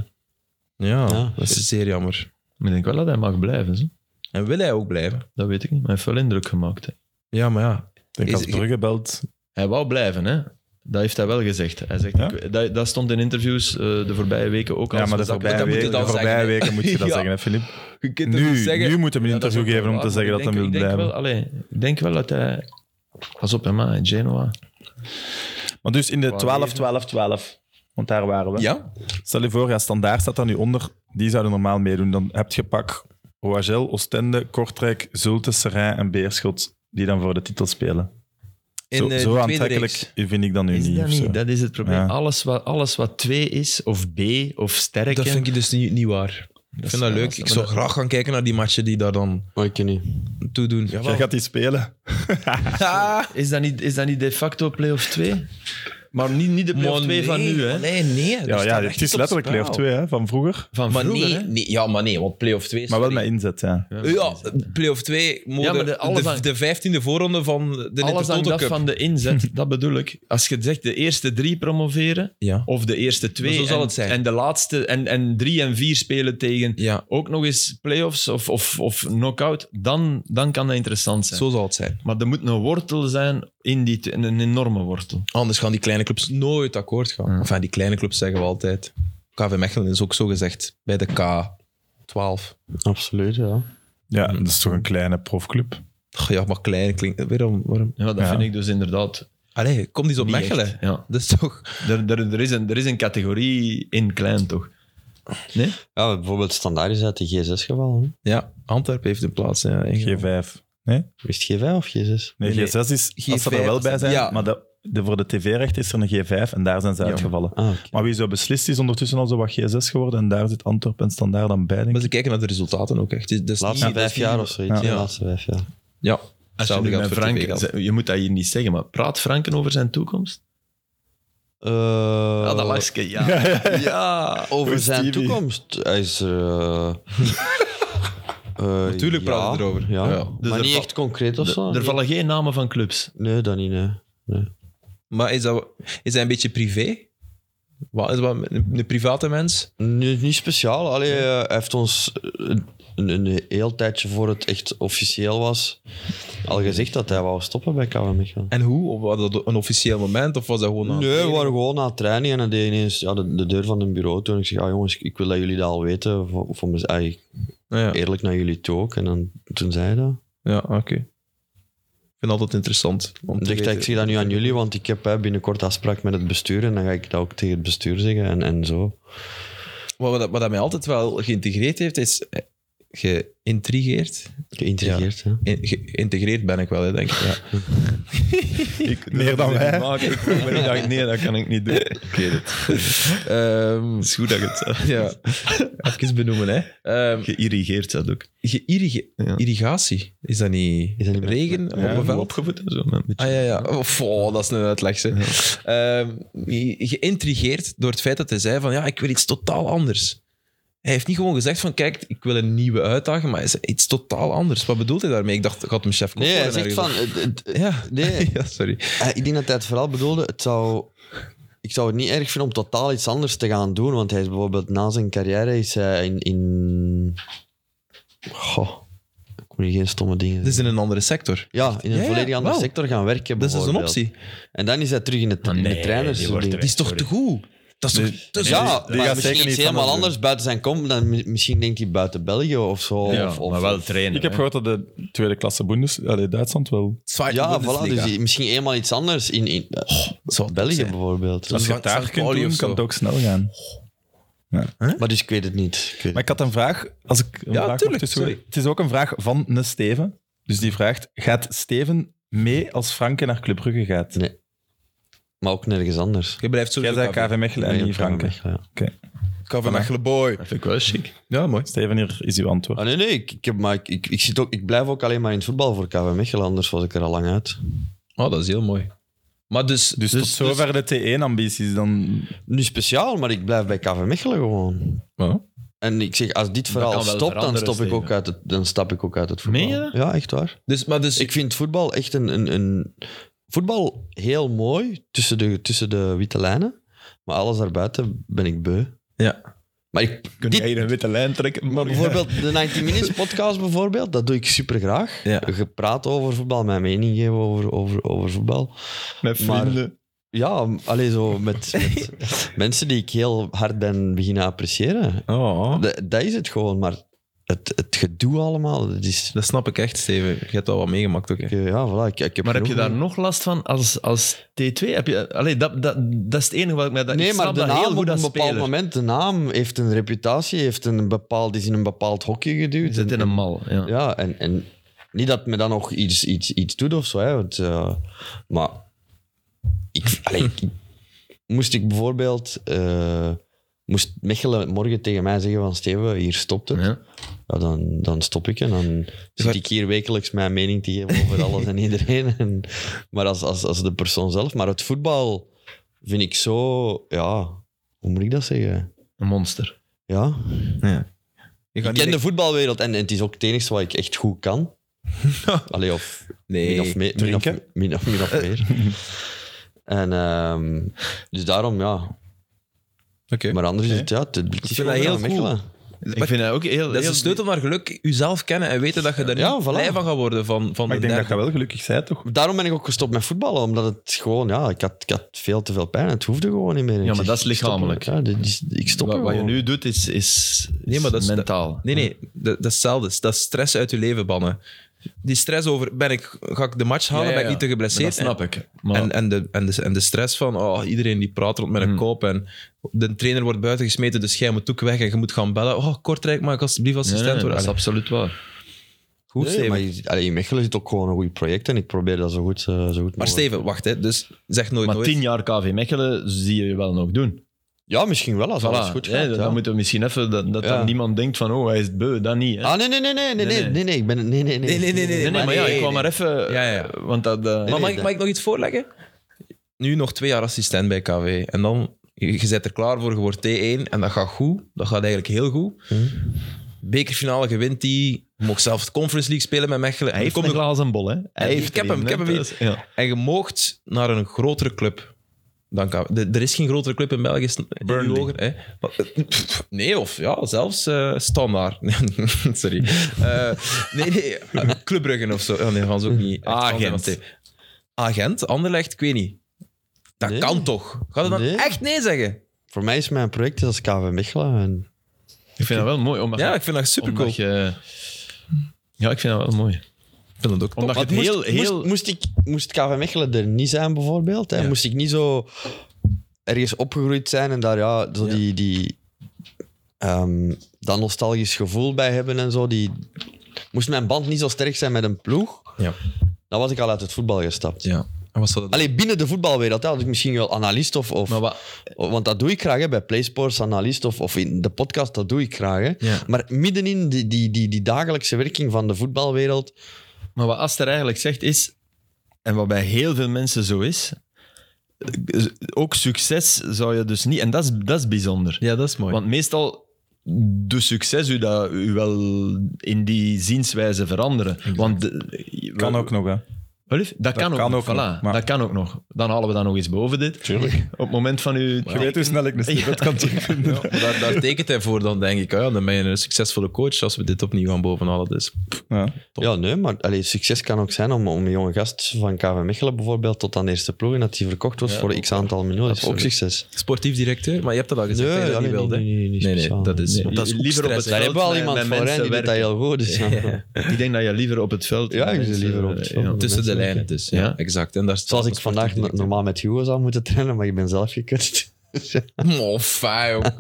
A: Ja,
D: Ja.
A: dat is zeer jammer.
B: Maar ik denk wel dat hij mag blijven, zo.
A: En wil hij ook blijven?
B: Dat weet ik niet, maar hij heeft wel indruk gemaakt. Hè.
A: Ja, maar ja.
C: Ik denk
A: Is-
C: als Brugge belt...
B: Hij wou blijven, hè. Dat heeft hij wel gezegd. Hij zegt,
C: Ja?
B: ik- dat, dat stond in interviews eh, de voorbije weken ook al.
C: Ja, maar de
A: zakken- dat
C: voorbije,
A: moet je
C: weken,
A: dan
C: de voorbije
A: zeggen, hè.
C: weken moet je dat
A: Ja.
C: zeggen, hè, Filip?
A: Je kunt het niet
C: Nu,
A: zeggen.
C: nu moet hem een
B: dus Ja, dat is
C: interview
B: ook
C: geven
B: wel
C: om te
B: waar,
C: zeggen
B: maar
C: dat hij
B: ik
C: wil
B: denk- ik denk
C: blijven.
B: Wel, allee, ik denk wel dat hij... Pas op, hè, man. Genoa.
C: Maar dus in de
B: Waar
C: 12,
B: even?
C: 12, 12. Want daar waren we.
A: Ja,
C: Stel je voor, ja, standaard staat daar nu onder. Die zouden normaal meedoen. Dan heb je pak Roagel, Oostende, Kortrijk, Zulte, Serijn en Beerschot. Die dan voor de titel spelen.
A: in
C: Zo,
A: eh, de
C: zo
A: tweede
C: aantrekkelijk
A: reeks.
C: vind ik dat nu
B: Is
C: niet.
B: dat
C: of zo.
B: niet? Dat is het probleem.
C: Ja.
B: Alles, wat, alles wat 2 is, of B, of sterk.
A: Dat vind ik dus niet, niet waar. Ik vind dat leuk. Ik zou graag gaan kijken naar die matchen die daar dan
D: Maar Oh, ik ken niet.
A: toe doen.
C: Jij gaat die spelen.
A: Ah,
B: Is dat niet, is dat niet de facto play-off 2? Maar niet, niet de play-off 2 van nu, hè?
A: Nee, nee.
C: Ja, ja, het is letterlijk play of 2 hè, van vroeger.
B: Van
A: Maar
B: vroeger,
A: nee,
B: hè?
A: nee, ja, maar nee, want play-off 2 is...
C: Maar wel met inzet, ja.
B: Ja,
A: Ja, play-off 2,
B: Ja,
A: moeder,
B: maar de- alles
A: de,
B: aan-
A: de vijftiende voorronde van de
B: Alles hangt
A: Intertoto
B: af
A: Cup.
B: van de inzet, dat bedoel ik. Als je zegt de eerste drie promoveren,
C: Oh,
A: Ja.
B: of de eerste twee,
A: Maar zo zal
B: en,
A: het zijn.
B: en de laatste, en, en drie en vier spelen tegen
A: ja,
B: ook nog eens play-offs of, of, of knock-out, dan, dan kan dat interessant zijn.
A: zo zal het zijn.
B: Maar er moet een wortel zijn, in die, te- een een enorme wortel.
A: Anders gaan die kleine clubs nooit akkoord gaan.
B: Ja.
A: Enfin, die kleine clubs zeggen we altijd. KV Mechelen is ook zo gezegd bij de K12.
D: Absoluut, ja.
C: Ja, dat is toch een kleine profclub.
A: Ach, ja, maar klein klinkt... Waarom? waarom?
B: Ja, dat
C: Ja.
B: vind ik dus inderdaad
A: Allee, kom eens op
B: niet
A: Mechelen.
B: echt. Ja.
A: Dat is toch...
B: Er, er, er, is een, er is een categorie in klein, toch? Nee?
D: Ja, bijvoorbeeld standaard is uit de G6 gevallen. hè.
A: Ja, Antwerpen heeft een plaats. Ja, ingevallen.
C: G5.
D: Is het G5 of G6?
A: Nee,
C: Nee, G6 is, als ze
A: G5
C: er wel bij zijn,
A: ja.
C: maar dat- de, voor de tv-recht is er een G5 en daar zijn ze
B: Ja.
C: uitgevallen.
D: Ah, oké.
C: Maar wie zo beslist is ondertussen al zo wat G6 geworden en daar zit Antwerpen en Standaard dan bij, denk
A: Maar
C: ik.
A: ze kijken naar de resultaten ook echt. Dus dat is
D: Laatste
A: niet- dat is
D: vijf jaar
A: niet-
D: of zoiets.
A: Ja.
D: Ja. Laatste vijf jaar.
A: Ja,
B: Als je,
A: Hetzelfde
B: nu
A: geldt
B: met
A: voor
B: Frank,
A: TV-geld.
B: ze- je moet dat hier niet zeggen, maar praat Franken over zijn toekomst?
D: Eh,
A: Nou,
B: Ja, dat lachske, ja.
D: Ja, over
C: Hoe
D: zijn
C: Stevie.
D: toekomst. Hij is er. eh, eh,
A: Natuurlijk
D: ja,
A: praten we erover.
D: Ja.
A: Ja.
B: Dus
D: maar
B: er
D: niet
B: val-
D: echt concreet of
B: Er-
D: zo.
B: er vallen geen namen van clubs.
D: Nee, dat niet. Nee.
A: Maar is dat, is hij een beetje privé? Wat, is dat een, een private mens?
D: Nee, niet speciaal. Allee, eh, hij heeft ons eh, een, een heel tijdje voor het echt officieel was al gezegd dat hij wou stoppen bij KV Mechelen.
A: En hoe? Of was dat een officieel moment? Of was dat gewoon... aan-
D: Nee, we waren gewoon na training en hij deed ineens ja, de, de deur van een bureau toen. Ik zeg, ah, jongens, ik wil dat jullie dat al weten. Voor, voor mez- ah, ik-
A: Ja, ja,
D: eerlijk naar jullie toe ook. En dan, toen zei hij dat.
A: ja, oké. Ik vind het altijd interessant. Om te
D: Ik dacht,
A: weten.
D: ik zeg dat nu aan jullie, want ik heb hè, binnenkort afspraak met het bestuur en dan ga ik dat ook tegen het bestuur zeggen en, en zo.
A: Maar wat, wat dat mij altijd wel geïntegreerd heeft, is... eh, Geïntrigeerd?
D: Geïntrigeerd, hè.
A: In- geïntegreerd ben ik wel, hè, denk ik. Ja.
B: Ik,
C: Meer dan wij.
B: Ik, maar ik dacht, nee, dat kan ik niet doen. Het
A: Ehm,
B: is goed dat je het
A: ja. Even benoemen, hè. Ehm,
B: geïrrigeerd dat ook.
A: Geïrrigatie.
B: Ja.
A: Irrigatie. Is dat niet
D: Is dat niet met-
A: regen op een veld?
B: opgevoed en zo. maar een beetje-
A: Ah ja, ja. Of, oh, dat is een uitleg. Ze. geïntrigeerd door het feit dat hij zei van ja, ik wil iets totaal anders. Hij heeft niet gewoon gezegd van kijk, ik wil een nieuwe uitdaging, maar hij zei iets totaal anders. Wat bedoelt hij daarmee? Ik dacht, ik had hem chef
D: Nee, hij
A: Koffler
D: zegt
A: ergens
D: van...
A: op-
D: het- eh, het-
A: Ja.
D: nee,
A: ja, sorry.
D: hij- ik denk dat hij het vooral bedoelde, het zou... ik zou het niet erg vinden om totaal iets anders te gaan doen. Want hij is bijvoorbeeld na zijn carrière is hij in. in... Goh, ik moet hier geen stomme dingen
A: Dat is in een andere sector.
D: Dus- Ja, in een
A: Ja, ja,
D: volledig andere
A: wauw.
D: sector gaan werken.
A: Dat is dus een
D: bijvoorbeeld.
A: optie.
D: En dan is hij terug in het in de
E: nee,
D: trainers.
E: die wordt
D: ding.
E: er
A: Die is toch te goed? Dat is toch te
D: ja,
A: goed?
D: maar
C: gaat
D: misschien
C: zeker niet
D: iets helemaal
C: anders doen.
D: anders buiten zijn kom. Dan mi- misschien denkt hij buiten België of zo.
E: Ja,
D: of, of,
E: maar wel trainen.
C: Ik heb
E: hè.
C: gehoord dat de tweede klasse Bundes, allee, Duitsland wel.
A: Zweite
D: ja, voilà,
A: Bundesliga.
D: dus die- misschien helemaal iets anders in, in eh,
A: Zou het
D: België
A: zijn?
D: bijvoorbeeld.
A: Dat
C: Als
A: is
C: je
A: St.
C: het daar kunt
A: Pauli
C: doen,
A: of
C: kan het
A: zo.
C: ook snel gaan.
D: Maar dus ik weet het niet. Ik weet
C: Maar ik had een vraag. Als ik een
A: Ja,
C: vraag mag
A: tuurlijk,
C: tussendoor-
A: sorry.
C: Het is ook een vraag van een Steven. Dus die vraagt, gaat Steven mee als Franke naar Club Brugge gaat?
D: Nee. het. Maar ook nergens anders.
A: Je blijft
C: Jij
A: sowieso
C: zei KV Mechelen en
D: Nee,
C: niet Franke.
D: Ja.
A: KV Mechelen boy.
B: Dat vind ik wel chic.
A: Ja, mooi.
C: Steven, hier is uw antwoord.
D: Ah, nee, nee, ik, ik, heb, maar ik, ik, ik zit ook, ik blijf ook alleen maar in het voetbal voor KV Mechelen, anders was ik er al lang uit.
A: Oh, dat is heel mooi. Maar dus...
C: Dus, tot zover de T1-ambities dan.
D: Nu speciaal, maar ik blijf bij KV Mechelen gewoon.
A: Ja.
D: En ik zeg, als dit verhaal
B: kan wel
D: stopt, dan,
B: veranderen,
D: stop ik
B: Steven.
D: ook uit het, dan stap ik ook uit het voetbal.
B: Meen je dat?
D: Ja, echt waar.
A: Dus, maar dus...
D: Ik vind voetbal echt een, een, een... Voetbal heel mooi tussen de, tussen de witte lijnen. Maar alles daarbuiten ben ik beu.
A: Ja.
D: Maar ik,
B: Kun
D: Dit-
B: jij hier een witte lijn trekken?
D: maar bijvoorbeeld de 90 Minutes podcast, bijvoorbeeld, dat doe ik super graag.
A: Ja.
D: Gepraat over voetbal, mijn mening geven over, over, over voetbal.
B: Met
D: maar-
B: vrienden.
D: Ja, alleen zo met, met mensen die ik heel hard ben beginnen appreciëren.
A: Oh.
D: Dat, dat is het gewoon, maar het, het gedoe allemaal, dat is...
A: Dat snap ik echt, Steven. Je hebt al wat meegemaakt ook. hè.
D: Ja, voilà, ik, ik heb
B: Maar heb je
D: genoeg-
B: daar nog last van als, als T2? Heb je, allee, dat, dat, dat is het enige wat ik mij... Dat,
D: Nee,
B: ik
D: maar
B: snap
D: de
B: dat heel goed
D: naam op een
B: als
D: bepaald
B: speler.
D: moment, de naam heeft een reputatie, heeft een bepaald, is in een bepaald hokje
B: Je
D: geduwd.
B: zit in een mal, ja.
D: Ja, en, en niet dat het me dan nog iets, iets, iets doet of zo, hè, want, eh, maar ik, allee, ik- moest ik bijvoorbeeld, eh, moest Mechelen morgen tegen mij zeggen van Steven, hier stopt het, ja.
B: Ja.
D: dan, dan stop ik en dan zit ik hier wekelijks mijn mening te geven over alles en iedereen. En, maar als, als, als de persoon zelf, maar het voetbal vind ik zo, ja, hoe moet ik dat zeggen?
B: Een monster.
D: Ja,
A: Je
D: ik
A: gaat
D: ken
A: niet
D: de voetbalwereld en, en het is ook het enige wat ik echt goed kan. Allee, of min of,
A: Nee.
D: meer, min, of,
C: drinken?
D: min, of, min of
B: Eh.
D: meer. En ehm, dus daarom, ja.
A: Oké.
D: Maar anders is het, ja, het, het is
A: vind dat
D: gewoon
A: heel
D: aan
A: cool.
D: Mechelen.
B: Ik vind dat ook heel...
A: Dat is
B: heel
A: de sleutel naar geluk. Jezelf kennen en weten dat je daar niet
D: Ja, voilà.
A: blij van gaat worden. Van, van
C: Maar ik denk dat je
A: dergelijke-
C: wel gelukkig bent, toch?
D: Daarom ben ik ook gestopt met voetballen, omdat het gewoon, ja, ik had, ik had veel te veel pijn. Het hoefde gewoon niet meer. Ik
B: maar
D: zeg,
B: dat is
D: ik stop ermee.
B: lichamelijk.
D: Ja, dit is- ik stop
B: Wat,
D: er
B: wat je
D: gewoon.
B: nu doet is, is,
A: Nee, maar dat is-
B: mentaal.
A: Nee, nee. Dat, dat is hetzelfde. Dat is stress uit je leven bannen. Die stress over, ben ik, ga ik de match halen,
B: Ja, ja,
A: ben ik
B: ja.
A: niet te geblesseerd?
B: Dat snap ik. Maar,
A: En, eh, en, de, en, de, en de stress van oh, iedereen die praat rond met een
B: Hmm.
A: kop en de trainer wordt buiten gesmeten, dus jij moet ook weg en je moet gaan bellen. Oh, Kortrijk, mag ik alsjeblieft
B: Nee, nee,
A: assistent
B: dat
A: worden?
B: is absoluut waar.
A: Goed,
D: Nee,
A: Steven.
D: maar
A: Maar,
D: je- allee, in Mechelen zit ook gewoon een goed project en ik probeer dat zo goed, eh, zo goed mogelijk.
A: Steven, wacht, hè. dus zeg nooit
B: Maar
A: nooit.
B: tien jaar KV Mechelen zie je wel nog doen.
D: Ja, misschien wel, als alles
B: Voilà,
D: goed
B: hè,
D: gaat.
B: dan
D: ja.
B: moeten we misschien even dat, dat
D: Ja.
B: dan niemand denkt van oh hij is het beu, dat niet. Hè.
D: Ah, nee, nee, nee, nee, nee, nee, nee,
B: nee.
D: nee, ik ben... Nee, nee, nee.
A: Nee, nee, nee, nee,
B: nee, nee, maar ja,
A: nee,
B: ik kwam
A: nee.
B: maar even,
A: Ja, ja.
B: want dat. eh,
A: maar mag,
D: nee,
A: ik,
D: dat-
A: mag ik nog iets voorleggen? Nu nog twee jaar assistent bij KV en dan, je, je bent er klaar voor, je wordt T1 en dat gaat goed. Dat gaat eigenlijk heel goed.
B: Hmm.
A: Bekerfinale, je wint die. Je mag zelf de Conference League spelen met Mechelen.
B: hij
A: En je
B: heeft een
A: komt nog-
B: glazen bol, hè? Hij heeft
A: ik heb
B: er
A: hem,
B: een,
A: ik heb
B: hè.
A: hem
B: Dat is- Ja.
A: En je moogt naar een grotere club dan KV. De- Er is geen grotere club in België. sn- in
B: Burnley.
A: uw ogen, hè? Maar, eh, pff, Nee, of ja, zelfs eh, standaard. Sorry. Eh, nee, nee. eh, Club Brugge of zo. Oh, nee, van zo ook niet. echt
B: Ah,
A: fan zijn
B: Gent.
A: van T. Agent, Anderlecht, ik weet niet. Dat
D: Nee.
A: kan toch? Ga je dan
D: Nee.
A: echt nee zeggen?
D: Voor mij is mijn project als KV Mechelen. En
B: Ik vind dat wel mooi. Omdat
A: Ja, ik vind dat supercool.
B: omdat je- ja, ik vind dat wel mooi.
A: Ik vind dat ook
B: Omdat
A: top.
B: je het heel,
D: moest,
B: heel.
D: moest, moest ik, moest KV Mechelen er niet zijn, bijvoorbeeld? Hè? Moest ik niet zo ergens opgegroeid zijn en daar ja, zo die, die, ehm, dat nostalgisch gevoel bij hebben en zo. Die, moest mijn band niet zo sterk zijn met een ploeg,
A: Ja.
D: dan was ik al uit het voetbal gestapt.
A: Ja. En wat zou dat
D: Allee, binnen de voetbalwereld hè, had ik misschien wel analist of... of
B: Maar wat,
D: want dat doe ik graag, hè, bij PlaySports, analist of, of in de podcast, dat doe ik graag. Hè.
A: Ja.
D: Maar middenin die, die, die, die dagelijkse werking van de voetbalwereld...
B: Maar wat Aster eigenlijk zegt is, en wat bij heel veel mensen zo is, eh, ook succes zou je dus niet... En dat is, dat is bijzonder.
A: Ja, dat is mooi.
B: Want meestal doet succes u, dat, u wel in die zienswijze veranderen. Want, eh,
C: Kan ook nog, hè.
B: Elf? Dat, kan ook
C: kan
B: nog.
C: ook nog,
B: voilà.
C: maar-
B: Dat kan ook nog. Dan halen we dat nog eens boven dit.
C: Tuurlijk.
B: Op het moment van uw...
C: Je weet hoe snel ik een stipend kan terugvinden.
A: Maar daar, daar tekent hij voor dan, denk ik. Ah ja, dan ben je een succesvolle coach als we dit opnieuw gaan bovenhalen. Dus.
C: Ja.
D: Ja, nee, maar allee, succes kan ook zijn om, om een jonge gast van KV Mechelen bijvoorbeeld tot aan de eerste ploeg en dat die verkocht wordt voor x aantal miljoen. Dat is ook
A: Absoluut.
D: succes.
A: Sportief directeur, maar je hebt dat al gezegd. Nee, dat
D: allee,
A: niet wilde.
D: nee, nee, nee, niet
A: nee, nee,
D: speciaal.
A: dat is,
B: Nee,
A: dat is ook
B: liever op
A: stress,
B: het
A: hè.
D: Daar hebben we al
B: met-
D: iemand
B: met
D: voor, hè,
B: mensen
D: die doet dat
B: werken.
D: heel goed. Dus, ja.
B: Ik denk dat je liever op het veld...
D: Ja, ik zit
B: mensen-
D: liever op het veld.
B: ja,
A: Tussen de
B: mensen-
A: lijnen, dus. Ja,
B: Ja.
A: exact. En daar staat
D: Zoals
A: een
D: ik vandaag
A: sportief
D: no- normaal met Hugo zou moeten trainen, maar ik ben zelf gekust.
A: directeur. Oh, fijn.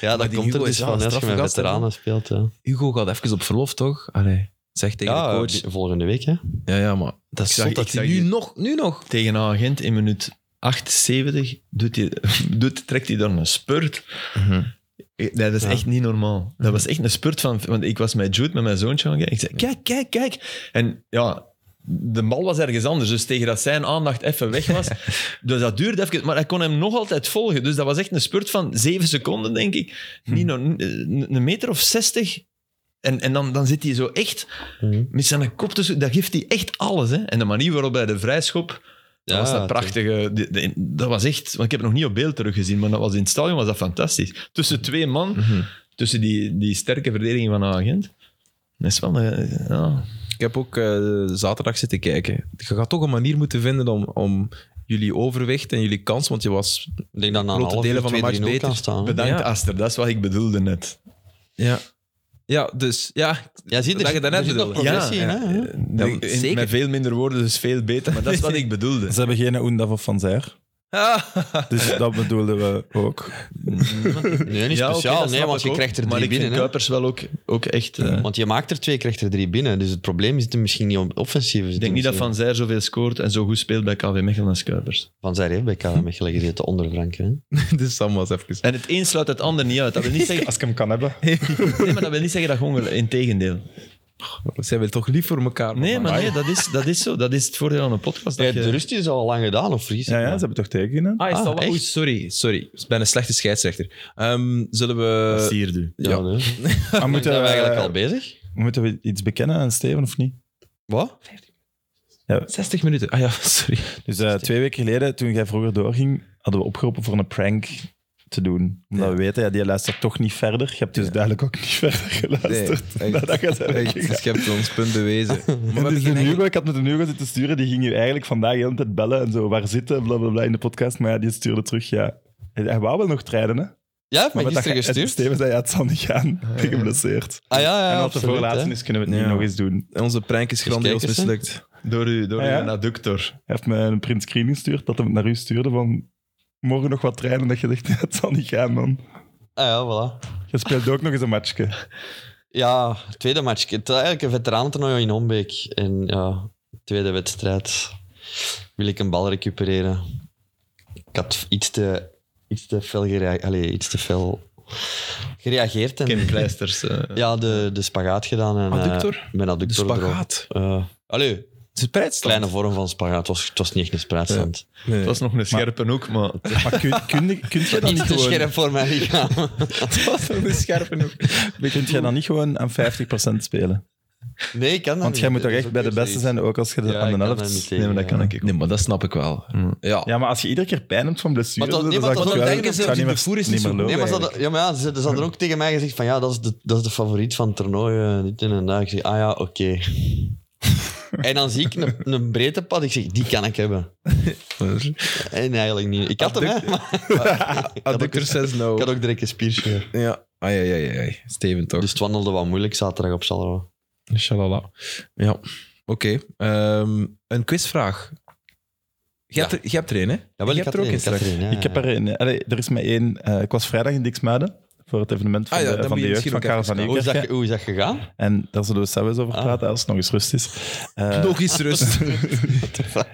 D: Ja, dat
A: die
D: komt er
A: Hugo
D: dus
A: is wel
D: van
A: een
D: hè, als je met
A: straffe gast, hè,
D: veteranen speelt. Ja,
A: Hugo gaat even op verlof, toch? Allee, zeg tegen
D: ja
A: de coach.
D: die- volgende week. Hè.
A: Ja, ja, maar dat is
B: zag-
A: zot dat
B: ik
A: hij
B: zag
A: nu
B: die-
A: nog, nu nog.
B: Tegen een agent in minuut 78 doet hij, doet, trekt hij dan een spurt.
A: Mhm.
B: Nee, dat is
D: Ja.
B: echt niet normaal. Dat was echt een spurt van... Want ik was met Jude, met mijn zoontje aan het kijken. Ik zei, kijk, kijk, kijk. En ja... De bal was ergens anders, dus tegen dat zijn aandacht even weg was. dus dat duurde even, maar hij kon hem nog altijd volgen. Dus dat was echt een spurt van zeven seconden, denk ik. Niet
A: Hm.
B: nog, eh, een een meter of zestig. En, en dan, dan zit hij zo echt met zijn kop tussen. Dat geeft hij echt alles. Hè? En de manier waarop hij de vrijschop. Dat
D: Ja,
B: was een prachtige. de- de- dat was echt. Want ik heb het nog niet op beeld teruggezien, maar dat was in het stadion was dat fantastisch. Tussen twee man, tussen die, die sterke verdediging van Agent. Dat is wel. eh, ja.
A: Ik heb ook eh, zaterdag zitten kijken. Je gaat toch een manier moeten vinden om, om jullie overwicht en jullie kans, want je was...
D: Ik denk dat na een
A: Grote
D: half
A: delen
D: uur
A: van de match
D: 2-3-0 kan
A: beter.
D: staan. hè.
B: Bedankt,
A: Ja.
B: Aster. Dat is wat ik bedoelde net.
A: Ja, ja dus ja,
D: Ja, zie
A: Dat je daarnet
D: er zit nog
A: bedoelde.
D: progressie in, hè, hè.
B: Eh,
A: Ja,
B: in-
A: zeker.
B: Met veel minder woorden, dus veel beter. Maar dat is wat ik bedoelde.
C: Ze hebben geen Oendaf of Van Zijr.
A: Ah,
C: Dus dat bedoelden we ook.
D: Nee, niet
B: Ja, oké,
D: speciaal.
B: dat
D: nee,
B: snap
D: want
B: ik
D: je
B: ook.
D: krijgt er
B: Maar
D: drie
B: ik vind
D: binnen. hè.
B: Kuipers wel ook, ook echt. eh,
D: Want je maakt er twee, krijgt er drie binnen. Dus het probleem zit hem misschien niet op offensief.
B: Ik denk niet dat Van Zijr zoveel scoort en zo goed speelt bij KV Mechelen als Kuipers.
D: Van Zijr heeft bij KV Mechelen gezeten onder Frank. Hè?
A: dus Sam was even...
B: En het een sluit het ander niet uit. Dat wil niet zeggen,
C: Als ik hem kan hebben.
B: nee, maar dat wil niet zeggen dat je honger... Integendeel.
A: Zijn we toch lief voor elkaar?
B: Nee, maar nee, dat, is, dat is zo. Dat is het voordeel aan een podcast. Dat
D: Ja, de
B: je...
D: rust is al lang gedaan, of Fries?
C: Ja, ja, ze hebben toch tekenen?
A: Ah, is dat
D: Ah,
A: wel-
D: echt?
A: Oei, sorry, sorry. Ik ben een slechte scheidsrechter. Ehm, zullen we...
B: Sier du.
A: Ja.
D: Ja, nee.
A: Ah,
C: Maar
D: Zijn
C: moeten, eh,
D: we eigenlijk al
C: we,
D: bezig?
C: moeten we iets bekennen aan Steven of niet?
D: Wat?
A: 60 minuten. Ah ja, sorry.
C: Dus eh, twee weken geleden, toen jij vroeger doorging, hadden we opgeroepen voor een prank te doen. Omdat we weten, ja, die luistert toch niet verder. Je hebt dus duidelijk ook niet verder geluisterd.
A: Nee, echt.
C: nadat je daar
A: Echt,
C: ging.
A: je hebt ons punt bewezen. Maar we
C: En
A: hebben
C: dus
A: geen
C: de
A: enkel-
C: Hugo, ik had met een Hugo zitten sturen, die ging je eigenlijk vandaag de hele tijd bellen en zo, waar zitten, blablabla, in de podcast. Maar ja, die stuurde terug, ja. Hij wou wel nog trainen, hè?
D: Ja, heeft mij
C: Maar
D: gisteren
C: dat-
D: gestuurd.
C: Steven zei, ja, het zal niet gaan. Ik ben geblesseerd.
D: Ah ja, ja,
C: en als de
D: absoluut,
C: voorlaatste
D: hè.
C: is, kunnen we het niet
A: Ja.
C: nog eens doen.
A: Onze prank is
D: Eens
A: grandioos
D: kijken, hè?
A: mislukt.
B: Door, u, door
C: Ah, ja?
B: uw adductor.
C: Hij heeft me een print screen gestuurd dat hij het naar u stuurde van morgen nog wat trainen. Dat je dacht, ja, het zal niet gaan, man.
D: Ah ja, voilà.
C: Je speelt ook nog eens een matchje.
D: Ja, tweede match. Het was eigenlijk een veteranentoernooi in Hombeek. En ja, tweede wedstrijd wil ik een bal recupereren. Ik had iets te, iets te fel gereageerd. Allee, iets te fel gereageerd. En
B: Kim Kleisters. eh.
D: Ja, de, de spagaat gedaan. En, eh,
A: Adductor?
D: mijn
A: De
D: adductor erop.
A: spagaat.
D: Eh, allee,
A: Het is een spreidstand.
D: kleine vorm van spagaat. Het was, het was niet echt een spreidstand.
A: Nee.
B: Het was nog een scherpe hoek, maar...
C: Maar kun, kun, kun je dan
D: Iets
C: niet
D: te
C: gewoon...
D: scherp voor mijn lichaam.
A: was een scherpe hoek.
C: Kun jij dan niet gewoon aan 50% spelen?
D: Ah, Nee, ik kan dat
C: Want
D: niet.
C: jij moet
D: Dat
C: toch echt
D: is ook
C: bij de
D: weer
C: beste
D: zoiets.
C: zijn, ook als je de-
D: Ja,
C: aan
D: ik
C: de
D: kan daar niet
C: helft...
D: tegen,
B: Nee, maar dat kan
D: ja.
B: ik ook.
A: Nee, maar dat snap ik wel. Ja.
C: Ja, maar als je iedere keer pijn hebt van blessure...
D: Maar dat- nee, maar
C: zag
D: dat-
C: ik
D: dat
C: wel,
D: denken ze,
C: ik zou
A: die
C: meer-
A: de voer is
C: niet
A: niet
C: meer
A: zo
D: Nee,
C: lopen.
D: maar ze hadden, ja, maar ja, ze, ze hadden ook tegen mij gezegd van ja, dat is de, dat is de favoriet van het toernooi. eh, dit en dat. Ik zeg, ah ja, oké. en dan zie ik een, een breedtepad. Ik zeg, die kan ik hebben. En eigenlijk niet. Ik had hem, hè. maar
A: Adductor says no.
D: Ik had ook direct een spiertje.
A: Ja. nou- Ai, ai, ai, ai. Steven toch.
D: Dus het wandelde wat moeilijk zaterdag op Charleroi.
A: Inshallah. Ja. Oké. Ehm, een quizvraag. Je hebt, er, je hebt er een, hè?
D: Ja, wel,
A: je
D: ik
A: hebt
D: had
A: er ook
D: één,
A: een
D: ik had
A: straks.
D: er één, ja,
C: Ik heb
D: ja.
C: er een... Allee, er is maar één... eh, ik was vrijdag in Dixmuiden voor het evenement van
A: Ah ja,
C: de,
A: dan
C: van
A: moet je
C: de jeugd van
A: misschien
C: Karel
A: ook even Oh,
C: van
D: Hoe is, dat,
C: Eekhoff.
D: hoe is dat gegaan?
C: En daar zullen we zelfs over
D: Ah.
C: praten, als het nog eens rust is. Eh,
A: Nog eens rust.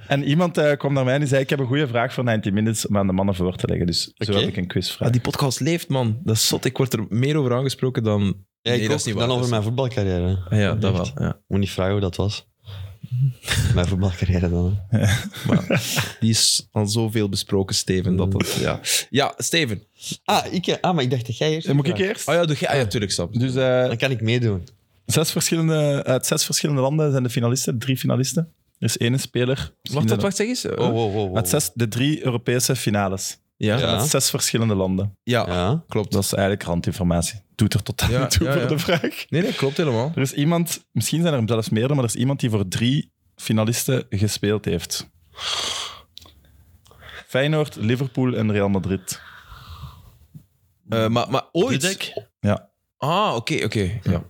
C: En iemand eh, kwam naar mij en die zei: Ik heb een goede vraag voor 90 Minutes om aan de mannen voor te leggen. Dus zo
D: Oké.
C: heb ik een quizvraag.
A: Ah, die podcast leeft, man. Dat is zot. Ik word er meer over aangesproken dan...
D: Ja, ik
A: Nee,
D: ook.
A: dat is niet waar,
D: dan over
A: dat
D: mijn voetbalcarrière.
A: Ah, ja, dat wel. Ja.
D: Moet niet vragen hoe dat was. mijn voetbalcarrière dan. hè.
A: Die is al zoveel besproken, Steven. Dat dat, ja. ja, Steven.
D: Ah, ik, ah, maar ik dacht dat jij eerst.
C: Eh, Moet ik eerst?
A: Oh ja, doe jij... Ah ja, tuurlijk, Sam.
C: Dus eh,
D: Dan kan ik meedoen.
C: Zes verschillende, uit zes verschillende landen zijn de finalisten, drie finalisten. Er is één speler.
A: Wacht, wacht, wacht, zeg eens. eh,
D: Oh, wow, wow, wow.
C: Uit zes, de drie Europese finales.
A: Ja.
D: Ja.
C: Uit zes verschillende landen.
D: Ja.
A: klopt.
C: Dat is eigenlijk randinformatie. Doet er totaal
A: Ja,
C: niet toe
A: ja,
C: voor
A: ja.
C: de vraag.
A: Nee, nee, klopt helemaal.
C: Er is iemand, misschien zijn er zelfs meerdere, maar er is iemand die voor drie finalisten gespeeld heeft. Feyenoord, Liverpool en Real Madrid.
A: Eh, maar, maar ooit...
B: Dudek?
C: Ja,
A: Ah, oké, oké. Ja.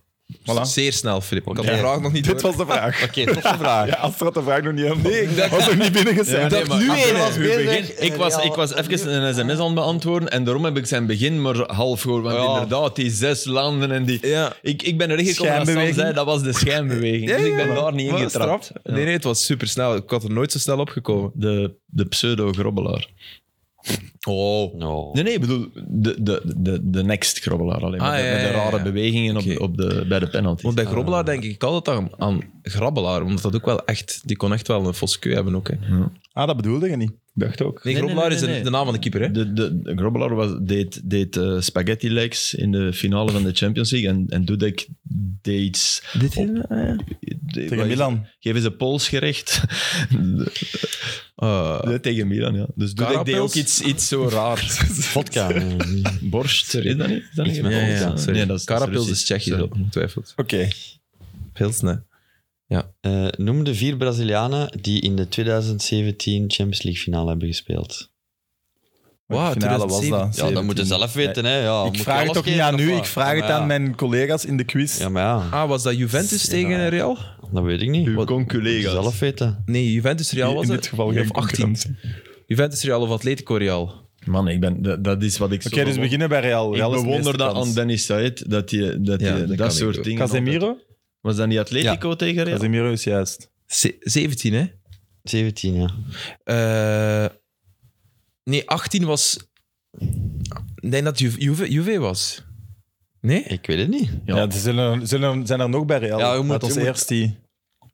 C: voilà.
A: Zeer snel, Filip. Ik had
D: Oké.
A: de vraag nog niet
C: Dit
A: door.
C: was de vraag.
D: Oké, toffe vraag.
C: Ja, Astrid had de vraag nog niet helemaal.
A: Nee, ik dacht-
C: was nog niet binnengecijferd.
A: Ja, nee, maar-
D: Nu
B: Hij
D: één.
B: was
D: hè.
B: bezig. eh, Ik was, ik was even een sms aan het beantwoorden en daarom heb ik zijn begin maar half gehoord. Want
D: Ja.
B: inderdaad, die zes landen en die...
A: Ja.
B: Ik, ik ben er echt gekomen als Sam
C: Schijnbeweging.
B: zei, dat was de schijnbeweging.
A: Ja,
B: dus ik ben
A: ja,
B: daar niet in
A: Wat een
B: getrapt.
A: straf. Nee, nee, het was super snel. Ik had er nooit zo snel opgekomen.
B: De, de pseudo-grobbelaar.
A: Oh.
D: No.
B: Nee, nee, ik bedoel de, de, de, de next-grobbelaar alleen.
A: Ah,
B: met, de-
A: ja,
B: met de
A: ja, ja.
B: rare bewegingen op,
A: Oké.
B: op de, bij de penalty.
A: Want bij Grobbelaar denk ik altijd aan, aan Grabbelaar, omdat dat ook wel echt... Die kon echt wel een fosse keu hebben ook, hè. Nee,
C: Ah, dat bedoelde je niet. Ik dacht ook.
A: Grobbelaar
B: nee,
A: is de,
B: nee, nee.
A: de naam van de keeper, hè.
B: De, de, de Grobbelaar was, deed, deed eh, spaghetti legs in de finale van de Champions League en, en Dudek deed iets...
A: Dit
B: is-
C: Tegen Milan.
B: Geef eens een pols gerecht.
A: Eh,
B: Nee, tegen Milan, ja. Dus Dudek deed
A: Karapels?
B: ook iets, iets zo raar.
D: Vodka.
B: Borst, is dat niet? Is dat niet?
A: ja, ja, ja, sorry.
B: Nee, dat is, dat
A: Karapils is
B: Russisch.
A: Tsjechisch,
B: Sorry.
A: ongetwijfeld.
C: Oké.
A: Pils, nee.
D: Eh, noem de vier Brazilianen die in de 2017 Champions League finale hebben gespeeld.
A: Wauw,
C: Welke finale was
A: 2007?
C: dat?
D: Ja, dat moeten ze zelf weten. Hè. Ja, moet
C: Ik
D: je
C: vraag het
D: alles
C: toch niet
D: geven,
C: aan
D: of
C: u,
D: wat?
C: ik vraag
D: Ja,
C: het
D: maar ja.
C: aan mijn collega's in de quiz.
D: Ja, maar ja,
A: Ah, was dat Juventus
D: Ja.
A: tegen Real?
D: dat weet ik niet.
B: Uw
D: Moet je
B: conculega's.
D: zelf weten.
A: Nee, Juventus-Real was
C: in
A: het.
C: dit geval
A: of
C: geen
A: 18.
C: concurrentie. Oké,
A: Juventus-Real of Atletico-Real?
B: Man, ik ben, dat, dat is wat ik zo...
C: dus we beginnen bij Real.
B: Ik
C: Real is de
B: bewonder
C: meeste
B: dat
C: kans.
B: aan Dennis Said, dat, die, dat, die,
A: Ja, dat
B: dat,
A: kan ik
B: soort
A: ook.
B: dingen... altijd-
C: Casemiro?
B: Was dat niet Atletico tegen Real?
C: Casemiro is juist.
A: Ze- 17, hè?
D: 17, ja.
A: Eh, nee, 18 was... Ik denk dat Juve, Juve, Juve was. Nee?
D: Ik weet het niet.
C: Ja, ze zullen, zullen, zijn er nog bij Real.
D: Ja, je
C: Laat
D: moet-
C: ons
D: je moet-
C: eerst die...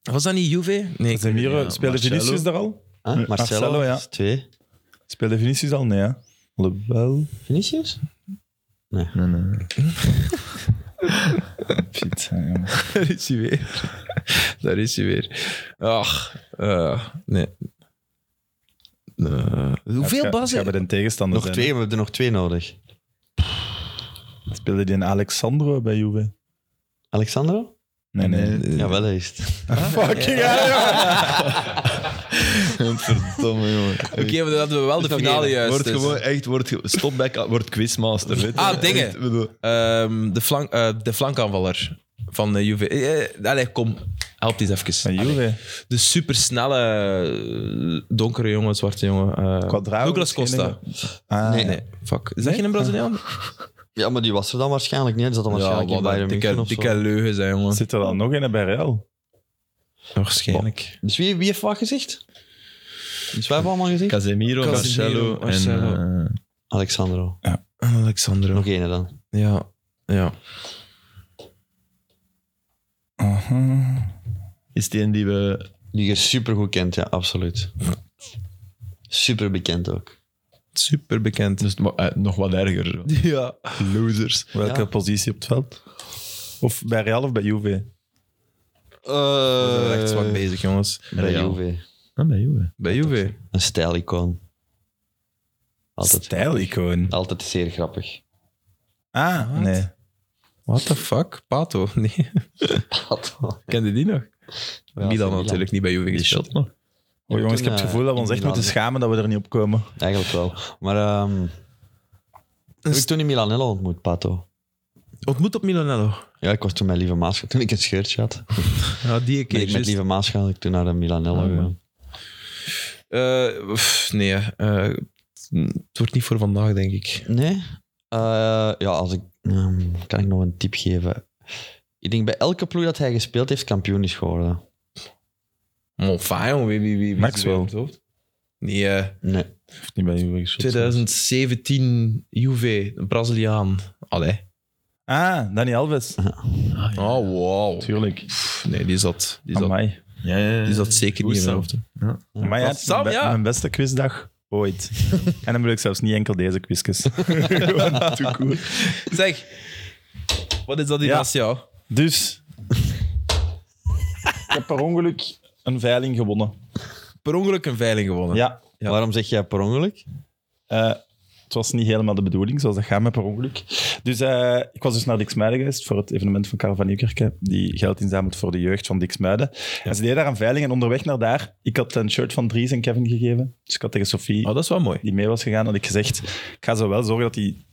A: Was dat niet Juve? Nee.
C: Casemiro,
B: ja,
C: speelde
B: Marcelo.
C: Vinicius daar al?
D: Huh?
C: Nee,
D: Marcelo,
C: Eh, Marcelo, ja.
D: is twee.
C: Speelde Vinicius al? Nee, hè? Alhoewel...
D: Vinicius?
B: Nee, nee.
C: Shit, ja, ja.
A: Daar is hij weer. Daar is hij weer. Ach, eh, nee. Eh,
C: Het
A: hoeveel
C: gaat-
A: bazen?
C: Het gaat bij de tegenstander
D: Nog
C: zijn,
D: twee, we hebben er nog twee nodig.
C: hè. Speelde die in Alexandro bij Juve?
D: Alexandro?
C: Nee, nee.
D: Ja, wel hij is het.
C: Fucking hell, ja.
B: Verdomme, jongen.
A: Oké, maar dan hadden we wel de finale juist.
B: Wordt
A: dus.
B: gewoon echt... Wordt ge- stop bij... ka- Wordt quizmaster, weet je.
A: Ah, dingen.
B: Echt, bedoel-
A: Ehm, de, flank, eh, de flankaanvaller van eh, Juve. Eh, eh, allee, kom, help eens even.
C: Van Juve.
A: De supersnelle, eh, donkere jongen, zwarte jongen. eh,
C: Quadrado
A: Douglas
C: misschien,
A: Costa.
C: Ah,
D: Nee.
A: Nee, fuck. Is dat geen Braziliaan?
D: Ja, maar die was er dan waarschijnlijk niet. Die zat dan waarschijnlijk
A: wat
D: in
A: een
D: Bayern München
A: dikke,
D: of zo.
A: dikke leugen zijn, jongen.
C: Zit er dan nog een bij Real?
A: Waarschijnlijk.
D: Dus wie, wie heeft wat gezegd? Dus wij hebben allemaal gezegd?
B: Casemiro,
A: Casemiro,
B: Marcelo en...
A: Marcelo.
B: eh,
D: Alexandro.
A: Alexandro.
D: Nog één dan.
A: Ja. Ja.
B: is die een die we...
A: Eh,
D: Die je supergoed kent, ja, absoluut. Super bekend ook.
A: Super bekend.
B: Dus maar, eh, nog wat erger.
A: Ja.
B: Losers.
C: Welke
D: Ja.
C: positie op het veld? Of bij Real of bij Juve?
A: We zijn Eh, echt zwak bezig, jongens.
D: Bij
B: Real.
D: Juve.
B: Ah, bij Juve.
A: Bij Juve.
D: Een stijlicoon. Altijd,
C: Stijlicoon.
D: altijd zeer grappig.
C: Ah, nee.
A: What the fuck? Pato? Nee. Kende die nog?
D: Ja,
A: Milan
D: van
A: natuurlijk, niet bij Juve
B: Die
A: gespeeld.
B: shot nog.
C: Oh, jongens, ik
D: toen,
C: heb het
D: eh,
C: gevoel dat we ons
D: in
C: echt
D: Milaan.
C: moeten schamen dat we er niet op komen.
D: Eigenlijk wel. Maar ehm heb ik toen in Milanello ontmoet, Pato.
A: Ontmoet op Milanello.
D: Ja, ik was toen met Lieve Maas, toen ik een scheurtje had.
A: Ja, die
D: Ben ik met Lieve Maas gegaan, ik toen naar de Milanello
C: Ah,
D: gegaan.
A: Eh, pff, nee, eh, het wordt niet voor vandaag, denk ik.
D: Nee? Eh, ja, als ik, ehm, kan ik nog een tip geven? Ik denk bij elke ploeg dat hij gespeeld heeft, kampioen is geworden.
A: Monfa, jongen, wie, wie, wie, wie
C: Maxwell.
A: is er weer op het hoofd? Nee, eh,
D: Nee.
C: Of niet bij Juve geschoten.
A: 2017 Juve, een Braziliaan. Allee.
C: Ah, Dani Alves.
A: Oh, wow.
C: Tuurlijk.
A: Pff, Nee, die zat, die zat,
C: Amai.
B: Ja, ja, ja.
A: die zat zeker niet in mijn
B: Oesam.
A: hoofd. hè.
C: Amai, ja, het is
A: Sam,
C: mijn, be-
A: ja.
C: mijn beste quizdag ooit. en dan bedoel ik zelfs niet enkel deze quizjes. Gewoon tout court.
A: Zeg, wat is dat in
C: Ja.
A: naast jou?
C: Dus, heb per ongeluk een veiling gewonnen.
A: Per ongeluk een veiling gewonnen.
C: Ja,
D: Waarom zeg jij per ongeluk?
C: Eh, het was niet helemaal de bedoeling, zoals dat gaat met per ongeluk. Dus eh, ik was dus naar Dixmuiden geweest voor het evenement van Karel van Nieuwkerk, die geld inzamelt voor de jeugd van Dixmuiden. En ze deden daar een veiling en onderweg naar daar, ik had een shirt van Dries en Kevin gegeven. Dus ik had tegen Sophie,
A: Oh, dat is wel mooi.
C: die mee was gegaan, had ik gezegd, ik ga zo wel zorgen dat die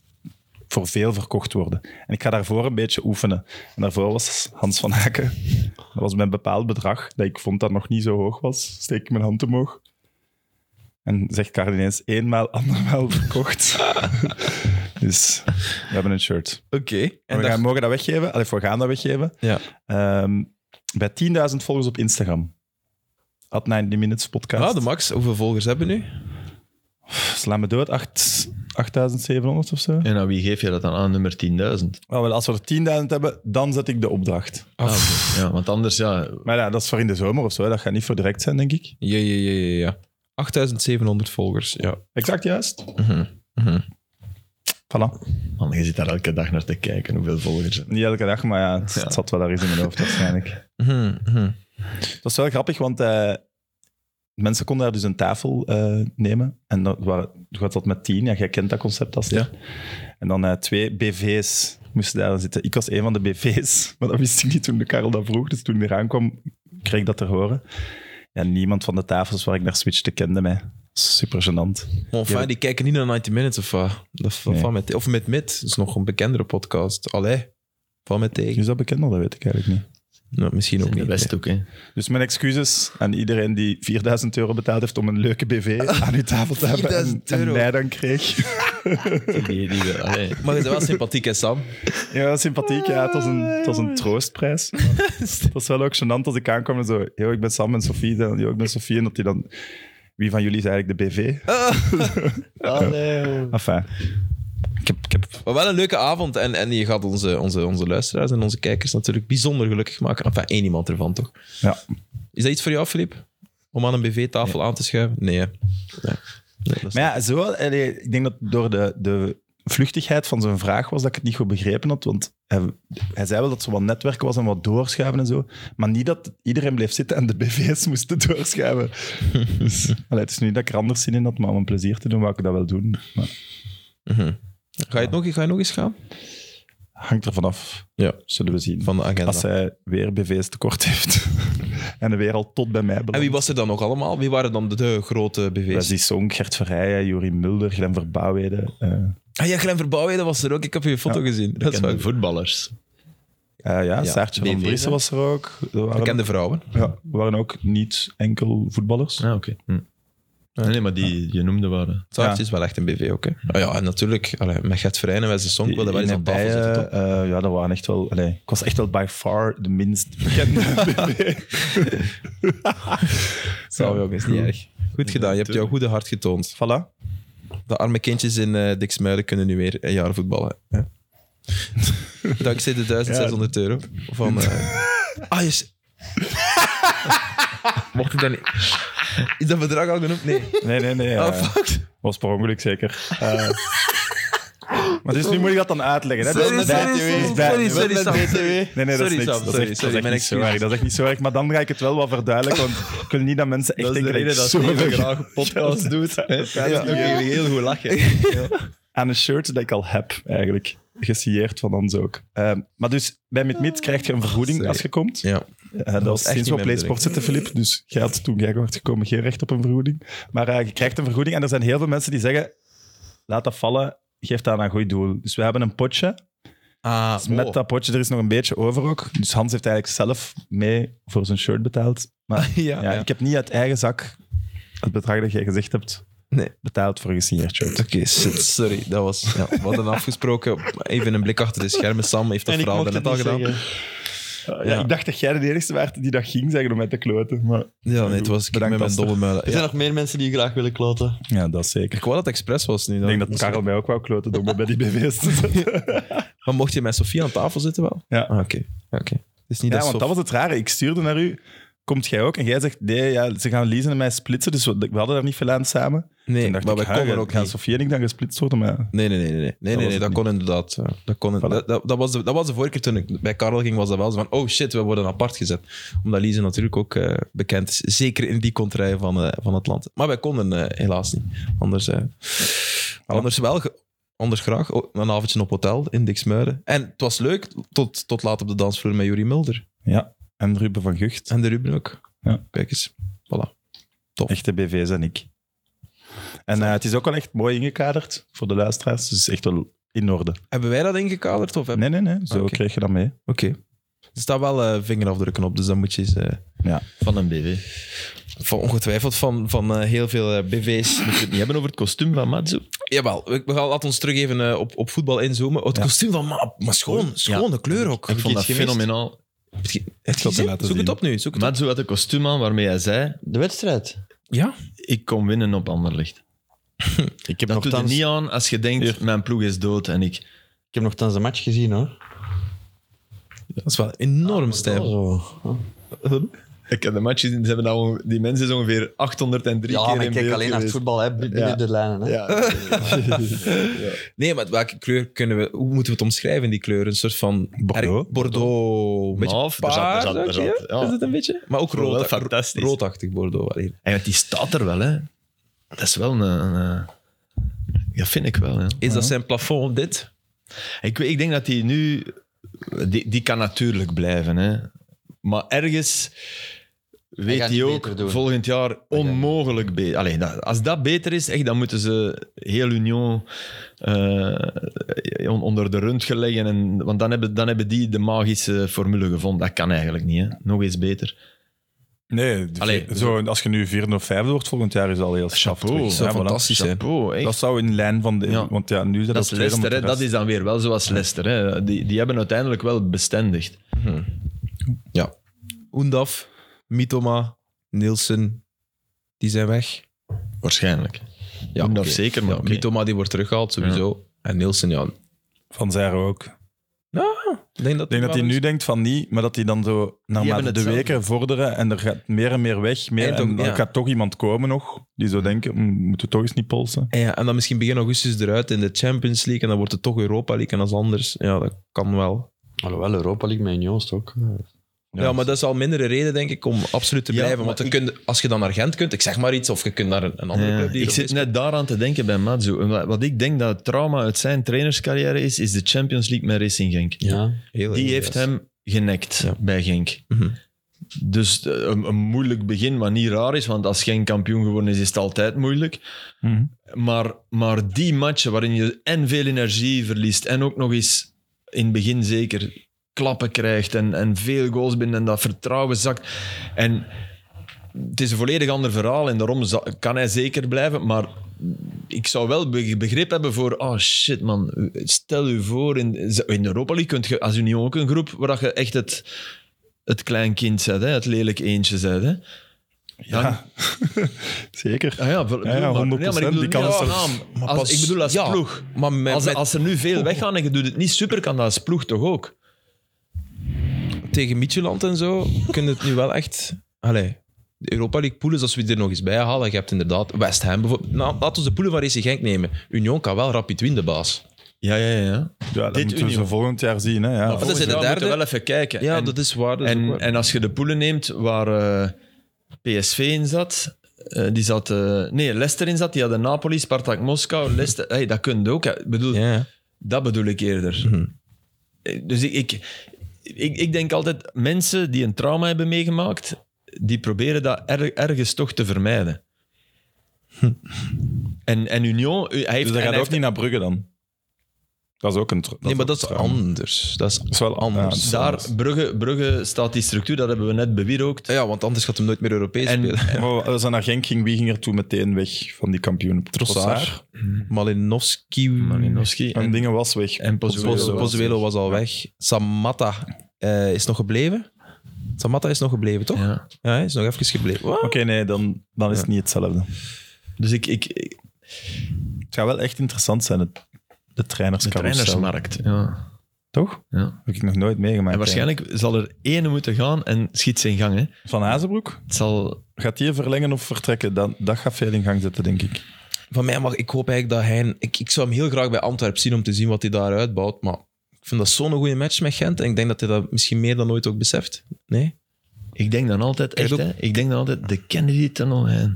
C: voor veel verkocht worden. En ik ga daarvoor een beetje oefenen. En daarvoor was Hans van Haken. Dat was mijn bepaald bedrag, dat ik vond dat nog niet zo hoog was. Steek ik mijn hand omhoog. En zegt Karel ineens, eenmaal, andermaal verkocht. dus we hebben een shirt.
A: Oké.
C: En we
A: dat-
C: gaan, mogen dat weggeven, allee, we gaan dat weggeven.
A: Ja.
C: Ehm, bij 10.000 volgers op Instagram. At 90 Minutes podcast.
A: Ah, de max. Hoeveel volgers hebben we nu?
C: Sla me dood, acht- 8.700 of zo.
B: En aan wie geef je dat dan aan? Nummer 10.000.
C: Oh, wel, als we er 10.000 hebben, dan zet ik de opdracht.
A: Ah,
B: Ah, oké. ja, want anders, ja,
C: Maar ja, dat is voor in de zomer of zo. hè. Dat gaat niet voor direct zijn, denk ik.
A: Ja, ja, ja, ja. ja. 8700 volgers, ja.
C: Exact juist. Voilà.
B: man, je zit daar elke dag naar te kijken hoeveel volgers er
C: Niet elke dag, maar ja, Hmm, het, het zat wel daar eens in mijn hoofd waarschijnlijk.
A: Mhm, mhm.
C: Het was wel grappig, want eh, mensen konden daar dus een tafel eh, nemen. En dat waren, je had dat met tien. Ja, jij kent dat concept als ja. En dan eh, twee BV's moesten daar zitten. Ik was een van de BV's, maar dat wist ik niet toen de Karel dat vroeg. Dus toen hij eraan kwam, kreeg ik dat te horen. Ja, niemand van de tafels waar ik naar switchte kende mij. Super gênant.
A: Maar enfin, die kijken niet naar 90 Minutes of wat? Dat valt
C: Nee.
A: met, of met Mid, dat is nog een bekendere podcast. Allee, val met tegen.
C: Is dat bekend? Dat weet ik eigenlijk niet.
A: Nou, misschien ook
B: zijn.
A: niet.
B: De best ook, hè.
C: Dus mijn excuses aan iedereen die 4000 euro betaald heeft om een leuke BV aan uw tafel te hebben en,
A: 4000
C: en
A: euro.
C: mij dan kreeg.
B: Die, die, we- allee.
A: Maar je bent wel sympathiek, hè, Sam?
C: Ja, sympathiek. Ja, het was een, het was een troostprijs. Maar Het was wel ook gênant als ik aankwam en zo... Yo, ik ben Sam en Sofie. Dan, yo, ik ben Sofie. En dat die dan... Wie van jullie is eigenlijk de BV? Enfin, ik heb, ik heb
A: Maar wel een leuke avond. En, en je gaat onze, onze, onze luisteraars en onze kijkers natuurlijk bijzonder gelukkig maken. Enfin, één iemand ervan, toch?
C: Ja.
A: Is dat iets voor jou, Filip? Om aan een BV-tafel aan te schuiven? Nee, hè? Nee. Nee, dat is-
C: Maar ja, zo, allee, ik denk dat door de, de vluchtigheid van zijn vraag was dat ik het niet goed begrepen had. Want hij, hij zei wel dat er wat netwerken was en wat doorschuiven en zo. Maar niet dat iedereen bleef zitten en de BV's moesten doorschuiven. dus, allee, het is nu niet dat ik er anders zin in had, maar om een plezier te doen, wou ik dat wel doen. Maar
A: Mhm. Ga, je het nog, ga je nog eens gaan?
C: hangt er vanaf.
A: Ja.
C: Zullen we zien.
A: Van de agenda.
C: Als hij weer BV's tekort heeft en weer al tot bij mij belandt.
A: En wie was er dan nog allemaal? Wie waren dan de, de grote BV's?
C: Wesley Song, Gert Verheijen, Jori Mulder, Glenn Verbouwheden, eh,
A: Ah ja, Glenn Verbouwheden was er ook. Ik heb je foto
C: Ja,
A: gezien. Dat is wel
B: Bekende voetballers.
C: eh, ja,
A: Ja,
C: Saartje van
B: BV's,
C: Driessen
B: hè?
C: was er ook. Er waren-
A: Bekende vrouwen.
C: Ja, waren ook niet enkel voetballers.
B: Ah, oké. Hm. Ah, Nee, maar die je noemde waren.
A: Saartje
C: Ja.
A: is wel echt een BV ook, hè? Ah ja, en natuurlijk. allee, met Gert Verijn en Wesley Song wilden wel eens aan tafel
C: Bijen,
A: zitten, toch?
C: eh, ja, dat waren echt wel... allee, ik was echt wel by far de minst bekende.
A: Zou ook, is niet erg. Goed gedaan, je hebt jouw goede hart getoond.
C: voilà.
A: De arme kindjes in eh Diksmuiden kunnen nu weer een jaar voetballen. Hè? Dankzij de 1600 euro van... eh Ah, yes. Mocht ik dat niet... Is dat bedrag al genoemd? Nee.
C: Nee, nee, nee.
A: Ah,
C: eh,
A: fuck.
C: was per ongeluk zeker. Eh, maar dus nu moet je dat dan uitleggen. Hè?
A: Sorry,
C: dat is bij-
A: sorry,
C: dat is
A: sorry,
C: bij-
A: sorry,
C: dat
A: sorry,
C: is
A: Sam.
C: Nee, nee, dat
A: Sorry,
C: is niks.
A: Sam,
C: dat, is
A: sorry,
C: echt,
A: sorry,
C: dat, is
A: mijn
C: echt niet zo
A: excuses.
C: erg, dat is echt niet zo erg. Maar dan ga ik het wel wat verduidelijken, want ik wil niet dat mensen echt
B: Dat is de
C: denken
B: reden dat
C: ik zo
B: Steven
C: veel
B: graag podcast doet. hè. Dat
C: Ja.
B: is ook even heel goed lachen.
C: aan een shirt dat ik al heb, eigenlijk. Gesigneerd van ons ook. Eh, maar dus, bij MidMid krijg je een vergoeding
A: Ah, Sorry.
C: als je komt.
A: Ja.
C: Eh, dat was
A: echt
C: sinds
A: niet
C: we op
A: mijn
C: PlaySport zitten, Filip. Dus jij had toen jij werd gekomen geen recht op een vergoeding. Maar eh, je krijgt een vergoeding. En er zijn heel veel mensen die zeggen, laat dat vallen, geef dat aan een goed doel. Dus we hebben een potje.
A: Ah,
C: Dus met
A: oh.
C: dat potje, er is nog een beetje over ook. Dus Hans heeft eigenlijk zelf mee voor zijn shirt betaald. Maar
A: Ja,
C: ja,
A: ja.
C: ik heb niet uit eigen zak het bedrag dat jij gezegd hebt
A: Nee.
C: betaald voor een gesigneerd shirt.
A: Oké, shit, sorry. Dat was, ja, we hadden afgesproken. Even een blik achter de schermen. Sam heeft dat verhaal net al gedaan.
C: Eh, Ja,
A: Ja.
C: Ik dacht dat jij de enige werd die dat ging zeggen om mij te kloten. Maar...
A: Ja, nee, het was ik
C: Bedankt,
A: met mijn
C: Aster.
A: domme muilen.
D: Er
A: Ja.
D: zijn nog meer mensen die je graag willen kloten.
C: Ja, dat zeker.
A: Ik wou dat het expres was nu. Dan.
C: Ik denk dat Karel mij ook wou kloten door me bij die BV's te zetten.
A: Maar mocht je met Sofie aan tafel zitten wel?
C: Ja.
A: Ah, Oké. oké. Het is niet
C: Ja,
A: dat
C: want dat
A: Sof-
C: was het rare. Ik stuurde naar u. komt jij ook? En jij zegt, nee, ja, ze gaan Lies en mij splitsen, dus we, we hadden daar niet veel aan samen.
A: Nee,
C: Toen dacht
A: maar
C: ik,
A: wij
C: "Huh,
A: konden ook
C: gaan
A: niet.
C: Sofie en ik dan gesplitst worden, maar
A: Nee, nee, nee. nee, nee, nee, nee,
C: was
A: nee
C: het
A: dat
C: niet.
A: kon inderdaad. ja. Dat, kon,
C: Voilà.
A: dat, dat, dat was de, dat was de vorige keer toen ik bij Karel ging, was dat wel zo van, oh shit, we worden apart gezet. Omdat Lize natuurlijk ook eh, bekend is, zeker in die contraien van, eh, van het land. Maar wij konden eh, helaas niet. Anders, eh,
B: Ah.
A: anders wel, ge- anders graag. Oh, een avondje op hotel in Diksmuiden. En het was leuk, tot, tot laat op de dansvloer met Jurie Mulder.
C: ja. En Ruben van Gucht,
A: En de Ruben ook.
C: Ja.
A: Kijk eens, voilà.
C: echte BV's en ik. En eh, het is ook wel echt mooi ingekaderd voor de luisteraars, dus het is echt wel in orde.
A: Hebben wij dat ingekaderd? Of hebben...
C: Nee, nee, nee, zo
A: Oké.
C: kreeg je dat mee.
A: Oké. Er staan wel eh, vingerafdrukken op, dus dan moet je eens... eh,
B: Van een BV.
A: Van ongetwijfeld van, van eh, heel veel eh, BV's.
B: Moeten we het niet hebben over het kostuum van Matsu?
A: Jawel, we, we gaan laten ons terug even eh, op, op voetbal inzoomen. Oh, het
C: Ja.
A: kostuum van Ma, maar schoon, schone kleur ook.
B: Ik vond dat fenomenaal.
A: Het
C: zal het laten
A: Zoek het
C: zien.
A: op nu. Zoek het op.
B: Matsu had een kostuum aan waarmee hij zei:
D: De wedstrijd.
A: Ja,
B: Ik kom winnen op Anderlicht.
D: Ik
B: Dat doet
D: heb,
B: er
D: nogthans,
B: niet aan als je denkt: Mijn ploeg is dood en ik.
D: ik heb nogthans een match gezien hoor.
A: dat is wel enorm
D: Ja,
A: stijl.
D: zo.
B: Ik heb de match gezien, ze hebben dat onge- die mensen is ongeveer 803
D: Ja,
B: keer
D: maar
B: in
D: ik kijk
B: beeld
D: alleen naar
B: geweest.
D: het voetbal hè, binnen
B: Ja.
D: de lijnen. Hè.
B: Ja,
A: Nee, maar welke kleur kunnen we... Hoe moeten we het omschrijven, die kleur? Een soort van...
C: Bordeaux.
A: erg- Bordeaux. Een beetje
B: Mauve, er zat- er
A: paars,
B: zat- er
A: ook,
B: zat-
A: ja?
B: ja.
A: Is het een beetje? Maar ook
B: Wel
A: rood,
B: fantastisch.
A: roodachtig Bordeaux. Allee.
B: En want die staat er wel, hè. Dat is wel een... een, eh, dat vind ik wel, ja.
A: Is dat zijn plafond, dit?
B: Ik, weet- ik denk dat die nu... Die, die kan natuurlijk blijven, hè. Maar ergens weet
D: gaat
B: hij
D: niet
B: ook
D: beter doen.
B: volgend jaar onmogelijk beter. Allee, dat- als dat beter is, echt, dan moeten ze heel Union eh, on- onder de rund leggen. En, want dan hebben, dan hebben die de magische formule gevonden. Dat kan eigenlijk niet, hè. Nog eens beter.
C: Nee, de-
B: Allee,
C: zo, als je nu vierde of vijfde wordt volgend jaar, is dat al heel schaft.
B: Chapeau.
C: terug.
A: Dat zou
C: Ja, voilà.
A: fantastisch zijn.
B: Chapeau, echt.
C: Dat zou in lijn van de...
B: Ja.
C: Want ja, nu zijn
B: Dat is
C: er twee om
B: Leicester, hè.
C: de
B: dat
C: rest.
B: is dan weer wel zoals Leicester. Hè. Die, die hebben uiteindelijk wel bestendigd.
A: Ja. Mhm. Oendaf, Mitoma, Nielsen, die zijn weg.
B: Waarschijnlijk. Ja,
A: oké.
B: dat zeker, maar
A: Ja,
B: oké.
A: Mitoma die wordt teruggehaald, sowieso. En Nielsen, ja.
C: Van Zijre ook.
A: Ik denk dat,
C: Ik denk dat hij nu denkt van niet, maar dat hij dan zo naarmate
B: hebben
C: de
B: hetzelfde.
C: weken vorderen en er gaat meer en meer weg. Meer,
A: En
C: en
A: toch-
C: dan
A: ja.
C: gaat toch iemand komen nog die zo denken, "Hm, moeten we toch eens niet polsen.
A: En, Ah, ja, en dan misschien begin augustus eruit in de Champions League. En dan wordt het toch Europa League. En als anders, ja, dat kan wel.
D: Alhoewel, Europa League met Union is eh, het ook.
A: Ja, maar dat is al mindere reden, denk ik, om absoluut te
B: Ja,
A: blijven.
B: maar
A: Want dan
B: ik-
A: kun je- als je dan naar Gent kunt, ik zeg maar iets, of je kunt naar een, een andere
B: Ja,
A: club. die
B: ik
A: er
B: zit
A: is.
B: net daaraan te denken bij Matsu. En Wat wat ik denk dat het trauma uit zijn trainerscarrière is, is de Champions League met Racing Genk.
D: Ja. Ah,
A: Heel erg,
B: Die heeft
A: ja.
B: hem genekt
A: Ja.
B: bij Genk.
A: Mhm.
B: Dus eh, een, een moeilijk begin, wat niet raar is, want als Genk kampioen geworden is, is het altijd moeilijk.
C: Mhm.
B: Maar, maar die matchen waarin je en veel energie verliest en ook nog eens in het begin zeker klappen krijgt en, en veel goals binnen en dat vertrouwen zakt. En het is een volledig ander verhaal en daarom za- kan hij zeker blijven, maar ik zou wel be- begrip hebben voor, oh shit man, stel u voor, in, in de Europa League kunt je als Union ook een groep waar dat je echt het, het klein kind zet, hè, het lelijk eentje zet. Hè. Dan,
C: Ja. Zeker.
B: Ah ja, wel-
C: Ja, ja,
B: maar-
C: 100%,
B: maar ik bedoel
C: die kans
B: niet
C: is er.
B: als naam.
A: Maar
B: Als-
A: pas-
B: ik bedoel als
A: ja,
B: ploeg.
A: Maar met,
B: Als,
A: met-
B: als er nu veel weggaan en je doet het niet super, kan dat als ploeg toch ook?
A: tegen Micheland en zo, kun je het nu wel echt... Allee, de Europa League poelen, als we die er nog eens bij halen, je hebt inderdaad West Ham bijvoorbeeld. Nou, laten we de poelen van Racing Genk nemen. Union kan wel rapid winnen, baas.
B: Ja, ja, ja.
C: Ja, dat
B: Dit
C: moeten we
B: Union.
C: zo volgend jaar zien. Hè? Ja.
A: dat is in de derde.
B: wel even kijken.
A: Ja,
B: en,
A: dat is waar. dat is ook
B: en,
A: waar.
B: en als je de poelen neemt waar eh, PSV in zat, eh, die zat... eh, nee, Leicester in zat, die hadden Napoli, Spartak Moskou, Leicester... hey, dat kun je ook. hè. Ik bedoel,
A: Ja, Mhm. ja.
B: Dat bedoel ik eerder. Eh, Dus ik, ik, ik, ik denk altijd, mensen die een trauma hebben meegemaakt, die proberen dat er- ergens toch te vermijden.
A: Hm.
B: En, en Union, eh, hij heeft... en
C: Dus dat
B: hij
C: gaat ook
B: heeft-
C: niet naar Brugge dan. Dat is ook een... tr-
A: Nee, maar dat is
C: trouwens.
A: anders. Dat is
C: Dat is wel
A: anders.
C: anders.
B: daar, Brugge, Brugge staat die structuur, dat hebben we net bewierookt.
A: Ja, want anders gaat hem nooit meer Europees
B: En-
A: spelen.
C: Maar als hij naar Genk ging, wie ging er toen meteen weg van die kampioenen?
A: Trossard, Malinowski,
B: Malinowski.
C: En,
B: En,
C: dingen was weg.
B: en Pozuelo.
A: Poz- Pozuelo was al weg. Samatta eh, is nog gebleven. Samatta is nog gebleven, toch? Ja,
B: Ja.
A: hij is nog even gebleven. Wat?
C: Oké, nee, dan, dan is het niet hetzelfde.
B: Dus ik... ik, ik
C: Het gaat wel echt interessant zijn, het, de
B: de
C: trainerscarousel.
B: trainersmarkt. Ja.
C: Toch?
B: Ja.
C: Heb ik nog nooit meegemaakt.
B: En waarschijnlijk zal er één moeten gaan en schiet zijn gang. Hè.
C: eigenlijk. Van Hazenbroek?
B: Het zal...
C: Gaat die verlengen of vertrekken? Dan, dat gaat veel in gang zetten, denk ik.
A: Van mij mag... Ik hoop eigenlijk dat hij... Ik, ik zou hem heel graag bij Antwerp zien om te zien wat hij daar uitbouwt. Maar ik vind dat zo'n goede match met Gent. En ik denk dat hij dat misschien meer dan ooit ook beseft. Nee?
B: Ik denk dan altijd,
A: Kijk
B: echt,
A: ook-
B: hè, ik denk dan altijd, de Kennedy Tunnel. Hè.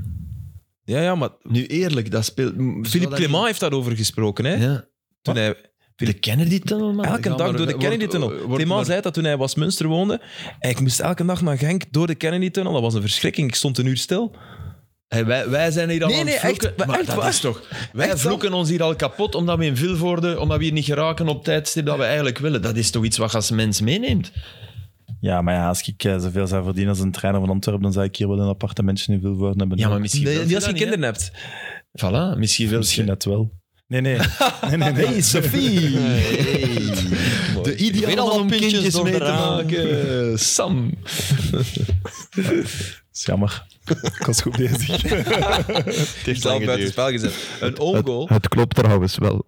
A: Ja, ja, maar...
B: Nu eerlijk, dat speelt...
A: Philippe Clément heeft daarover gesproken, hè?
B: Ja.
A: Toen hij...
B: De Kennedy Tunnel, man.
A: Elke
B: Gaan
A: dag
B: maar-
A: door de
B: wordt-
A: Kennedy-tunnel.
B: wordt
A: Clément
B: maar-
A: zei dat toen hij in Westminster woonde. En ik moest elke dag naar Genk door de Kennedy-tunnel. Dat was een verschrikking. Ik stond een uur stil.
B: Hey, wij, wij zijn hier al
A: Nee,
B: aan het
A: nee,
B: vloeken,
A: echt, maar
B: maar
A: echt
B: dat
A: waar.
B: is toch... Wij
A: Echt
B: vloeken ons hier al kapot omdat we in Vilvoorde, omdat we hier niet geraken op tijdstip dat we eigenlijk willen. Dat is toch iets wat je als mens meeneemt?
C: Ja, maar ja, als ik eh, zoveel zou verdienen als een trainer van Antwerpen, dan zou ik hier wel een appartementje in Vilvoorde hebben.
B: Ja, maar misschien
A: Nee,
B: wil
A: niet als
B: dat
A: je
B: niet, hè?
A: kinderen hebt.
B: Voilà, misschien wil
C: Misschien
B: je...
C: net wel. Nee, nee. nee, nee, nee.
B: Sophie! De
D: Ik weet
B: ideale
D: al
B: man om
D: om kindjes
B: kindjes
D: door
B: mee
D: de
B: te
D: raam.
B: maken. Sam.
C: is jammer. Ik was goed bezig.
D: Het heeft
A: Zelf
D: lang
A: buiten
D: geduurd.
A: spel gezet. Een own goal.
B: Het klopt trouwens wel.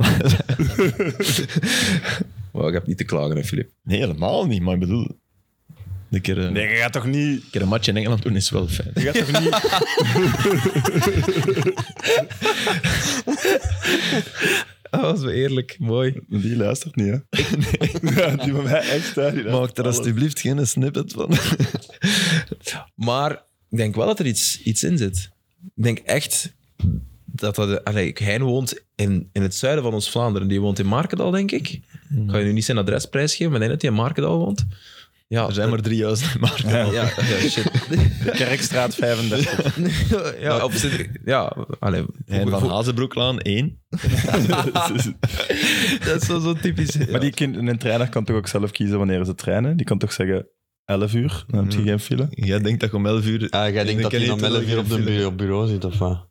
A: Wow, ik heb niet te klagen, hè, Filip.
B: Nee, helemaal niet. Maar ik bedoel, een keer een,
C: Nee, je gaat toch niet...
B: een keer een match in Engeland doen is wel fijn.
C: Je gaat toch niet...
A: Oh, dat is wel eerlijk. Mooi.
C: Die luistert niet, hè? Ja, die van mij echt, hè. Die luistert
B: Maak er
C: alles.
B: alsjeblieft geen snippet van.
A: Maar ik denk wel dat er iets, iets in zit. Ik denk echt dat dat... Allee, hij woont in, in het zuiden van ons Vlaanderen. Die woont in Markendal, denk ik. Ga je nu niet zijn adres prijsgeven, maar ik denk dat hij in Markendal woont. Ja,
B: Er zijn maar drie juiste marken.
A: ja, ja, shit.
C: Kerkstraat 35.
A: ja, of zit, ja allee,
B: En van Hazenbroeklaan, één.
A: dat is wel zo typisch.
C: Maar die kind, een trainer kan toch ook zelf kiezen wanneer ze trainen? Die kan toch zeggen 11 uur, dan heb je geen file.
B: Jij denkt dat je om 11 uur.
D: Ah, jij denkt dat hij dan wel weer op de bureau, op bureau zit, of wat?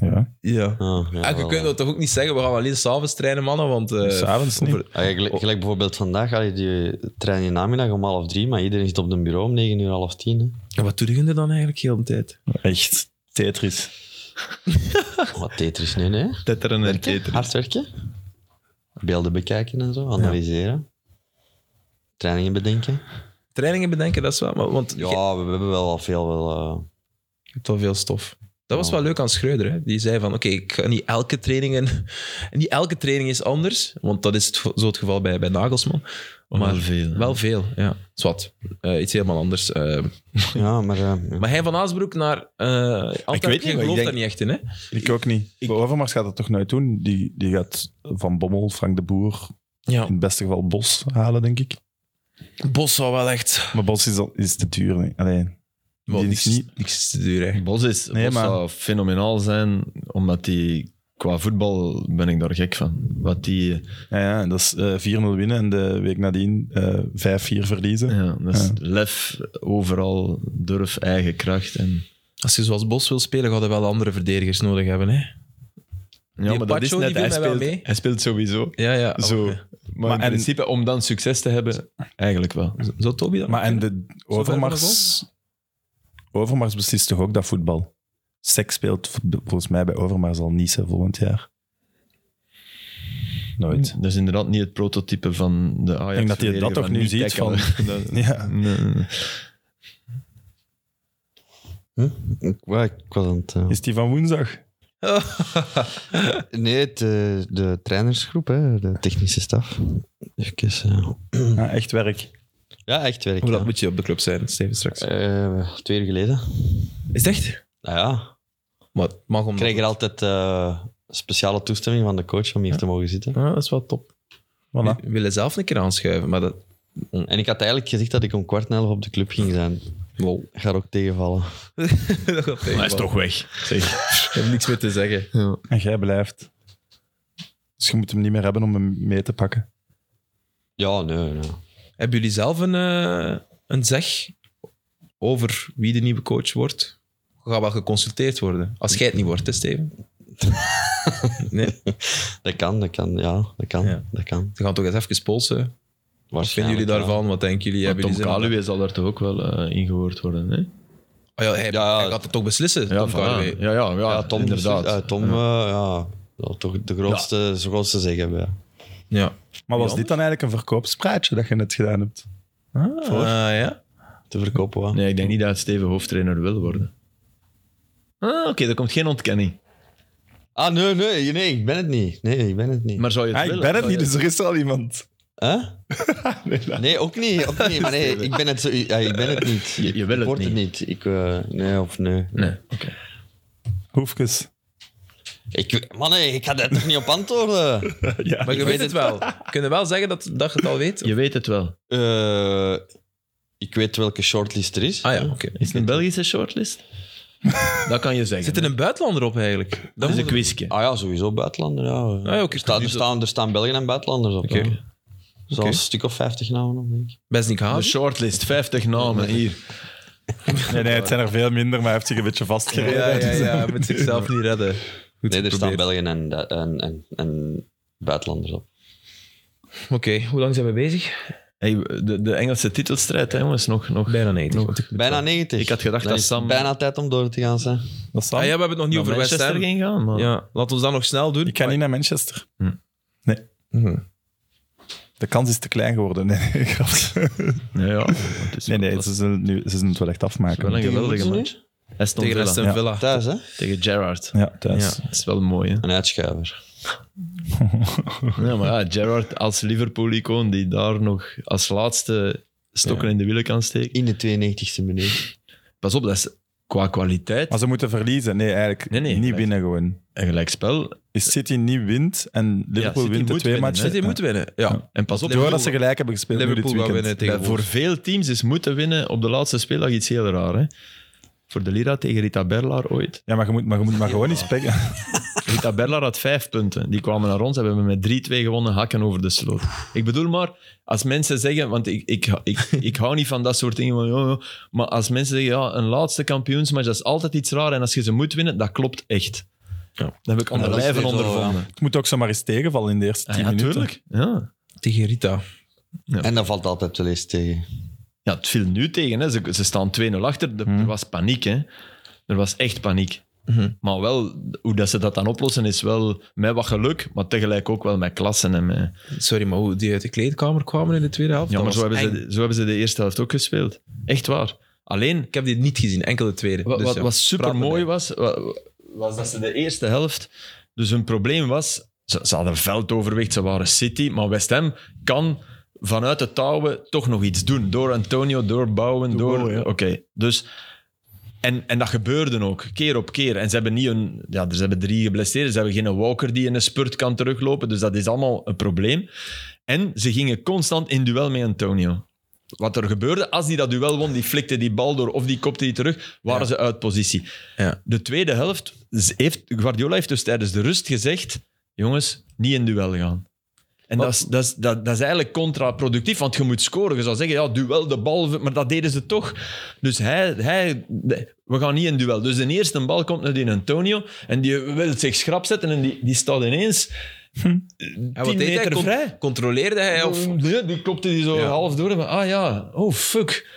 C: Ja.
A: Ja.
D: Ah, ja,
A: En je
D: wel,
A: kunt
D: ja.
A: dat toch ook niet zeggen, we gaan alleen s'avonds trainen, mannen, want... eh,
C: S'avonds niet.
A: over-
D: Ah, ja, gelijk, gelijk bijvoorbeeld vandaag, allee, die trein in de namiddag om half drie, maar iedereen zit op de bureau om negen uur, half tien. Hè.
A: Ja, wat doe je er dan eigenlijk heel de tijd?
C: Echt. Tetris.
D: Oh, Wat Tetris, nee, nee.
B: Tetteren en keteren.
D: Hard werken. Beelden bekijken en zo, analyseren. Trainingen bedenken.
A: Trainingen bedenken, dat is wel... Maar, want
D: Ja,
A: je
D: we, we hebben wel al veel wel... eh,
A: hebt wel veel stof. Dat was
D: Ja.
A: wel leuk aan Schreuder. Hè? Die zei van, oké, ik ga niet elke training... en- Niet elke training is anders, want dat is het, gevo- zo het geval bij, bij Nagelsman. Maar
B: Wel veel, hè.
A: Wel veel, ja. Zwat. Eh, iets helemaal anders. eh.
D: ja, maar... eh,
A: maar hij van Aasbroek naar eh
B: niet, maar
A: Antwerpen,
B: ik
A: je gelooft
B: denk-
A: daar niet echt in, hè?
C: Ik ook niet. Maar Overmars gaat dat toch nooit doen? Die, die gaat Van Bommel, Frank de Boer,
A: Ja.
C: in het beste geval Bos halen, denk ik.
A: Bos zou wel echt...
C: Maar Bos is, al- is te duur. nee. Alleen,
A: Wel,
C: Die
A: niks,
C: is niet-
A: niks is te duur, hè.
B: Bos, is,
C: Nee,
B: Bos
C: maar-
B: zou fenomenaal zijn, omdat die qua voetbal ben ik daar gek van. Wat die,
C: ja, ja, dat is eh, 4-0 winnen en de week nadien eh 5-4 verliezen.
B: eh, ja, dat is
C: Ja.
B: lef overal, durf, eigen kracht. En,
A: Als je zoals Bos wil spelen, ga je wel andere verdedigers nodig hebben, hè?
B: ja,
A: Die Pacho, die viel
B: hij
A: mij wel
B: speelt,
A: mee.
B: hij speelt sowieso.
A: Ja, ja.
B: Zo. Maar, in
C: en-
B: principe, om dan succes te hebben, eigenlijk wel.
A: Zo, Toby dat
C: Maar en
A: maken?
C: de
A: van de
C: Overmars... Overmars beslist toch ook dat voetbal? Seks speelt v- volgens mij bij Overmars al niet zo volgend jaar. Nooit.
B: Dat is inderdaad niet het prototype van de Ajax.
C: dat hij dat toch nu ziet Ja.
D: Hm? ik, wa- ik was aan het... eh,
C: Is die van woensdag?
D: nee, het, eh, de trainersgroep, hè, de technische staf. Even, eh,
A: Mm.
C: Ah, echt werk.
D: ja, echt werk.
A: Hoe
D: ja.
A: laat moet je op de club zijn, Steven, straks?
D: Eh, twee uur geleden.
A: Is het echt?
D: Nou ja,
A: Maar het mag om...
D: ik krijg er altijd eh, speciale toestemming van de coach om hier te mogen zitten.
A: Ah, dat is wel top.
C: Voilà.
A: We willen zelf een keer aanschuiven, maar dat...
D: En ik had eigenlijk gezegd dat ik om kwart na elf op de club ging zijn.
A: Lol.
D: Gaat ook tegenvallen.
A: dat gaat
B: Hij is
A: tegenvallen.
B: toch weg.
A: Ik heb niks meer te zeggen.
C: En jij blijft. Dus je moet hem niet meer hebben om hem mee te pakken.
D: Ja, nee, nee.
A: Hebben jullie zelf een, eh, een zeg over wie de nieuwe coach wordt? Je gaat wel geconsulteerd worden. Als jij het niet wordt, hè, Steven? nee?
D: Dat kan, dat kan, ja, dat kan,
A: Ja.
D: dat kan.
A: Ze gaan toch eens even polsen. Wat vinden jullie
D: Waarschijnlijk,
A: daarvan? Wat denken jullie?
B: Maar
A: Hebben
B: Tom
A: jullie zin om-
B: Kaluwe zal daar toch ook wel eh, in gehoord worden. Hè?
A: Ah ja, hij,
D: Ja, ja.
A: hij gaat het toch beslissen,
B: Ja,
A: Tom
B: voilà.
A: Kaluwe.
B: ja, ja, ja,
A: dus,
D: Ja, Tom,
B: inderdaad.
D: eh, Tom, eh, ja, wel toch de grootste, zo grootste zeggen hebben. Ja.
A: Ja.
C: Maar was
B: Ja.
C: dit dan eigenlijk een verkoopspraatje dat je net gedaan hebt?
A: Ah, ja.
D: te verkopen. Wat?
B: Nee, ik denk niet dat Steven hoofdtrainer wil worden. Ah, oké, er komt geen ontkenning.
D: Ah, nee, nee, nee, ik ben het niet. Nee, ik ben het niet.
B: Maar zou je het
C: Ah, ik
B: willen?
C: ben het
A: Oh,
B: Zou
C: niet,
B: je-
C: dus er is al iemand.
D: Huh?
C: Nee, laat.
D: Nee, ook niet. Ook niet maar nee, ik ben het, zo- ja, ik ben het niet.
B: Je- je wil
D: Ik
B: het
D: word het niet. Ik, eh, nee of nee.
B: Nee, oké.
C: Hoefkes.
D: Ik, man, nee, ik ga daar toch niet op antwoorden?
C: Ja.
A: Maar je weet het wel. Kunnen wel zeggen dat, dat je het al weet?
B: Je weet het wel.
D: Eh, ik weet welke shortlist er is.
A: Ah ja, oké.
B: Is het een Belgische shortlist? dat kan je zeggen.
A: Zit er een buitenlander op eigenlijk?
B: Dat is een
A: moet-
B: quizje.
D: Ah ja, sowieso buitenlander. Ja.
B: Ah,
A: ja, oké.
D: er, staan, er, staan, er staan Belgen en buitenlanders op.
A: Oké.
D: hè. Zo'n
A: Oké.
D: stuk of 50 namen op, denk ik.
A: Besnik
B: De
A: Haas.
B: shortlist, 50 namen hier.
C: Nee, nee, het zijn er veel minder, maar hij heeft zich een beetje vastgereden.
A: Ja, ja,
C: Dus, eh,
A: ja. Moet zichzelf niet redden. Goed
D: Nee, er
A: geprobeerd.
D: staan Belgen en, en, en, en buitenlanders op.
A: Oké, hoe lang zijn we bezig?
B: Hey, de, de Engelse titelstrijd, hè, jongens, nog. nog.
A: Bijna 90.
B: Nog.
A: want ik moet
D: Bijna
A: wel-
D: 90.
B: Ik had gedacht
D: Dan
B: dat
D: is het
B: Sam-
D: Bijna tijd om door te gaan, zijn.
C: Dat is
A: Ah,
C: Sam.
A: ja, we hebben het nog niet
B: naar
A: over West
B: Manchester
A: Ham.
B: ging gaan, maar...
A: Ja, laten we dat nog snel doen.
C: Ik kan niet naar Manchester.
A: Mhm.
C: De kans is te klein geworden. Nee, nee, grapje.
B: Nee, ja, het is
C: nee, nee
B: het
C: ze, zullen het nu, ze zullen het wel echt
B: is wel
C: afmaken.
B: een
D: Tegen
B: geweldige
D: wie
B: match. Aston
A: Tegen
B: Villa.
A: Aston
C: Ja.
A: Villa.
D: Thuis, hè?
B: Tegen Gerrard.
C: Ja, thuis.
B: Dat is wel mooi, hè?
D: Een uitschuiver.
B: Ja, maar ja, Gerrard als Liverpool-icoon die daar nog als laatste stokken in de wielen kan steken.
D: In de 92e minuut.
B: Pas op, dat is qua kwaliteit
C: Maar ze moeten verliezen. Nee, eigenlijk
B: Nee, nee,
C: niet
B: blijf.
C: winnen gewoon.
B: een gelijkspel.
C: Is City niet wint en Liverpool
B: City
C: wint de
B: moet
C: twee
B: winnen,
C: matchen.
A: City moet winnen. Ja.
B: En pas op,
C: Door dat ze gelijk hebben gespeeld nu dit
A: Liverpool gaat
C: weekend.
A: winnen tegen
B: bij- voor
A: Wolves.
B: veel teams is moeten winnen op de laatste speeldag iets heel raar. Hè? Voor de Lira tegen Rita Berlaar ooit.
C: Ja, maar je moet maar, je moet maar gewoon niet spelen.
B: Rita Berlaar had vijf punten. Die kwamen naar ons en we hebben met 3-2 gewonnen, hakken over de sloot. Ik bedoel maar, als mensen zeggen, want ik, ik, ik, ik hou niet van dat soort dingen, van, "Oh, oh." maar als mensen zeggen, ja, een laatste kampioensmatch, dat is altijd iets raar en als je ze moet winnen, dat klopt echt.
A: Ja.
B: Dat heb ik aan de
D: dat is
B: lijve
D: weer zo,
B: ondervonden.
C: Het moet ook zomaar eens tegenvallen in de eerste
B: Ja,
C: tien minuten.
B: natuurlijk. Ja.
A: Tegen Rita.
D: En dat valt altijd wel eens tegen.
B: ja, het viel nu tegen. Hè. Ze, ze staan 2-0 achter. De- Er was paniek. Hè. Er was echt paniek.
A: Mhm.
B: Maar wel, hoe dat ze dat dan oplossen is wel met wat geluk, maar tegelijk ook wel met klassen. En met...
A: Sorry, maar hoe die uit de kleedkamer kwamen in de tweede helft?
B: Ja,
A: dat
B: maar zo
A: was
B: hebben,
A: eng.
B: ze, zo hebben ze de eerste helft ook gespeeld. Echt waar. Alleen,
A: Ik heb dit niet gezien, enkel de tweede.
B: Wat,
A: Dus
B: wat,
A: ja,
B: wat super mooi
A: praat
B: was, wa- was, dat ze de eerste helft. Dus hun probleem was. Ze, ze hadden veldoverwicht, ze waren City. Maar West Ham kan vanuit de touwen toch nog iets doen. Door Antonio, door Bouwen, door.
C: goal, ja.
B: Oké, dus. En, en dat gebeurde ook, keer op keer. En ze hebben niet een... Ja, ze hebben drie geblesseerd. Ze hebben geen Walker die in een spurt kan teruglopen. Dus dat is allemaal een probleem. En ze gingen constant in duel met Antonio wat er gebeurde, als die dat duel won, die flikte die bal door of die kopte die terug, waren ze uit positie.
A: Ja.
B: De tweede helft z- heeft Guardiola heeft dus tijdens de rust gezegd: jongens, niet in duel gaan. En
A: Wat-
B: dat is, dat, is, dat, dat is eigenlijk contraproductief, want je moet scoren. Je zou zeggen, ja, duel de bal, maar dat deden ze toch. Dus hij, hij, de- we gaan niet in duel. Dus de eerste bal komt naar die Antonio en die wil zich schrap zetten en die, die staat ineens
A: En
B: 10
A: wat deed Hm. hij?
B: meter
A: Con-
B: vrij.
A: Controleerde hij? Of...
B: Nee, die klopte die zo
A: Ja.
B: half door. en van, ah ja, oh fuck.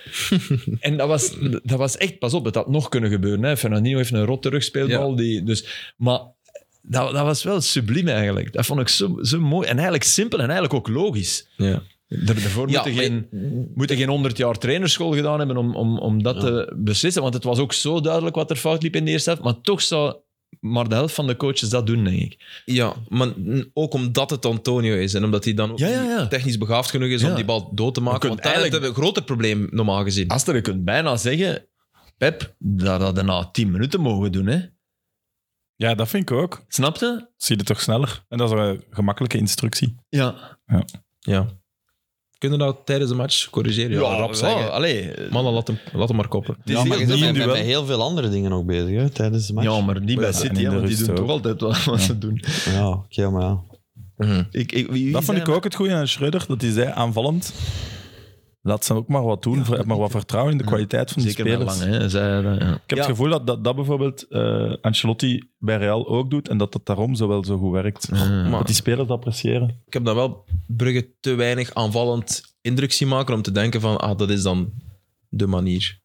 B: en dat was, dat was echt, pas op, het had nog kunnen gebeuren. Hè. Fernandinho heeft een rot terugspeelbal.
A: Ja.
B: Die, dus, maar dat, dat was wel subliem eigenlijk. Dat vond ik zo, zo mooi. En eigenlijk simpel en eigenlijk ook logisch.
A: Ja.
B: Daar- Daarvoor
A: Ja,
B: moeten
A: maar-
B: geen, moeten geen 100 jaar trainerschool gedaan hebben om, om, om dat te beslissen. Want het was ook zo duidelijk wat er fout liep in de eerste helft. Maar toch zou maar de helft van de coaches dat doen, denk ik.
A: ja, maar n- ook omdat het Antonio is en omdat hij dan ook
B: Ja, ja, ja.
A: niet technisch begaafd genoeg is
B: Ja.
A: om die bal dood te
B: Je
A: maken.
B: kunt
A: Want eigenlijk hebben
B: eigenlijk-
A: we een groter probleem normaal gezien.
B: Aster, je kunt bijna zeggen, Pep, dat hadden na 10 minuten mogen doen. Hè?
C: Ja, dat vind ik ook.
B: Snap je?
C: Zie je het toch sneller? En dat is een gemakkelijke instructie.
B: Ja.
A: Ja. Kunnen we dat tijdens de match corrigeren? Ja, rap zeggen.
B: allee.
A: Mannen, laat hem, laat hem maar koppen.
D: Ja, maar je
C: niet
D: bent
C: in
D: met-
C: duel.
D: met heel veel andere dingen ook bezig hè, tijdens de match.
B: Ja, maar niet bij
C: Ja, en
B: City,
C: in
B: hè,
C: de
B: want die
C: rust
B: doen toch
C: ook.
B: altijd wat wat ze doen.
D: Ja, oké, maar ja.
A: Mhm.
B: Ik, ik, wie- wie
C: Dat vond
B: zei
C: ik ook het goede aan Schreuder, dat hij zei aanvallend. Laat ze ook maar wat doen, heb maar wat vertrouwen in de kwaliteit van die
B: Zeker met
C: spelers.
B: Lang, hè. Zij, dat, ja.
C: Ik heb het gevoel dat dat, dat bijvoorbeeld eh, Ancelotti bij Real ook doet en dat dat daarom zo wel zo goed werkt.
A: Maar
C: Dat die spelers dat appreciëren.
A: ik heb dan wel Brugge te weinig aanvallend indruk zien maken om te denken van, ah, dat is dan de manier.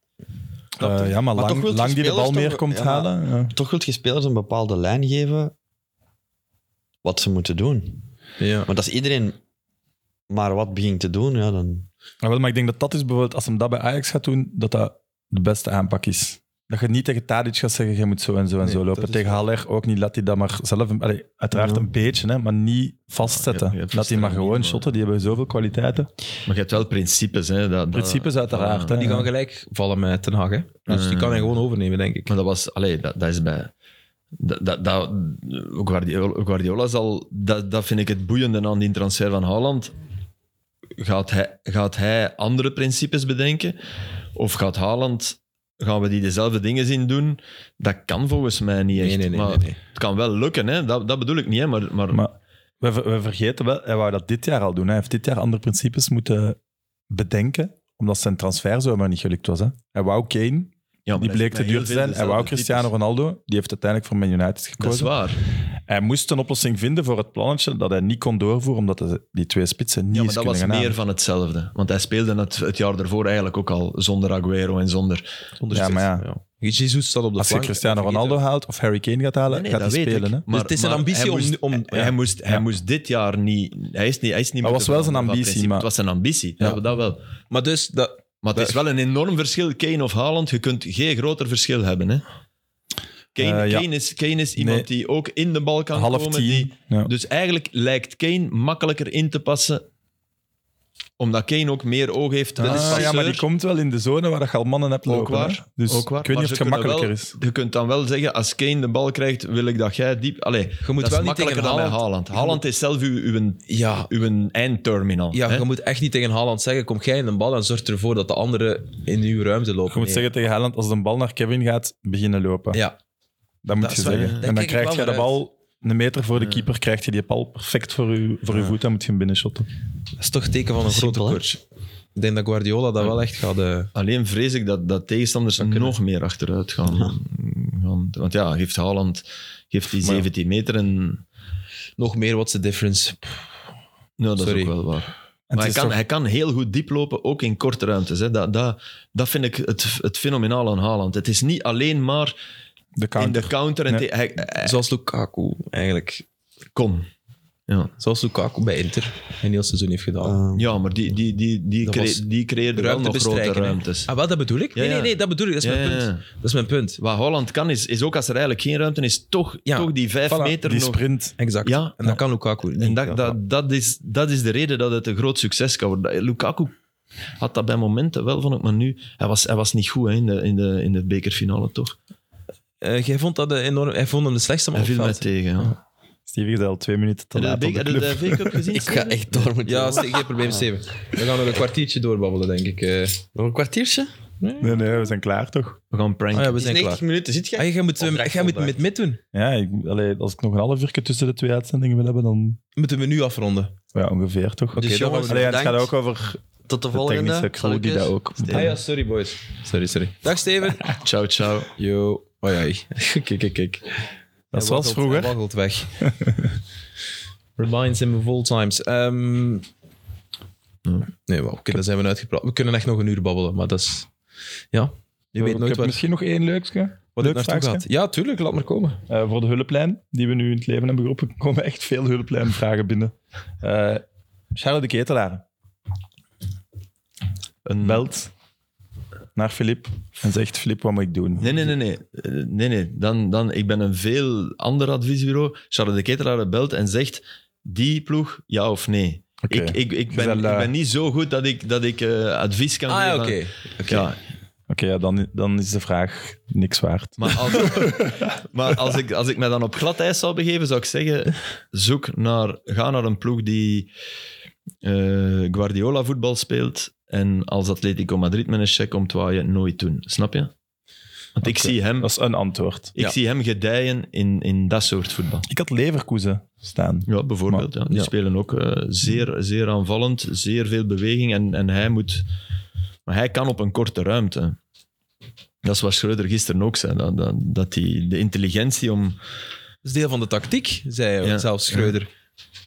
C: Eh, ja, maar,
D: Maar
C: lang,
D: toch wil die
C: lang die de
D: spelers
C: bal meer
D: toch-
C: komt
D: ja, maar-
C: halen. Ja.
D: Toch wil je spelers een bepaalde lijn geven wat ze moeten doen.
A: Ja.
D: Want als iedereen maar wat begint te doen, ja, dan...
C: Maar, Ah, wel, maar ik denk dat dat is bijvoorbeeld, als hem dat bij Ajax gaat doen, dat dat de beste aanpak is. Dat je niet tegen Tadic gaat zeggen, je moet zo en zo en
B: Nee,
C: zo
B: dat
C: lopen.
B: is
C: Tegen Haller ook niet, laat hij dat maar zelf, een- allee, uiteraard
B: Ja.
C: een beetje, hè, maar niet vastzetten.
B: Ja, je hebt
C: laat hij maar
B: Verstraeten,
C: gewoon
B: maar-
C: shotten, die hebben zoveel kwaliteiten.
B: Maar je hebt wel principes. Hè, dat, dat-
C: Principes uiteraard.
B: Ja.
C: hè.
A: Die gaan gelijk vallen met Ten Hag, hè. Dus die kan hij gewoon overnemen, denk ik.
B: Maar dat was, allee, dat, dat is bij. Dat, dat, dat, Guardiola, Guardiola zal. Dat, dat vind ik het boeiende aan die transfer van Haaland. Gaat hij, gaat hij andere principes bedenken? Of gaat Haaland. Gaan we die dezelfde dingen zien doen? Dat kan volgens mij niet echt.
A: Nee, nee, nee.
B: maar
A: nee, nee.
B: Het kan wel lukken, hè? Dat, dat bedoel ik niet. Hè? Maar, maar,
C: Maar we, ver- we vergeten wel, hij wou dat dit jaar al doen. Hij heeft dit jaar andere principes moeten bedenken, omdat zijn transfer zo maar niet gelukt was. Hè. Hij wou Kane,
B: ja, maar
C: die
B: dat
C: bleek
B: is
C: te
B: bij
C: duur
B: heel veel
C: te zijn. Hij
B: dezelfde
C: wou Cristiano
B: types.
C: Ronaldo, die heeft uiteindelijk voor Man United
B: Dat is
C: gekozen.
B: waar.
C: Hij moest een oplossing vinden voor het plannetje dat hij niet kon doorvoeren, omdat hij die twee spitsen niet
B: Ja,
C: ja,
B: maar dat was
C: kunnen gaan
B: meer van hetzelfde. Want hij speelde het, het jaar daarvoor eigenlijk ook al zonder Aguero en zonder.
A: Zonder
C: Ja,
A: spits.
C: maar
A: Jesus staat op de
C: Als je
A: flank.
C: Cristiano
A: Vergeet
C: Ronaldo haalt of Harry Kane gaat halen,
B: Nee, nee,
C: gaat hij
B: dat weet
C: spelen. Hè?
B: ik. Maar-
A: het is zijn
B: maar
A: ambitie
B: hij
A: om-
B: moest-
A: om-
B: hij-
A: ja.
B: Hij, moest, hij
C: Ja.
B: moest dit jaar niet... Hij is niet, hij is niet moeten
C: Dat was wel zijn
B: veranderen van
C: ambitie,
B: principe.
C: maar-
B: Het was zijn ambitie,
C: Ja.
B: dat, dat wel.
A: het. Maar dus, dat,
B: Maar het
A: Dat-
B: is wel een enorm verschil, Kane of Haaland. Je kunt geen groter verschil hebben. Hè? Kane,
C: Eh, ja.
B: Kane, is, Kane is iemand
C: Nee.
B: die ook in de bal kan
C: Half
B: komen. Die,
C: tien. Ja.
B: dus eigenlijk lijkt Kane makkelijker in te passen omdat Kane ook meer oog heeft. Dat is
C: Ah, ja, maar die
B: passeur.
C: komt wel in de zone waar dat je al mannen hebt
B: Ook
C: lopen. hè.
B: waar,
C: Dus
B: ook waar.
C: ik weet
B: Maar
C: niet of
B: ze
C: het
B: kunnen
C: gemakkelijker
B: wel-
C: is.
B: Je kunt dan wel zeggen, als Kane de bal krijgt, wil ik dat jij diep... Allee,
A: je moet
B: dat
A: wel
B: is
A: niet tegen
B: makkelijker dan bij
A: Haaland.
B: Haaland. Haaland is zelf uw, uw,
A: Ja,
B: uw eindterminal.
A: ja
B: hè?
A: je moet echt niet tegen Haaland zeggen, kom jij in de bal en zorg ervoor dat de anderen in uw ruimte lopen.
C: Je moet
A: Nee.
C: zeggen tegen Haaland, als de bal naar Kevin gaat, beginnen lopen.
A: Ja,
C: Dat moet
A: Dat
C: je
A: is wel-
C: zeggen.
A: daar kijk
C: en dan
A: ik
C: krijg
A: wel
C: je de
A: naar
C: bal een meter voor de keeper, krijg je die bal perfect voor je, voor je voet, dan moet je hem binnenshotten.
A: dat is toch het teken van een
D: Simpel,
A: grote
D: hè?
A: coach. Ik denk dat Guardiola dat wel echt gaat... eh,
B: Alleen vrees ik dat, dat tegenstanders nog meer achteruit gaan. gaan. Want ja, geeft Haaland geeft die
A: Maar ja.
B: 17 meter en...
A: nog meer, what's the difference?
B: Nou, dat
A: Sorry.
B: is ook wel waar.
C: En
B: Maar hij
C: het is
B: kan,
C: toch-
B: hij kan heel goed diep lopen, ook in korte ruimtes. Hè. Dat, dat, dat vind ik het, het fenomenaal aan Haaland. Het is niet alleen maar
C: de
B: in
C: counter.
B: de counter. En
C: Nee.
B: te- hij,
C: Eh.
B: hij-
A: Zoals Lukaku, eigenlijk.
B: kom. Ja.
A: Zoals Lukaku bij Inter een heel seizoen heeft gedaan.
D: eh,
B: Ja, maar die, die, die, die,
A: Dat
B: cre-
A: was
B: die creëerde wel nog grote
A: bestrijken, hè.
B: ruimtes.
A: Ah, wel, dat bedoel ik?
B: Ja,
A: nee, nee,
B: ja.
A: nee, dat bedoel ik. Dat is
B: Ja,
A: mijn
B: ja,
A: punt.
B: ja.
A: Dat is mijn punt.
B: Wat Holland kan, is, is ook als er eigenlijk geen ruimte is, toch,
A: Ja.
B: toch die vijf
C: Voilà,
B: meter
C: die
B: nog...
C: sprint.
A: Exact.
B: Ja.
A: en dat kan Lukaku niet.
B: En dat, dat, dat, is, dat is de reden dat het een groot succes kan worden. Lukaku had dat bij momenten wel, vond ik, maar nu... Hij was, hij was niet goed hè, in, de, in, de, in de bekerfinale, toch?
A: Eh, jij vond dat een enorm... Hij vond hem de slechtste man
B: Hij
A: op
B: viel mij
A: het veld.
B: tegen, ja.
C: Stevie is al twee minuten te
B: Heb je de
C: laat op
B: beker-
C: de
B: heb je
C: club.
B: de V-cup gezien?
D: ik ga echt door met
A: Ja,
D: die-
A: Steven, geen
B: Ah.
A: probleem, Steven. We gaan nog een kwartiertje doorbabbelen, denk ik. eh.
D: Nog een kwartiertje?
C: Nee, nee, we zijn klaar toch?
B: We gaan pranken.
A: Ah ja, we
D: Het is
A: zijn
D: 90
A: klaar.
D: minuten, zit je?
A: Ah, jij moet, eh,
D: Opdracht,
A: jij moet met
D: opdracht.
A: mid doen.
C: Ja, ik, allee, als ik nog een half uurtje tussen de twee uitzendingen wil hebben, dan...
A: Moeten we nu afronden?
C: Ja, ongeveer toch? Oké,
A: jongens,
C: dan gaan we- allee, het gaat
D: bedankt.
C: ook over
D: Tot de
C: de
D: volgende. dus
C: technische crew die
D: Salukes.
C: dat ook...
A: Ah ja, sorry boys. Sorry, sorry. Dag Steven.
B: Ciao, ciao.
A: Yo. Oh ja. Kijk, kijk, kijk.
C: Dat is zoals
A: Hij
C: vroeger.
A: waggelt weg. Reminds him of all times. Ehm, nee, wel, oké, dan zijn we uitgepraat. We kunnen echt nog een uur babbelen, maar dat is... Ja, je weet
C: Ik
A: nooit
C: heb
A: waar,
C: Eh, Misschien nog één leukske.
A: wat
C: leuk
A: het naartoe
C: vraagje.
A: gaat. Ja, tuurlijk, laat maar komen.
C: Eh, voor de hulplijn die we nu in het leven hebben geroepen, komen echt veel hulplijnvragen binnen. Eh Charles de Ketelaar
B: Een...
C: belt naar Filip en zegt: Filip, wat moet ik doen?
B: Nee, nee, nee. nee. Eh, nee, nee. Dan, dan, ik ben een veel ander adviesbureau. Charles de Ketelaar belt en zegt, die ploeg, ja of nee?
C: Oké.
B: Ik, ik, ik, ben,
C: Zal,
B: ik
C: eh,
B: ben niet zo goed dat ik, dat ik eh, advies kan
A: Ah, ja,
B: geven.
A: oké.
B: aan-
A: Oké.
B: Ja,
C: Oké, ja, dan, dan is de vraag niks waard.
B: Maar, als, maar als, ik, als ik mij dan op glad ijs zou begeven, zou ik zeggen: zoek naar, ga naar een ploeg die eh, Guardiola voetbal speelt. En als Atletico Madrid met een check komt, wou je het nooit doen. Snap je? Want ik,
C: Oké.
B: zie hem,
C: Dat is een antwoord.
B: ik
A: ja.
B: zie hem gedijen in, in dat soort voetbal.
C: Ik had Leverkusen staan.
B: Ja, bijvoorbeeld.
C: Maar-
B: ja. Die
C: ja.
B: spelen ook eh, zeer, zeer aanvallend, zeer veel beweging. En, en hij moet... Maar hij kan op een korte ruimte. Dat is wat Schreuder gisteren ook zei. Dat, dat, dat die, de intelligentie om...
A: Dat is deel van de tactiek, zei
B: Ja,
A: zelfs Schreuder.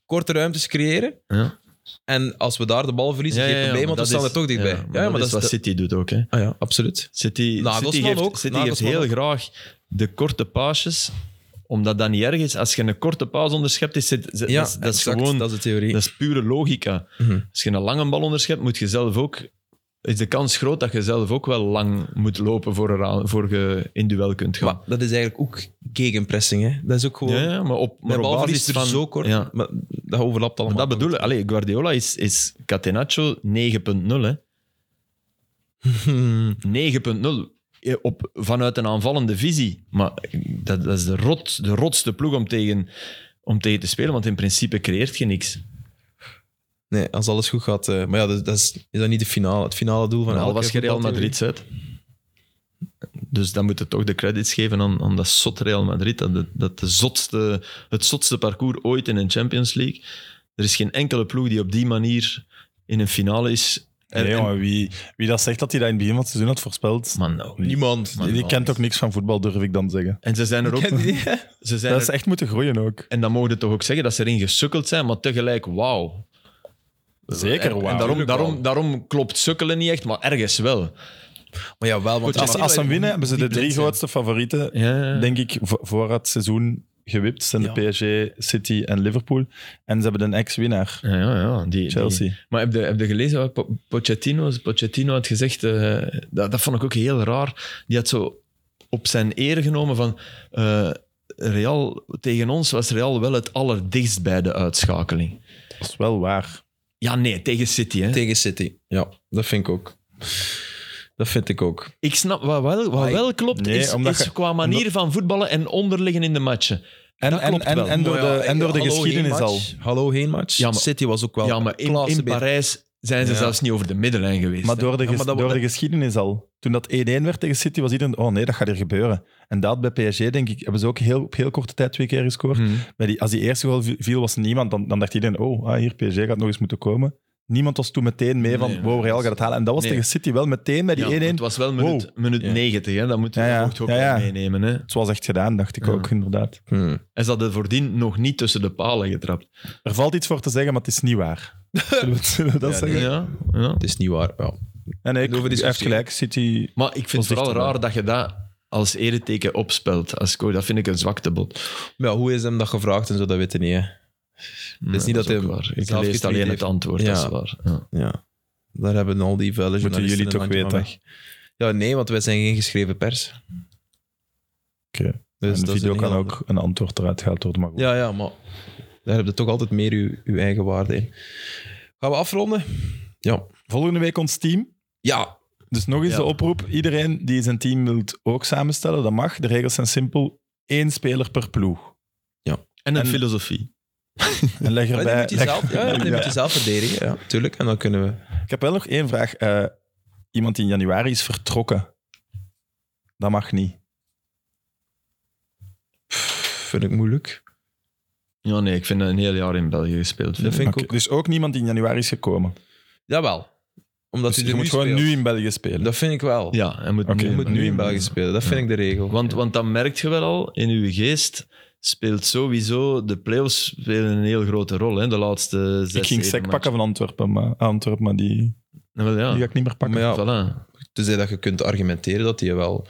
A: Korte ruimtes creëren.
B: Ja.
A: En als we daar de bal verliezen, geen probleem, want we staan er toch dichtbij. Ja, maar,
B: dat is wat
A: de-
B: City doet ook. Hè.
A: Ah ja, absoluut.
B: City,
A: Nagelsman
B: City heeft,
A: ook.
B: City heeft
A: Nagelsman
B: heel
A: ook.
B: graag de korte paasjes Omdat dat niet erg is. Als je een korte pauze onderschept, is het, dat,
A: Ja,
B: is, dat is
A: exact,
B: gewoon...
A: dat is de theorie.
B: Dat is pure logica.
A: Mhm.
B: Als je een lange bal onderschept, moet je zelf ook... Is de kans groot dat je zelf ook wel lang moet lopen voor, eraan, voor je in duel kunt gaan.
A: Maar dat is eigenlijk ook gegenpressing. Hè? Dat is ook gewoon...
B: ja, ja, maar op, maar
A: Mijn
B: op
A: balverlies
B: basis
A: is er
B: van...
A: zo kort,
B: Ja.
A: maar dat overlapt
B: Maar
A: allemaal.
B: dat bedoel ik. Allee, Guardiola is, is Catenaccio 9.0. hè. 9.0 eh, op, vanuit een aanvallende visie. Maar dat, dat is de, rot, de rotste ploeg om tegen, om tegen te spelen, want in principe creëert je niks.
A: Nee, als alles goed gaat. eh, maar ja, dat, dat is, is dat niet de finale, het finale doel van
B: Al
A: elke
B: was je Real
A: voetbaltheorie?
B: Madrid uit. Dus dan moet je toch de credits geven aan, aan dat zot Real Madrid. Dat, de- dat de zotste, het zotste parcours ooit in een Champions League. Er is geen enkele ploeg die op die manier in een finale is. En-
C: Nee,
B: en-
C: jongen, wie, wie dat zegt dat hij dat in het begin van het seizoen had voorspeld,
B: man, nou.
A: Niemand.
B: Man,
C: die
B: man.
C: kent ook niks van voetbal, durf ik dan zeggen.
B: En ze zijn er ook. Ze zijn
C: Dat is
B: er-
C: echt moeten groeien ook.
B: En dan mogen we toch ook zeggen dat ze erin gesukkeld zijn, maar tegelijk wauw. En-
C: Zeker, wauw.
B: En daarom,
A: Tuurlijk
B: daarom, daarom klopt sukkelen niet echt, maar ergens wel.
A: Maar ja, wel, want
B: Goed,
A: als,
C: Als, als ze
B: Moet
C: winnen, hebben ze de
B: blind
C: drie
B: zijn.
C: grootste favorieten
B: Ja.
C: denk ik, vo- voor het seizoen gewipt zijn de PSG, City en Liverpool. En ze hebben een ex-winnaar,
B: Ja, ja, ja. Die, die-
C: Chelsea.
B: Maar heb je, heb je gelezen wat Po- Pochettino, Pochettino had gezegd? eh, dat, dat vond ik ook heel raar. Die had zo op zijn eer genomen van... eh, Real, tegen ons was Real wel het allerdichtst bij de uitschakeling.
C: Dat is wel waar.
B: Ja, nee, tegen City. Hè.
A: tegen City. Ja, dat vind ik ook. Dat vind ik ook.
B: Ik snap, wat wel, wat
A: Maar ik-
B: wel klopt,
C: Nee,
B: is,
C: omdat
B: is
C: je-
B: qua manier van voetballen en onderliggen in de matchen.
C: En,
B: Dat
C: en,
B: klopt
C: en,
B: wel.
C: en door
A: Maar ja,
C: de, en door de
A: hallo,
C: geschiedenis
A: geen
C: al.
A: match. Hallo, geen match.
B: Ja, maar-
A: City was ook wel
B: ja, maar in,
A: klasse
B: in
A: beter.
B: Parijs zijn ze
A: Ja.
B: zelfs niet over de middenlijn geweest.
C: Maar
B: hè.
C: door de,
A: Ja, maar
C: ges-
A: dat-
C: door de geschiedenis al. Toen dat 1-1 werd tegen City, was iedereen... Oh nee, dat gaat er gebeuren. En dat bij PSG, denk ik, hebben ze ook heel, op heel korte tijd twee keer gescoord.
B: Hmm.
C: Bij die, als die eerste goal vi- viel, was niemand. Dan, dan dacht iedereen, oh, ah, hier, PSG gaat nog eens moeten komen. Niemand was toen meteen mee van,
B: Nee,
C: wow, Real gaat het halen. En dat was
B: nee.
C: tegen City wel meteen bij die
B: Ja,
C: 1-1.
B: Het was wel minuut,
C: Wow.
B: minuut
A: Ja.
B: 90, hè. dat moeten we
C: Ja, ja.
B: mocht ook
C: Ja,
B: wel
C: ja.
B: meenemen. Hè.
C: Het was echt gedaan, dacht ik
B: Ja.
C: ook, inderdaad.
A: Hmm.
B: En ze hadden voordien nog niet tussen de palen getrapt.
C: Er valt iets voor te zeggen, maar het is niet waar. Zullen we, het- zullen we dat
A: Ja, nee.
C: zeggen?
B: Ja, ja.
A: Het is niet waar. Ja.
C: En nee, ik,
A: Over die
C: hij heeft
A: discussie.
C: gelijk. City...
B: Maar ik vind het
C: Was
B: vooral
C: dichterbij.
B: raar dat je dat als ereteken opspelt. Als coach. Dat vind ik een zwaktebod.
A: Maar ja, hoe is hem dat gevraagd en zo, dat weten we niet. Hè.
B: Het
A: niet dat hij
B: Ik
A: zelf
B: lees alleen
A: getweet
B: het
A: heeft.
B: antwoord,
A: Ja.
B: dat is waar. Ja.
A: Ja. Daar hebben al die vuile
C: Moeten
A: journalisten
C: jullie
A: een
C: toch
A: handje van
C: weten.
A: weg. Ja, nee, want wij zijn geen geschreven pers.
C: Oké.
A: Dus
C: en
A: dat
C: de
A: is
C: video
A: een
C: kan
A: heel
C: ook een antwoord eruit gehaald worden. Maar goed.
A: Ja, ja, maar daar heb je toch altijd meer uw, uw eigen waarde in. Gaan we afronden? Ja.
C: Volgende week ons team.
A: Ja.
C: Dus nog eens
B: Ja.
C: de oproep. Iedereen die zijn team wilt ook samenstellen, dat mag. De regels zijn simpel. Eén speler per ploeg.
B: En een
C: En-
B: filosofie.
C: En leg
A: Maar die
C: erbij...
A: Eh, moet je
C: leg-
A: zelf, ja, ja, die
C: Ja.
A: moet je zelf verdedigen. Ja, tuurlijk. En dan kunnen we...
C: Ik heb wel nog één vraag. Eh, iemand die in januari is vertrokken. Dat mag niet.
A: Vind ik moeilijk.
B: Ja, nee, ik vind dat een heel jaar in België gespeeld.
A: Dat vind ik
C: Oké,
A: ook...
C: Dus ook niemand die in januari is gekomen.
A: Jawel. Omdat
C: Dus
A: hij
C: je
A: er
C: moet
A: nu
C: gewoon
A: speelt.
C: nu in België spelen.
A: Dat vind ik wel.
B: Ja, hij moet
C: Oké.
A: Je moet nu in België
B: Ja.
A: spelen. Dat vind ik de regel.
B: Want, want dan merk je wel al, in uw geest speelt sowieso de play-offs spelen een heel grote rol. Hè? De laatste zes,
C: Ik ging
B: zeven
C: sec pakken van Antwerpen, maar, Antwerpen, maar die,
B: matchen. Nou,
C: die
B: wel,
C: ga ik niet meer pakken.
A: Ah. Maar ja,
B: ja. Voilà.
A: Tenzij dat je kunt argumenteren dat hij wel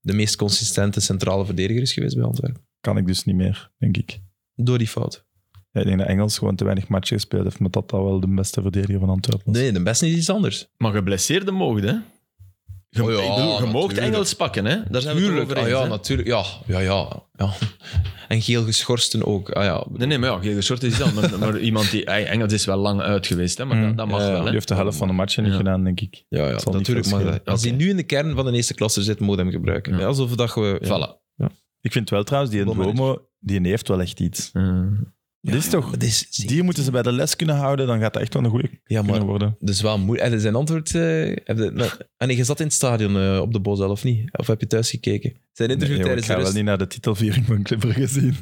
A: de meest consistente centrale verdediger is geweest bij Antwerpen.
C: Kan ik dus niet meer, denk ik.
A: Door die fout.
C: Ja, ik denk dat Engels gewoon te weinig matchen gespeeld heeft, maar dat dat wel de beste verdediger van Antwerpen was.
A: Nee, de beste is iets anders.
B: Maar geblesseerde mogen, hè? Je,
A: Oh ja,
B: ik bedoel, je moogt
A: natuurlijk.
B: Engels pakken, hè? Daar zijn we het
A: Tuurlijk,
B: over
A: ah,
B: eens,
A: ja,
B: hè.
A: natuurlijk. Ja, ja, ja, ja. En geel geschorsten ook. Ah, ja.
B: Nee, nee, maar ja, geen soort is dat. Maar, maar iemand die... ey, Engels is wel lang uit geweest, hè? Maar
A: Mm.
B: dat, dat mag
A: Ja, ja.
B: wel,
C: Die
B: hè?
C: heeft de helft van de matchen niet
B: Ja.
C: gedaan, denk ik.
A: ja, ja
C: Het zal niet
A: natuurlijk.
C: veel
A: Maar
C: schelen.
A: als hij nu in de kern van de eerste klasse zit, moet hij hem gebruiken.
B: Ja.
A: Ja, Alsof dat we... ja.
B: Voilà.
C: Ik vind wel trouwens, die
A: Bomber is-
C: Ndomo, die heeft wel echt iets.
B: Eh,
A: Ja,
C: Dit is toch-
A: Oh, dat is-
C: Die moeten ze bij de les kunnen houden, dan gaat dat echt wel een goede
A: Ja, maar
C: kunnen worden.
A: dat is wel moeilijk. En zijn antwoord... eh, heb je, nou, en je zat in het stadion eh, op de Bozel, of niet? Of heb je thuis gekeken? Zijn interview
C: Nee, joh, ik
A: tijdens de
C: ga wel
A: rust.
C: niet naar de titelviering van Clipper gezien.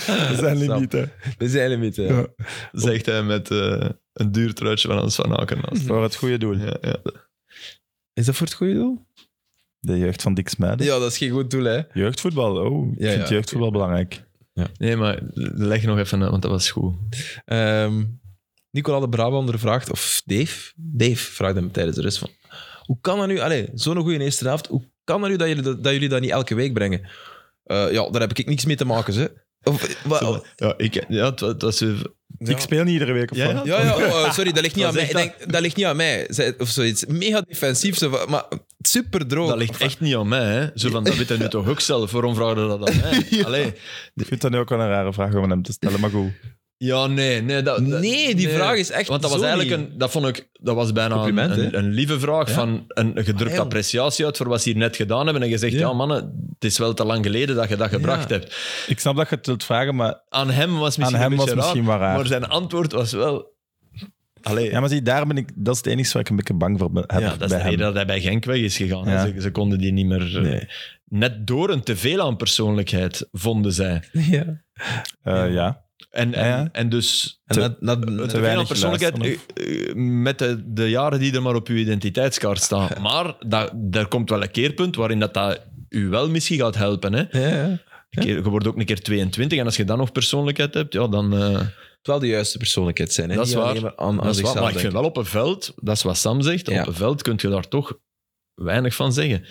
C: We zijn
A: Snap.
C: limiet, hè.
A: We zijn er niet.
C: Ja.
B: zegt hij met eh, een duur truitje van Hans van Aken. naast.
C: Voor het goede doel.
B: Ja, ja.
A: Is dat voor het goede doel?
C: De jeugd van Dick Smijden.
A: Ja, dat is geen goed doel, hè.
C: Jeugdvoetbal, oh. Ik
A: Ja,
C: vind
A: ja,
C: jeugdvoetbal belangrijk.
B: Nee, maar leg nog even uit, want dat was goed.
A: Ehm Nicola de Brabander vraagt, of Dave, Dave vraagt hem tijdens de rest van, hoe kan dat nu, allee, zo'n goede eerste avond, hoe kan dat nu dat jullie dat, dat jullie dat niet elke week brengen? Eh, Eh, ja, daar heb ik niks mee te maken. Hè. Of, wa- oh,
B: Zo, ja, ik, ja, het, wa- het was weer-
C: Ik speel niet iedere week of
B: Ja,
C: wat?
B: ja.
A: ja, ja, oh, eh, sorry, dat ligt niet aan
B: Dat
A: mij.
B: is
A: Ik
B: echt
A: denk, dat ligt niet aan mij. Zij- Of zoiets. Mega defensief, zo van, maar super droog.
B: dat ligt echt niet aan mij. Hè. Zo van, dat weet hij nu toch ook zelf. Waarom vraag je dat aan mij? Allee.
C: Ik vind dat nu ook wel een rare vraag om aan hem te stellen, maar goed.
B: Ja, nee. Nee, dat, dat-
A: Nee, die vraag is echt
B: Want dat was
A: zo
B: eigenlijk
A: niet.
B: een... Dat vond ik... Dat was bijna een,
A: Compliment, hè?
B: een, een lieve vraag van een een gedrukt
A: Ah, ja.
B: appreciatie uit voor wat ze hier net gedaan hebben. En je zegt, ja, mannen, het is wel te lang geleden dat je dat gebracht hebt.
C: Ik snap dat je het wilt vragen, maar,
B: Aan hem was misschien
C: Aan hem
B: een beetje
C: was misschien
B: raar,
C: wel raar.
B: Maar zijn antwoord was wel... Allee,
C: ja, maar zie, daar ben ik, dat is het enige waar ik een beetje bang voor ben, heb
B: Ja, dat is
C: bij
B: de
C: hem.
B: reden dat hij bij Genk weg is gegaan. hè.
C: Ja.
B: Ze, ze konden die niet meer... eh,
C: Nee.
B: Net door een teveel aan persoonlijkheid, vonden zij.
A: Ja.
C: Eh, ja.
B: En, en,
C: Ja, ja.
B: en dus...
A: En dat, dat,
B: Te veel aan
C: weinig
B: persoonlijkheid eh, eh, met de, de jaren die er maar op uw identiteitskaart staan. Maar dat, er komt wel een keerpunt waarin dat, dat u wel misschien gaat helpen. Hè? Een
A: ja, ja.
B: keer- je wordt ook een keer 22 en als je dan nog persoonlijkheid hebt, ja, dan... eh,
A: Het wel de juiste persoonlijkheid zijn. Hè?
B: dat is
A: Niet
B: waar.
A: alleen maar Aan, aan
B: dat is waar.
A: zichzelf
B: Maar ik vind
A: denken.
B: wel op een veld, dat is wat Sam zegt,
A: Ja.
B: op een veld kun je daar toch weinig van zeggen.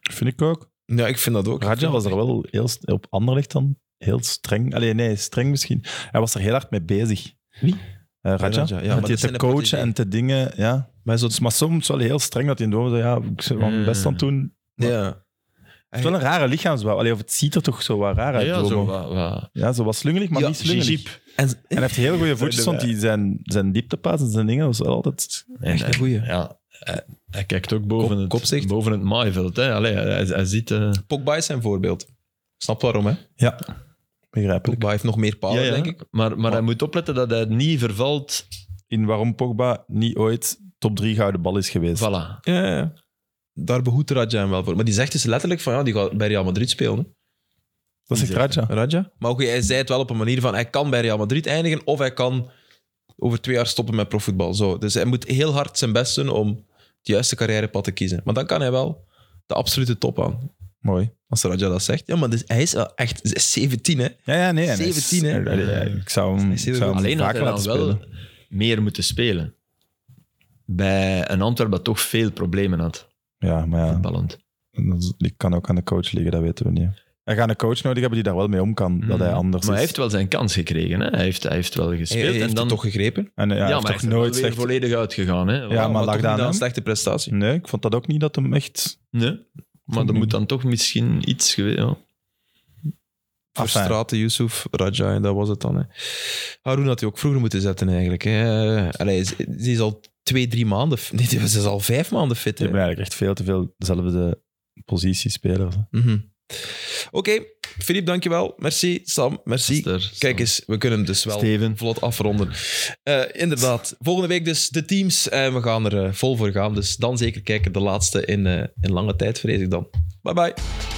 C: Vind ik ook.
A: Ja, ik vind dat ook.
C: Radja was er wel heel, st- op Anderlecht dan heel streng. Allee, nee, streng misschien. Hij was er heel hard mee bezig.
A: Wie?
C: Eh, Radja.
A: Radja, ja, maar
C: met die
A: dat zijn
C: te
A: de
C: coachen
A: partijen.
C: en te dingen. Ja. Maar, zo, maar soms wel heel streng dat hij in de ogen zei, ja, ik zal wel mijn best aan
A: Eh.
C: het doen.
A: Ja.
C: Het is wel een rare lichaamsbouw. Allee, of het ziet er toch zo wat raar
B: Ja,
C: uit.
B: ja,
C: Romo.
B: zo wat... wat-
C: ja, zo wat slungelig, maar
A: Ja,
C: niet slungelig.
B: Jeep.
A: En,
C: En hij heeft heel goede voetjes, want die zijn, zijn dieptepaas en zijn dingen was wel altijd...
B: En,
A: echt een
B: eh,
A: goeie.
B: ja, hij, hij kijkt ook boven,
A: Kop-
B: het,
A: kopzicht.
B: boven het maaiveld. Hè? Allee, hij, hij ziet... eh,
A: Pogba is zijn voorbeeld. Snap waarom, hè?
C: Ja, begrijpelijk.
A: Pogba heeft nog meer palen,
B: Ja, ja.
A: denk ik.
B: Maar, maar hij moet opletten dat hij niet vervalt.
C: In waarom Pogba niet ooit top 3 gouden bal is geweest.
B: Voilà.
A: Ja, ja. Daar behoedt Radja hem wel voor. Maar die zegt dus letterlijk van, ja, die gaat bij Real Madrid spelen. hè.
C: Dat zegt Radja.
A: Radja. Maar ook, hij zei het wel op een manier van, hij kan bij Real Madrid eindigen of hij kan over twee jaar stoppen met profvoetbal. Zo. Dus hij moet heel hard zijn best doen om het juiste carrièrepad te kiezen. Maar dan kan hij wel de absolute top aan.
C: Mooi.
A: Als Radja dat zegt. Ja, maar dus, hij is wel echt 17, hè?
C: Ja, ja, nee. en hij
A: 17,
C: is-
A: hè?
C: Allee, ja, ik zou hem,
A: Hij
C: ik
A: is heel
C: zou hem
A: goed.
B: Alleen had
C: vaak
B: hij dan
C: laten
B: wel
C: spelen.
B: meer moeten spelen. Bij een Antwerp dat toch veel problemen had,
C: Ja, maar ja,
B: voetballend.
C: dat is- die kan ook aan de coach liggen, dat weten we niet. Mm. Hij gaat een coach nodig hebben die daar wel mee om kan, dat hij anders
B: Hmm. Maar
C: is.
B: hij heeft wel zijn kans gekregen. Hè? Hij, heeft, hij heeft wel
A: Hij,
B: gespeeld.
A: hij heeft
B: en
A: het
B: dan,
A: toch gegrepen.
C: en, eh, ja, hij heeft
B: maar
C: toch
B: is er wel
C: nooit
B: weer
C: slecht...
B: volledig uitgegaan. Hè?
C: Ja, maar
A: toch
C: lag
A: niet
C: daar
A: aan
C: aan
A: een
C: hem?
A: slechte prestatie.
C: Nee, ik vond dat ook niet dat hem echt...
B: Nee. Maar er moet dan toch misschien iets geweest... Ja.
A: Voor
C: Enfin.
A: Straten, Yusuf, Rajai, dat was het dan. Hè. Haroon had hij ook vroeger moeten zetten eigenlijk. Hè. Allee, ze ze is al twee, drie maanden... f- Nee, ze is al vijf maanden fit.
C: Ze
A: hè.
C: hebben eigenlijk echt veel te veel dezelfde positiespelers. hè.
A: Mhm. Oké, Filip, dankjewel. Merci. Sam, merci.
B: Ster,
A: Kijk eens, we kunnen hem dus wel
B: Steven.
A: vlot afronden. Eh, inderdaad, volgende week dus de teams. En we gaan er eh, vol voor gaan. Dus dan zeker kijken. De laatste in, eh, in lange tijd, vrees ik dan. Bye bye.